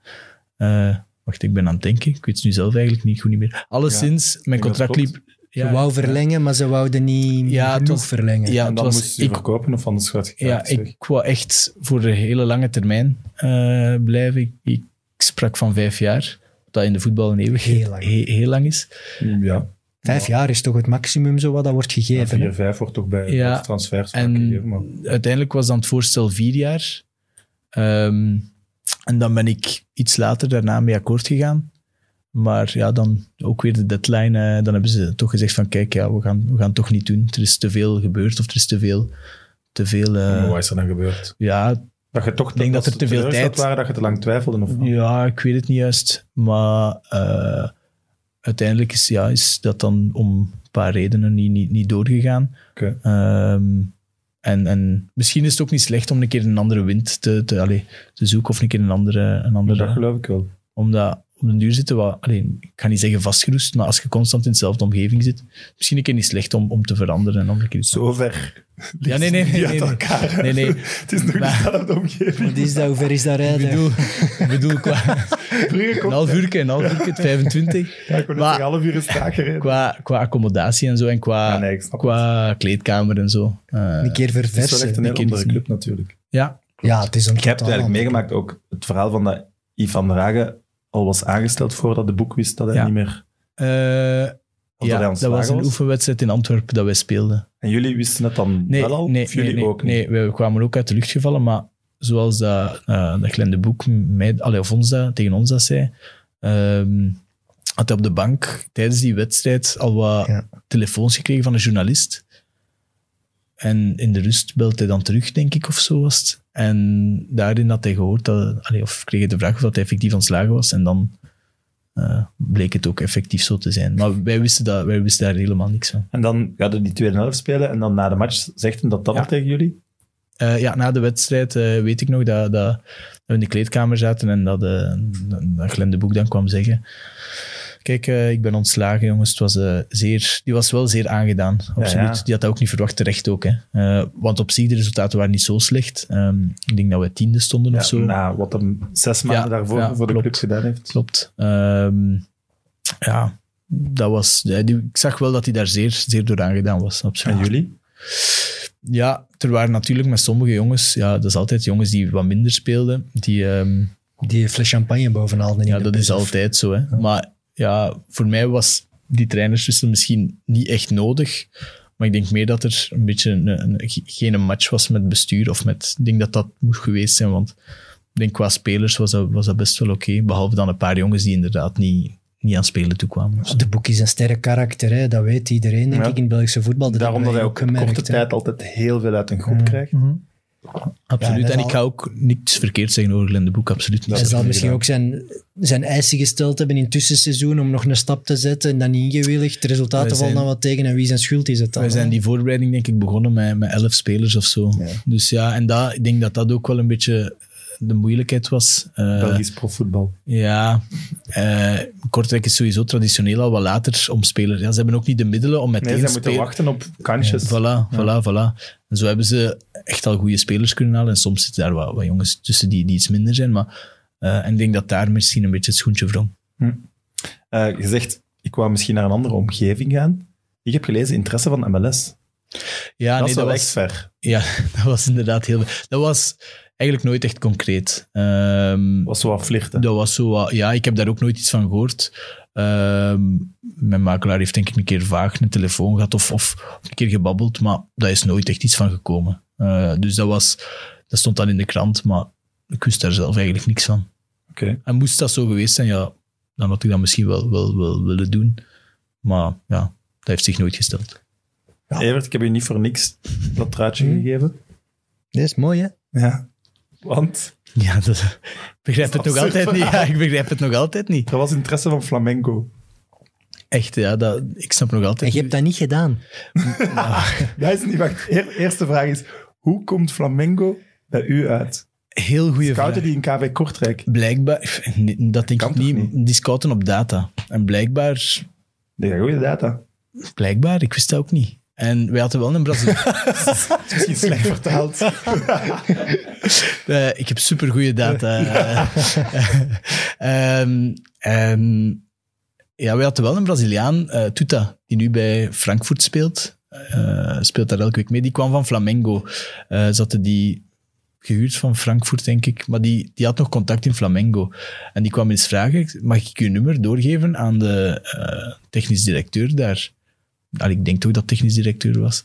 Eh, wacht, ik ben aan het denken. Ik weet het nu zelf eigenlijk niet goed niet meer. Alleszins, mijn ik denk dat contract liep... Ze wou verlengen, maar ze wouden niet Ja, het genoeg was- verlengen. Ja, en het dan was- moest je ik- verkopen of anders gaat het Ja, ik wou echt voor de hele lange termijn eh, blijven. Ik, ik sprak van vijf jaar. Dat in de voetbal een eeuwigheid Heel lang. he- heel lang is. Mm, Ja, Vijf jaar is toch het maximum zo wat dat wordt ja, gegeven. hè? 4, 5 wordt toch bij Ja, ja, transfers vaak en- gegeven. Maar uiteindelijk was dan het voorstel vier jaar. Ehm, en dan ben ik iets later daarna mee akkoord gegaan. Maar ja, dan ook weer de deadline. eh, dan hebben ze toch gezegd van kijk, ja, we, gaan, we gaan het toch niet doen. Er is te veel gebeurd of er is te veel... Te veel eh, maar wat is er dan gebeurd? ja, Dat je toch Ik denk dat als er te veel ze teleurgesteld tijd- waren, dat je te lang twijfelde. Of ja, ik weet het niet juist. Maar eh, uiteindelijk is, ja, is dat dan om een paar redenen niet, niet, niet doorgegaan. Oké. Ehm, en, en misschien is het ook niet slecht om een keer een andere wind te, te, allee, te zoeken of een keer een andere... Een Dat andere geloof ik wel. omdat op den duur zitten we... Allee, ik ga niet zeggen vastgeroest, maar als je constant in dezelfde omgeving zit, misschien een keer niet slecht om, om te veranderen en om een keer... Zover. Ja, nee, nee, nee, Niet nee, uit nee. elkaar. Nee, nee. Het is nog niet Maar- dezelfde Wat omgeving. is dat? Hoe ver is dat Ik rijden? bedoel, ik bedoel qua Brugge een komt- half uurke, een half uurke, het 25. Ja, ik kon Maar- een half uur is traag gereden. Qua, qua accommodatie en zo en qua, Ja, nee, ik snap qua kleedkamer en zo. Eh, een keer Het is wel echt verversen. een die hele andere kennis club natuurlijk. ja, Ja, het is een Ik heb het totaal eigenlijk ander- meegemaakt ook. Het verhaal van dat Yves van der Hagen al was aangesteld voordat de boek wist dat hij Ja. niet meer... Eh, hij ja, dat ontslagen was een was? oefenwedstrijd in Antwerpen dat wij speelden. En jullie wisten het dan Nee, wel al? nee, of jullie nee, nee, ook niet? nee, we kwamen ook uit de lucht gevallen, maar zoals dat, eh dat Glenn de Boek mij, allee, of ons dat, tegen ons dat zei, ehm, had hij op de bank tijdens die wedstrijd al wat Ja. telefoons gekregen van een journalist. En in de rust belt hij dan terug, denk ik, of zo was het. En daarin had hij gehoord, dat, allee, of kreeg hij de vraag of dat hij effectief ontslagen was. En dan eh, bleek het ook effectief zo te zijn. Maar wij wisten, dat, wij wisten daar helemaal niks van. En dan gaat hij die tweede helft spelen en dan na de match zegt hij dat dan Ja. nog tegen jullie? Eh, ja, na de wedstrijd eh, weet ik nog dat, dat we in de kleedkamer zaten en dat, eh, dat Glenn de Boek dan kwam zeggen... Kijk, eh, ik ben ontslagen, jongens. Het was, eh, zeer, die was wel zeer aangedaan, absoluut. ja. Die had dat ook niet verwacht, terecht ook. Hè. Eh, want op zich, de resultaten waren niet zo slecht. Ehm, ik denk dat we tiende stonden Ja, of zo. Na wat hem zes maanden daarvoor ja, voor de klopt. club gedaan heeft. Klopt. Ehm, ja, dat was... eh, die- ik zag wel dat hij daar zeer, zeer door aangedaan was, absoluut. En jullie? Ja, er waren natuurlijk met sommige jongens, ja, dat is altijd jongens die wat minder speelden, die, ehm, Die fles champagne bovenal. ja, dat is altijd zo. Hè. Maar ja, voor mij was die trainerswissel misschien niet echt nodig, maar ik denk meer dat er een beetje een, een- ge- geen een match was met bestuur of met, ik denk dat dat moest geweest zijn, want ik denk qua spelers was dat, was dat best wel oké, behalve dan een paar jongens die inderdaad niet, niet aan spelen toekwamen. of zo. De boek is een sterk karakter, hè. dat weet iedereen, denk Ja. ik, in het Belgische voetbal. Dat Daarom dat hebben hij wij ook in gemerkt, korte hè. tijd altijd heel veel uit een groep krijgt. Absoluut, dat is en al- ik ga ook niks verkeerd zeggen over Glenn de Boek, absoluut niet. Hij zal niet misschien gedaan. ook zijn, zijn eisen gesteld hebben in het tussenseizoen om nog een stap te zetten en dan niet ingewilligd. De resultaten Wij vallen zijn- dan wat tegen en wie zijn schuld is het dan? Wij zijn hè? die voorbereiding denk ik begonnen met, met elf spelers of zo. Dus ja, en dat, ik denk dat dat ook wel een beetje de moeilijkheid was. Eh, Belgisch profvoetbal. ja, eh, Kortrijk is sowieso traditioneel al wat later om spelers. Ja, ze hebben ook niet de middelen om meteen Nee, ze moeten spelers... wachten op kansjes. Voilà, voilà, voilà. En zo hebben ze echt al goede spelers kunnen halen. En soms zitten daar wat, wat jongens tussen die, die iets minder zijn. Maar, eh, en ik denk dat daar misschien een beetje het schoentje wrong. Eh, je zegt, ik wou misschien naar een andere omgeving gaan. Ik heb gelezen interesse van MLS. Ja, dat nee, is wel dat echt was, ver. ja, dat was inderdaad heel... Dat was eigenlijk nooit echt concreet. Ehm, Dat was zo wat flirten. Dat was zo wat- Ja, ik heb daar ook nooit iets van gehoord. Ehm, mijn makelaar heeft denk ik een keer vaag een telefoon gehad of, of een keer gebabbeld, maar daar is nooit echt iets van gekomen. Eh, dus dat, was, dat stond dan in de krant, maar ik wist daar zelf eigenlijk niks van. Oké. En moest dat zo geweest zijn, ja, dan had ik dat misschien wel, wel, wel willen doen. Maar ja, Dat heeft zich nooit gesteld. Evert, ik heb je niet voor niks dat truitje gegeven. Dat is mooi, hè? Ja. Want Ja, dat, ik begrijp het Dat is nog absurd altijd niet. Ja, ik begrijp het nog altijd niet. dat was interesse van Flamenco. Echt, ja, dat, ik snap nog En altijd je hebt dat niet gedaan. Dat is niet, wacht. Eer- eerste vraag is, hoe komt Flamengo bij u uit? heel goede vraag. Kouden die in KV Kortrijk? Blijkbaar, nee, dat denk Kan ik toch niet, niet? die scouten op data. En blijkbaar, Die zijn goede data. blijkbaar, ik wist dat ook niet. En wij hadden wel een Braziliaan. Dat is misschien slecht vertaald. Eh, ik heb supergoeie data. Eh, Ehm, ehm, ja, we hadden wel een Braziliaan, eh Tuta, die nu bij Frankfurt speelt. Eh, speelt daar elke week mee. Die kwam van Flamengo. Eh zaten die gehuurd van Frankfurt, denk ik. Maar die, die had nog contact in Flamengo. En die kwam eens vragen, mag ik je nummer doorgeven aan de eh, technisch directeur daar? Al, ik denk toch dat technisch directeur was.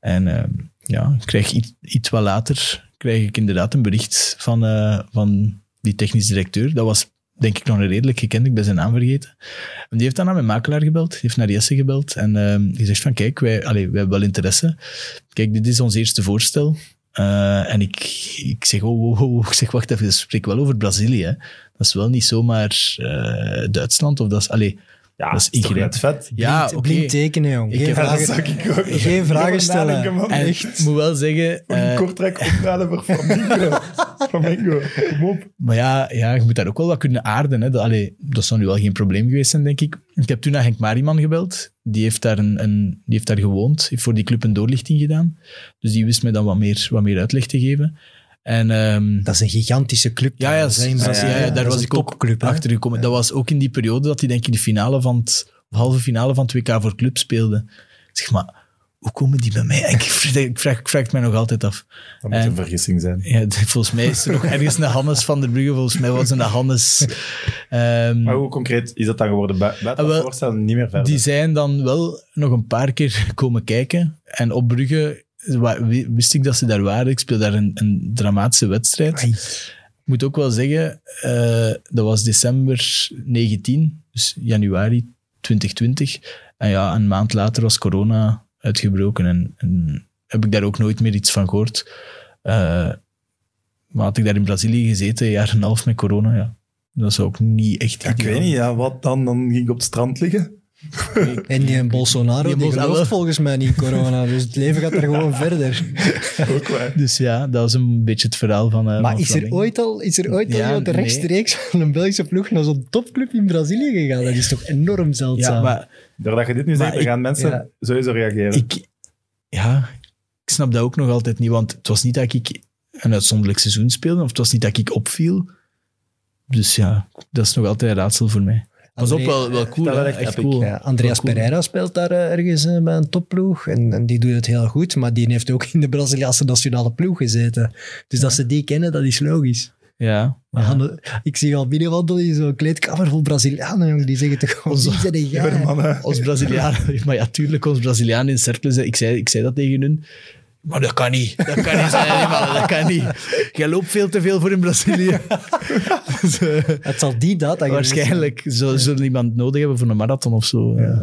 En ehm, ja, ik krijg iets, iets wat later krijg ik inderdaad een bericht van, eh, van die technisch directeur. Dat was denk ik nog een redelijk gekend, ik ben zijn naam vergeten. En die heeft dan aan mijn makelaar gebeld, die heeft naar Jesse gebeld en ehm, die zegt van kijk, wij, allee, wij hebben wel interesse. Kijk, dit is ons eerste voorstel. Eh, en ik, ik zeg, oh, oh, oh, ik zeg, wacht even, we spreken wel over Brazilië. hè. Dat is wel niet zomaar eh, Duitsland of dat is, allee, Ja, dat is toch ingrijpend. net vet. Ja, Ah, oké. Blind- Blind tekenen, jong. Ik Geen heb- Ja, dat vragen. zou ik ook. Geen vragen Over stellen. nadenken, man. En Echt. ik moet wel zeggen... Een eh, Kortrijk opnaden voor Flamengo. Flamengo, kom op. Maar ja, ja, je moet daar ook wel wat kunnen aarden. Hè. Dat, allee, dat zou nu wel geen probleem geweest zijn, denk ik. Ik heb toen naar Henk Mariman gebeld. Die heeft daar, een, een, die heeft daar gewoond. Heeft voor die club een doorlichting gedaan. Dus die wist mij dan wat meer, wat meer uitleg te geven. En, ehm, Dat is een gigantische club. ja, ja, trouwens, hè, in ja, ja, Brazilië. ja, Dat daar is was een ik ook topclub, hè. achter gekomen. Dat was ook in die periode dat hij denk ik de finale van het, of halve finale van het WK voor club speelde. Ik zeg maar, hoe komen die bij mij? Ik vraag, ik vraag, ik vraag het mij nog altijd af. Dat moet een En- vergissing zijn. Ja, d- volgens mij is er nog ergens een Hannes van der Brugge. Volgens mij was er een Hannes. Ehm, Maar hoe concreet is dat dan geworden? Bij, bij Ah, wel, Oh, dat voorstel niet meer verder. die zijn dan wel nog een paar keer komen kijken. En op Brugge wa- wi- wist ik dat ze daar waren. Ik speel daar een, een dramatische wedstrijd. Ai. Ik moet ook wel zeggen, eh, dat was december 19, dus januari 2020. En ja, een maand later was corona uitgebroken en, en heb ik daar ook nooit meer iets van gehoord. Eh, maar had ik daar in Brazilië gezeten, een jaar en een half met corona, ja. Dat zou ook niet echt... Ja, ik ideaal weet niet, ja, wat dan? Dan ging ik op het strand liggen. En die Bolsonaro, Die die, Bolsonaro. gelooft volgens mij niet in corona. Dus het leven gaat er gewoon verder. Ook waar. Dus ja, dat is een beetje het verhaal van. eh, Maar van is er Flamengo. ooit al, is er ooit al Ja, iemand nee. rechtstreeks van een Belgische ploeg naar zo'n topclub in Brazilië gegaan? Dat is toch enorm zeldzaam? Ja, maar Doordat je dit nu zegt, Maar dan ik- gaan mensen ja. sowieso reageren. ik, ja, ik snap dat ook nog altijd niet, want het was niet dat ik een uitzonderlijk seizoen speelde, of het was niet dat ik opviel. Dus ja, dat is nog altijd een raadsel voor mij. Pas op, André, wel, wel cool. dat hè, eh, wel echt, echt epic, cool. Ja, Andreas Wel cool. Pereira speelt daar eh, ergens eh, bij een topploeg en, en die doet het heel goed, maar die heeft ook in de Braziliaanse nationale ploeg gezeten. Dus dat ze die kennen, dat is logisch. Ja, Ah, Maar ja. Hanne- ik zie al binnenwandelen in zo'n kleedkamer vol Brazilianen, jong, die zeggen toch gewoon, wie zijn jij? Ja, mannen. Ons Braziliaan, maar ja, tuurlijk, ons Braziliaan in cerkelen, ik zei, ik zei dat tegen hun. Maar dat kan niet. Dat kan niet zijn, hè, mannen, dat kan niet. Jij loopt veel te veel voor in Brazilië. Dus, eh, Het zal die data geweest Waarschijnlijk zullen ze iemand nodig hebben voor een marathon of zo. eh,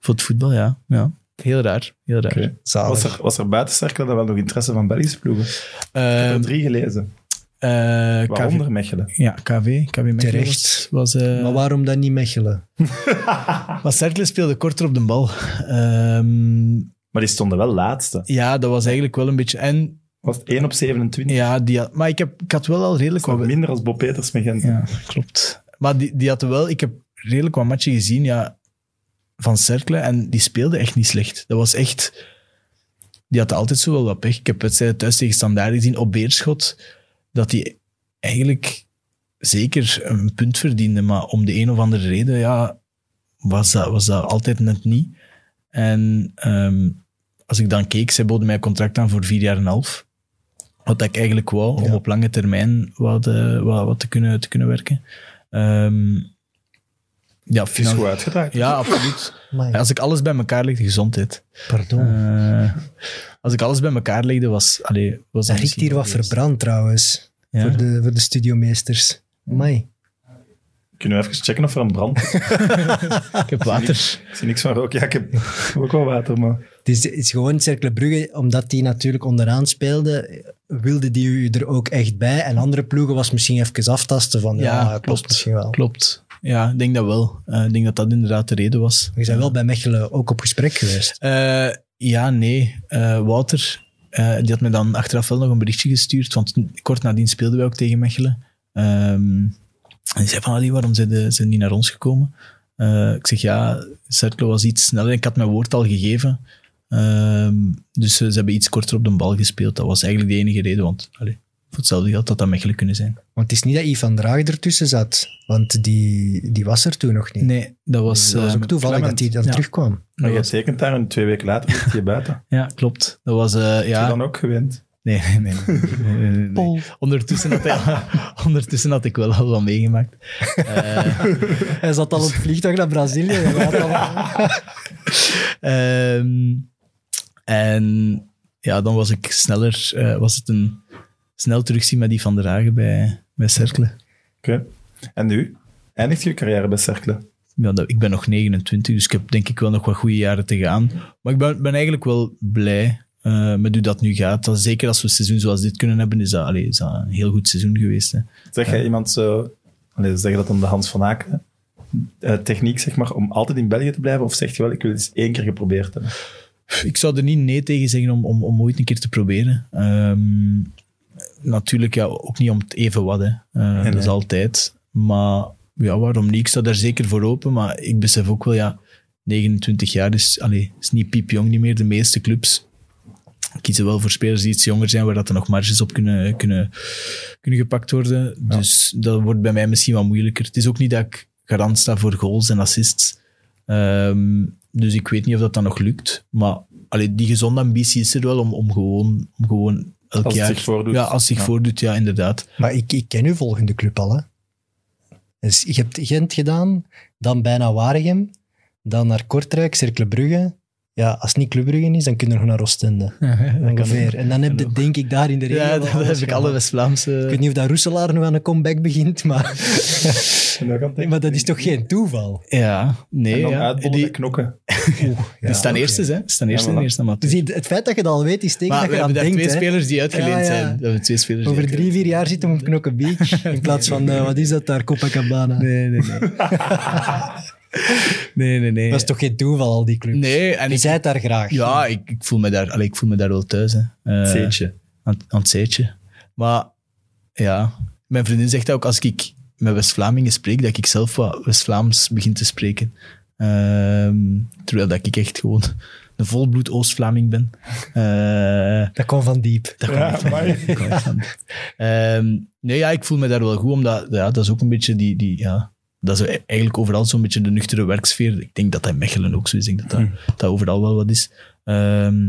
voor het voetbal, ja. ja. Heel raar. Heel raar. Oké. zijn. Zalig. Was er, was er buiten Cerkelen dan wel nog interesse van Belgische ploegen? Ik heb er Ehm, drie gelezen. eh, KV, Waaronder Mechelen. ja, KV. KV Mechelen Terecht. Was, was, eh, Maar waarom dan niet Mechelen? maar Cercle speelde korter op de bal. Ehm, Maar die stonden wel laatste. ja, dat was eigenlijk wel een beetje... En Was het 1 op 27? ja, die had- maar ik, heb, ik had wel al redelijk Nog wat... minder als Bob Peters met Gent. Ja, klopt. Maar die, die hadden wel, ik heb redelijk wat matchen gezien ja, van Cercle en die speelde echt niet slecht. Dat was echt, die hadden altijd zo wel wat pech. Ik heb wedstrijden thuis tegen Standaard gezien op Beerschot, dat die eigenlijk zeker een punt verdiende, maar om de een of andere reden ja, was, dat, was dat altijd net niet. En ehm, als ik dan keek, zij boden mij een contract aan voor vier jaar en een half. Wat ik eigenlijk wou, om Ja. op lange termijn wat, eh, wat, wat te, kunnen, te kunnen werken. Ehm, ja, Het is financieel- goed uitgedraaid. ja, absoluut. Amai, Als ik alles bij elkaar legde, gezondheid. pardon. Eh, als ik alles bij elkaar legde, was... Allee, was dat riekt misschien hier wat wel eens. verbrand trouwens, Ja? voor, de, voor de studiomeesters. Amai. Kunnen we even checken of er een brand is? Ik heb water. Ik zie niks van rook. Ja, ik heb ook wel water, maar... Het is, het is gewoon Cercle Brugge, omdat die natuurlijk onderaan speelde, wilde die u er ook echt bij. En andere ploegen was misschien even aftasten van, ja, Ja, klopt. klopt. misschien wel. Klopt. Ja, ik denk dat wel. Eh, ik denk dat dat inderdaad de reden was. We zijn wel bij Mechelen ook op gesprek geweest. Eh, ja, nee. Eh, Wouter, eh, die had me dan achteraf wel nog een berichtje gestuurd, want kort nadien speelden wij ook tegen Mechelen. Ehm, en die zei van, "Allee, waarom zijn de- zijn die niet naar ons gekomen? Eh, ik zeg, ja, Cercle was iets sneller. Ik had mijn woord al gegeven. Ehm, dus eh, ze hebben iets korter op de bal gespeeld. Dat was eigenlijk de enige reden, want allee, voor hetzelfde geld had dat Mechelen kunnen zijn. Want het is niet dat Yves van Draag ertussen zat, want die, die was er toen nog niet. Nee, dat was... dat was ehm, ook toevallig Clement. dat hij dan Ja. terugkwam. Maar je was- tekent daar en twee weken later ligt je buiten. Heb ja, klopt. Dat was... eh, je ja, dan ook gewend? Nee, nee, nee. nee, nee, nee, nee. Ondertussen, had hij, ondertussen had ik wel al wat meegemaakt. Eh, Hij zat al op het vliegtuig naar Brazilië. ehm, en ja, dan was ik sneller, eh, was het een snel terugzien met die Van der Hagen bij, bij Cercle. Oké. En nu? Eindigt je carrière bij Cercle? Ja, dat- ik ben nog 29, dus ik heb denk ik wel nog wat goede jaren te gaan. Maar ik ben, ben eigenlijk wel blij eh, met hoe dat nu gaat. Dat, zeker als we een seizoen zoals dit kunnen hebben, is dat, allee, is dat een heel goed seizoen geweest. Hè. Zeg jij iemand zo... Allee, zeg je dat dan de Hans van Aken? eh, techniek, zeg maar, om altijd in België te blijven? Of zeg je wel, ik wil het eens één keer geprobeerd hebben? Ik zou er niet nee tegen zeggen om, om, om ooit een keer te proberen. Ehm, natuurlijk ja, ook niet om het even wat. Hè. Eh, dat is nee. altijd. Maar ja, waarom niet? Ik sta daar zeker voor open. Maar ik besef ook wel, ja, 29 jaar is, allee, is niet piepjong niet meer. De meeste clubs kiezen wel voor spelers die iets jonger zijn, waar dat er nog marges op kunnen, kunnen, kunnen gepakt worden. Dus dat wordt bij mij misschien wat moeilijker. Het is ook niet dat ik garant sta voor goals en assists. Ehm, dus ik weet niet of dat dan nog lukt. Maar allee, die gezonde ambitie is er wel om, om gewoon, om gewoon elk Als het jaar... zich voordoet. Ja, als het zich Ja. voordoet, ja, inderdaad. Maar ik, ik ken uw volgende club al. Hè. Dus je hebt Gent gedaan, dan bijna Waregem, dan naar Kortrijk, Cercle Brugge. Ja, als het niet Club Brugge is, dan kunnen we nog naar Oostende. Ongeveer. En dan heb je, denk ik, daar in de regio... Ja, wel dat alles heb ik gedaan. alle West-Vlaamse... Ik weet niet of dat Roeselaar nu aan een comeback begint, maar, En dan kan het- Nee, maar dat is toch geen toeval? Ja, nee. En dan Ja. uitbollen Die, met knokken. die staan oké. eerste, hè? Die staan eerste Ja, in voilà. de eerste maat. Dus hier, het feit dat je dat al weet, is teken Maar dat we je hebben aan daar denkt. twee hè. spelers die uitgeleend Ja, ja. zijn. We hebben twee spelers die Over drie, uitgeleend vier jaar zitten we op Knokke Beach, in plaats van, eh, wat is dat daar, Copacabana. Nee, nee, nee. nee, nee, nee. Dat is toch geen toeval, al die clubs? Nee, en Je ik, zei daar graag. ja, ik, ik, voel me daar, allee, ik voel me daar wel thuis. Hè. Eh, Zeetje. Aan, aan het zeetje. Maar ja, mijn vriendin zegt ook als ik met West-Vlamingen spreek, dat ik zelf wat West-Vlaams begin te spreken. Ehm, terwijl dat ik echt gewoon een volbloed Oost-Vlaming ben. Eh, Dat kwam van diep. daar kan ik Ja, van. maar Daar kan ik van. Ehm, nee, ja, ik voel me daar wel goed, omdat ja, dat is ook een beetje die... die ja, dat is e-, eigenlijk overal zo'n beetje de nuchtere werksfeer. Ik denk dat dat in Mechelen ook zo is. Ik denk dat dat, Hm. dat overal wel wat is. Ehm,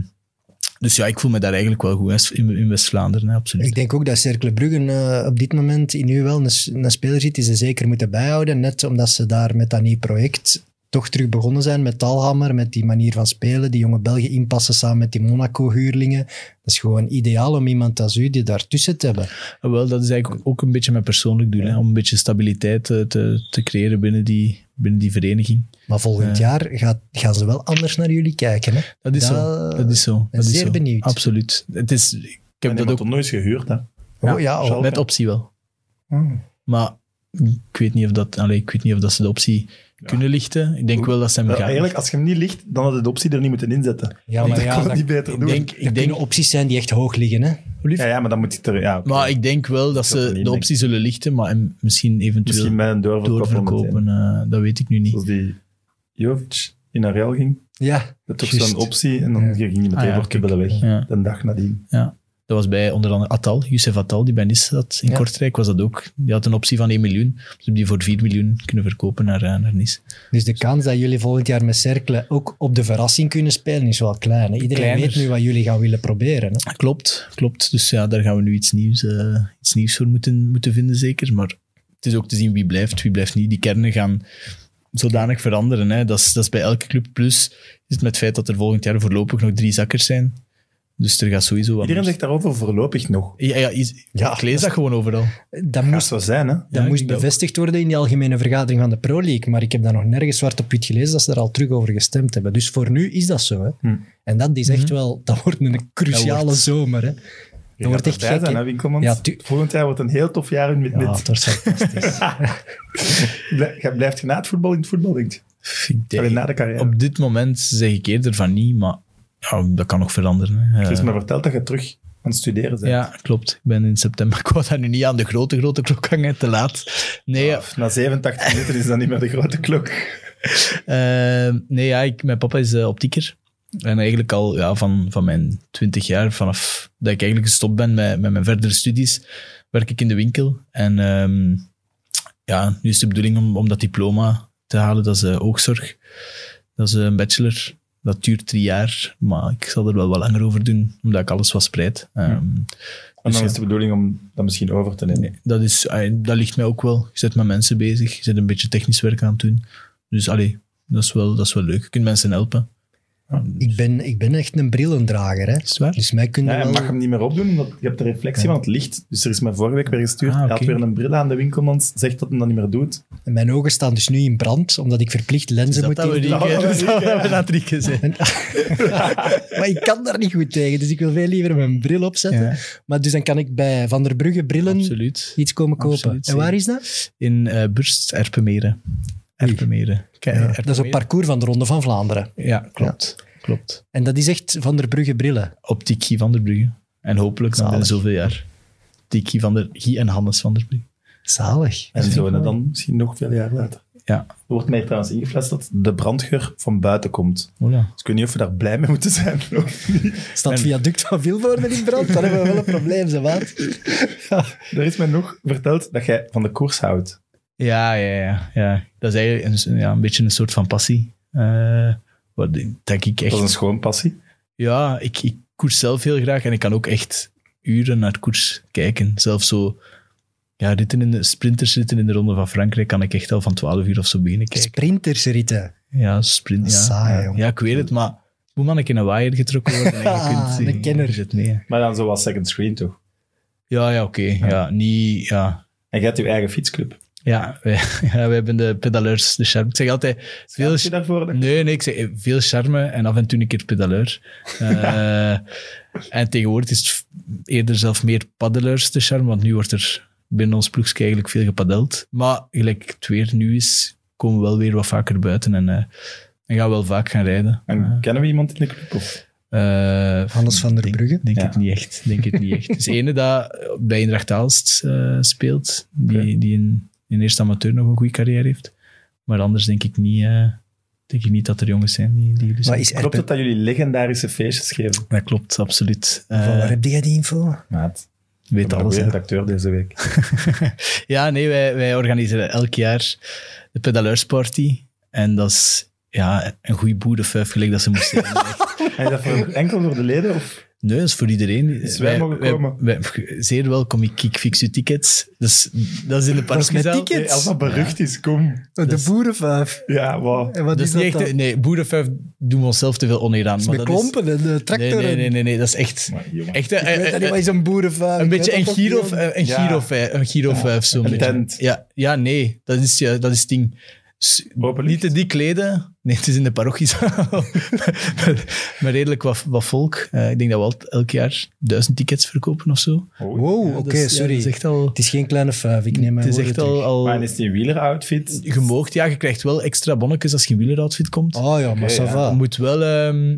dus ja, ik voel me daar eigenlijk wel goed in, in West-Vlaanderen, hè, absoluut. Ik denk ook dat Cercle Brugge eh, op dit moment in nu wel een, s- een speler zit die ze zeker moeten bijhouden. Net omdat ze daar met dat nieuw project toch terug begonnen zijn met Talhammer, met die manier van spelen, die jonge Belgen inpassen samen met die Monaco-huurlingen. Dat is gewoon ideaal om iemand als u die daartussen te hebben. Ah, Wel, dat is eigenlijk ook een beetje mijn persoonlijk doel. Hè? Om een beetje stabiliteit eh, te, te creëren binnen die, binnen die vereniging. Maar volgend jaar gaat, gaan ze wel anders naar jullie kijken. Hè? Dat is zo. Dat- Dat is zo. ben Dat is zeer zo. benieuwd. Absoluut. Het is, ik Ik heb dat ook nog nooit gehuurd, hè. Ja, oh, ja, oh. zal- met optie wel. Maar ik weet niet of, dat, allee, ik weet niet of dat ze de optie kunnen lichten. Ik denk wel dat ze hem Wel, gaan. Eh, Eigenlijk, als je hem niet ligt, dan had je de optie er niet moeten inzetten. ja, maar dat ja, kon dat, niet beter ik doen. denk, dat ik denk, kunnen opties zijn die echt hoog liggen. Hè? ja, ja, maar dan moet hij er... Ja, oké. maar ik denk wel dat Ik had er ze niet de aan optie zullen lichten, maar hem misschien eventueel Misschien met een doorverkopen. meteen. doorverkopen. eh, dat weet ik nu niet. Zoals die Jovic in naar Real ging. Ja, Dat toch Juist. zo'n optie. En dan Ja. ging hij meteen Ah, ja, voor kibbelen weg. Ja. De dag nadien. Dat was bij onder andere Atal, Youssef Atal, die bij Nice zat in Ja. Kortrijk, was dat ook. Die had een optie van 1 miljoen. Ze hebben die voor 4 miljoen kunnen verkopen naar, eh, naar Nice. Dus de kans dat jullie volgend jaar met Cercle ook op de verrassing kunnen spelen is wel klein. hè? Iedereen Kleiner. weet nu wat jullie gaan willen proberen. Hè? Klopt, klopt. Dus ja, daar gaan we nu iets nieuws, eh, iets nieuws voor moeten, moeten vinden, zeker. Maar het is ook te zien wie blijft, wie blijft niet. Die kernen gaan zodanig veranderen. Hè. Dat, is, dat is bij elke club. Plus is het met het feit dat er volgend jaar voorlopig nog drie zakkers zijn. Dus er gaat sowieso wat Iedereen meer- zegt daarover voorlopig nog. Ja, ja, is- ik lees dat gewoon overal. Dat Moet moest, zo zijn, hè? dat Ja, ik moest denk dat bevestigd worden in die algemene vergadering van de Pro League, maar ik heb daar nog nergens zwart op wit gelezen dat ze daar al terug over gestemd hebben. Dus voor nu is dat zo. Hè. Hm. En dat is echt wel, dat wordt een cruciale zomer. Hè. Je wordt gaat echt erbij gek, zijn, hè? hè, Winkelmans? Ja, tu- Volgend jaar wordt een heel tof jaar in met Ja, dit. dat wordt fantastisch. Blij- Je blijft je na het voetbal in het voetbal, denk je? Ik denk- Alleen na de carrière. Op dit moment zeg ik eerder van niet, maar ja, dat kan nog veranderen. hè. Het is Eh, me verteld Dus dat je terug aan het studeren bent. ja, klopt. Ik ben in september. Ik wou daar nu niet aan de grote, grote klok hangen, te laat. Nee, ja, Of Na 87 minuten is dat niet meer de grote klok. Eh, nee, ja, ik, mijn papa is eh, optieker. En eigenlijk al ja, van, van mijn twintig jaar, vanaf dat ik eigenlijk gestopt ben met, met mijn verdere studies, werk ik in de winkel. En ehm, ja, nu is de bedoeling om, om dat diploma te halen. Dat is eh, oogzorg. Dat is eh, een bachelor. Dat duurt drie jaar, maar ik zal er wel wat langer over doen, omdat ik alles wat spreid. Ehm, En dus dan ja. is de bedoeling om dat misschien over te nemen. Nee, dat, is, ah, dat ligt mij ook wel. Je zit met mensen bezig, je zit een beetje technisch werk aan het doen. Dus allee, dat is wel, dat is wel leuk. Je kunt mensen helpen. ik, ben, ik ben echt een brillendrager. Hè. Is het waar? Dus mij kunnen Ja, je wel... mag hem niet meer opdoen, omdat je hebt de reflectie Ja. van het licht. Dus er is mij vorige week weer gestuurd. Ah, Hij had oké. weer een bril aan de winkelmans, zegt dat hij dat niet meer doet. En Mijn ogen staan dus nu in brand, omdat ik verplicht lenzen moet dat we in- die keer- Dat we dat we dat drie keer zijn. Maar ik kan daar niet goed tegen, dus ik wil veel liever mijn bril opzetten. Ja, Maar dus dan kan ik bij Van der Brugge brillen absoluut. iets komen kopen. Absoluut, en waar zeker. is dat? In eh Burst, Erpenmeren. Erpenmeren. Kijk, Eh, Dat is op Erpenmeren. parcours van de Ronde van Vlaanderen. Ja, klopt. klopt. En dat is echt Van der Brugge brillen. Optiek Guy van der Brugge. En hopelijk na Zalig. zoveel jaar. Die Guy van der Guy en Hannes van der Brugge. Zalig. En vind zo, ik en mooi. dan misschien nog veel jaar later. Ja. Er wordt mij trouwens ingeflast dat de brandgeur van buiten komt. Voilà. Dus ik weet niet of we daar blij mee moeten zijn. of niet. Staat het viaduct van Vilvoorde in brand? Dan hebben we wel een probleem, ze wat. er is mij nog verteld dat jij van de koers houdt. Ja, ja, ja, ja. Dat is eigenlijk een, ja, een beetje een soort van passie. Eh, wat denk ik Dat is een echt... schoon passie. Ja, ik, ik koers zelf heel graag en ik kan ook echt uren naar koers kijken. Zelfs zo... Ja, ritten in de sprinters ritten in de Ronde van Frankrijk kan ik echt al van 12 uur of zo beginnen kijken. Sprintersritten. Ja, sprint, ja. Saai, ja. jongen. Ja, ik weet het, maar moet man een keer een waaier getrokken worden? En je Ah, kunt, een kenner. je zit mee. Maar dan zo wat second screen toch? Ja, ja, oké. Ja. niet... Ja. En jij hebt je eigen fietsclub. Ja, wij, ja, wij hebben de pedaleurs, de charme. Ik zeg altijd, veel, Schaamt je daarvoor? dat- Nee, nee, ik zeg veel charme en af en toe een keer pedaleur. Eh, en tegenwoordig is het f- eerder zelf meer paddeleurs de charme, want nu wordt er binnen ons ploegje eigenlijk veel gepadeld. Maar gelijk het weer nu is, komen we wel weer wat vaker buiten en, eh, en gaan we wel vaak gaan rijden. En kennen we iemand in de club? Of? Eh, Hannes van der denk- Brugge. Denk Ja. het niet echt. Denk het niet echt. Het is de ene dat bij Indracht Aalst eh, speelt, die, Oké. die in, in eerste amateur nog een goede carrière heeft. Maar anders denk ik niet, eh, denk ik niet dat er jongens zijn die... die dus Maar is Klopt Erpen- het dat jullie legendarische feestjes geven? Dat klopt, absoluut. Eh, Van waar heb jij die info? Maat. weet alles. hè. redacteur deze week. ja, nee, wij, wij organiseren elk jaar de pedaleursparty. En dat is ja, een goede boerenfuif gelijk dat ze moest zijn. En is dat voor, enkel voor de leden? Of? Nee, dat is voor iedereen. Dus wij mogen komen. wij- zeer welkom, ik, ik fix uw tickets. Dus, dat is in de is met parkzaal. tickets. Hey, als dat berucht is, kom. De boerenvijf. Ja, wow. En wat Dat is niet echt... Nee, boerenfuif doen we onszelf te veel oneer aan. Met maar dat is- klompen en de nee, tractoren. nee, nee, nee, nee, dat is echt... Maar jongen. echt eh, eh, eh, is een boerenvijf? een beetje een Giro, een Ja. Giro, een Giro zo'n een beetje. tent. Ja, ja, nee, dat is, ja, dat is het ding. S- Open niet lucht. te dik kleden. Nee, het is in de parochiezaal. maar, maar redelijk wat, wat volk. Eh, ik denk dat we al, elk jaar duizend tickets verkopen of zo. eh, Wow, Ja, oké, dat is- ja, sorry. dat is echt al... Het is geen kleine vijf, ik neem Het mijn is echt woorden al... al Maar en is die wieleroutfit? gemoogd. Ja, je krijgt wel extra bonnetjes als je in wieleroutfit komt. terug. Oh ja, maar Oké, ça ja. va. Je moet wel ehm,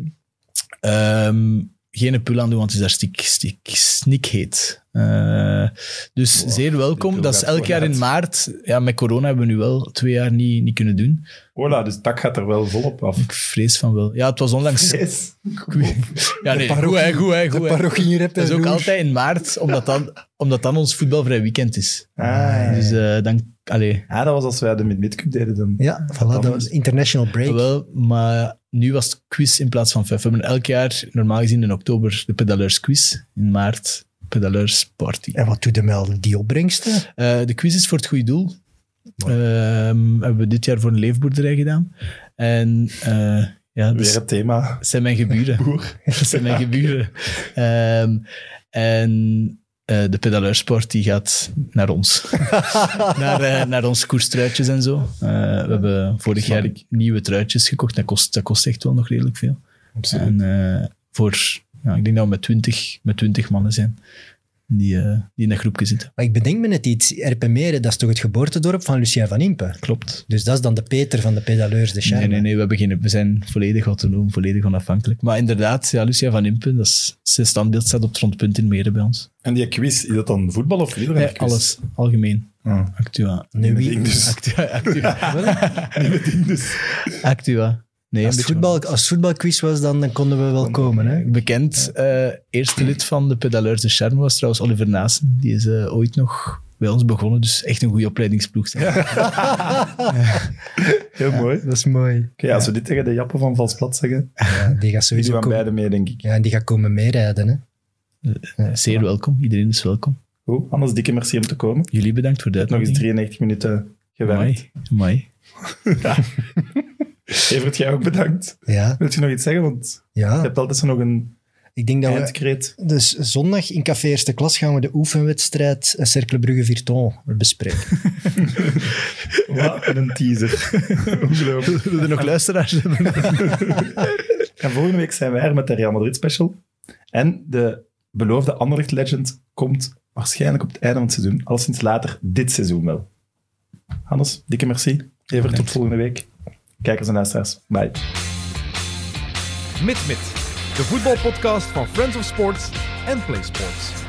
ehm, geen pul aan doen, want het is daar stik, stik, snikheet. Eh, dus Wow, zeer die welkom. pul Dat is gaat elk jaar in vooruit. maart. Ja, met corona hebben we nu wel twee jaar niet, niet kunnen doen. Ola, dus dat gaat er wel volop af. Ik vrees van wel. Ja, het was onlangs... Yes. Ja, nee, parochie- goed hè, goed hè, De goed hè. parochie hier heb Dat is je ook roer. altijd in maart, omdat dan, omdat dan ons voetbalvrij weekend is. Ah, ja. Dus eh, dan... Allee, Ah, dat was als wij de mid-midcup deden dan. Ja, voilà, dat was international break. wel, maar nu was het quiz in plaats van vijf. We hebben elk jaar, normaal gezien in oktober, de pedaleurs quiz. In maart, pedaleurs party. En wat doet de melden? Die opbrengsten? Eh, de quiz is voor het goede doel. Ehm, hebben we dit jaar voor een leefboerderij gedaan. En eh, Ja, dus Weer het thema. het zijn mijn geburen. Boer. Dat zijn mijn geburen. Ehm, en eh, de pedaleursport die gaat naar ons. naar, eh, naar onze koerstruitjes en zo. Eh, we hebben vorig Snap jaar ik. nieuwe truitjes gekocht. Dat kost, dat kost echt wel nog redelijk veel. Absoluut. En eh, voor, ja, ik denk dat we met twintig, met 20 mannen zijn die, eh, die in dat groepje zitten. Maar ik bedenk me net iets. Erpenmeren, dat is toch het geboortedorp van Lucien van Impe? Klopt. Dus dat is dan de Peter van de pedaleurs de Charme. Nee, nee, nee, we, hebben geen, we zijn volledig autonoom, volledig onafhankelijk. Maar inderdaad, ja, Lucia van Impen, dat is, zijn standbeeld staat op het rondpunt in Meren bij ons. En die quiz, is dat dan voetbal of wielrenner? Eh, alles, algemeen. Ah. Actua. Nee, wie- ding dus. Actua. Actua. ding dus. Actua. Nee, als, een het beetje voetbal, als het voetbalquiz was, dan, dan konden we wel komen. Hè? Bekend eh, eerste lid van de Pedaleurs de Charme was trouwens Oliver Naassen. Die is eh, ooit nog bij ons begonnen, dus echt een goede opleidingsploeg. Heel mooi. Oké, Dat is mooi. als we dit tegen de jappen van Valsplat zeggen, Ja, die gaat die sowieso doen aan komen, beide mee, denk ik. ja, en die gaat komen meerijden. Hè? Eh, Zeer welkom, iedereen is welkom. Goed, anders dikke merci om te komen. Jullie bedankt voor de Nog eens uitnodiging. 93 minuten gewerkt. Mooi, mooi. Evert, jij ook bedankt. Ja, Wilt je nog iets zeggen? Want je ja. hebt altijd zo nog een Ik denk dat we... eindkreet. Dus zondag in Café Eerste Klas gaan we de oefenwedstrijd eh, Cercle Brugge-Virton bespreken. Wat een teaser. Ongelooflijk. Willen er nog luisteraars hebben? En volgende week zijn wij er met de Real Madrid special. En de beloofde Anderlecht legend komt waarschijnlijk op het einde van het seizoen. Al sinds later dit seizoen wel. Hannes, dikke merci. Even tot volgende week. Kijkers en luisteraars. Bye. MidMid, de voetbalpodcast van Friends of Sports en Play Sports.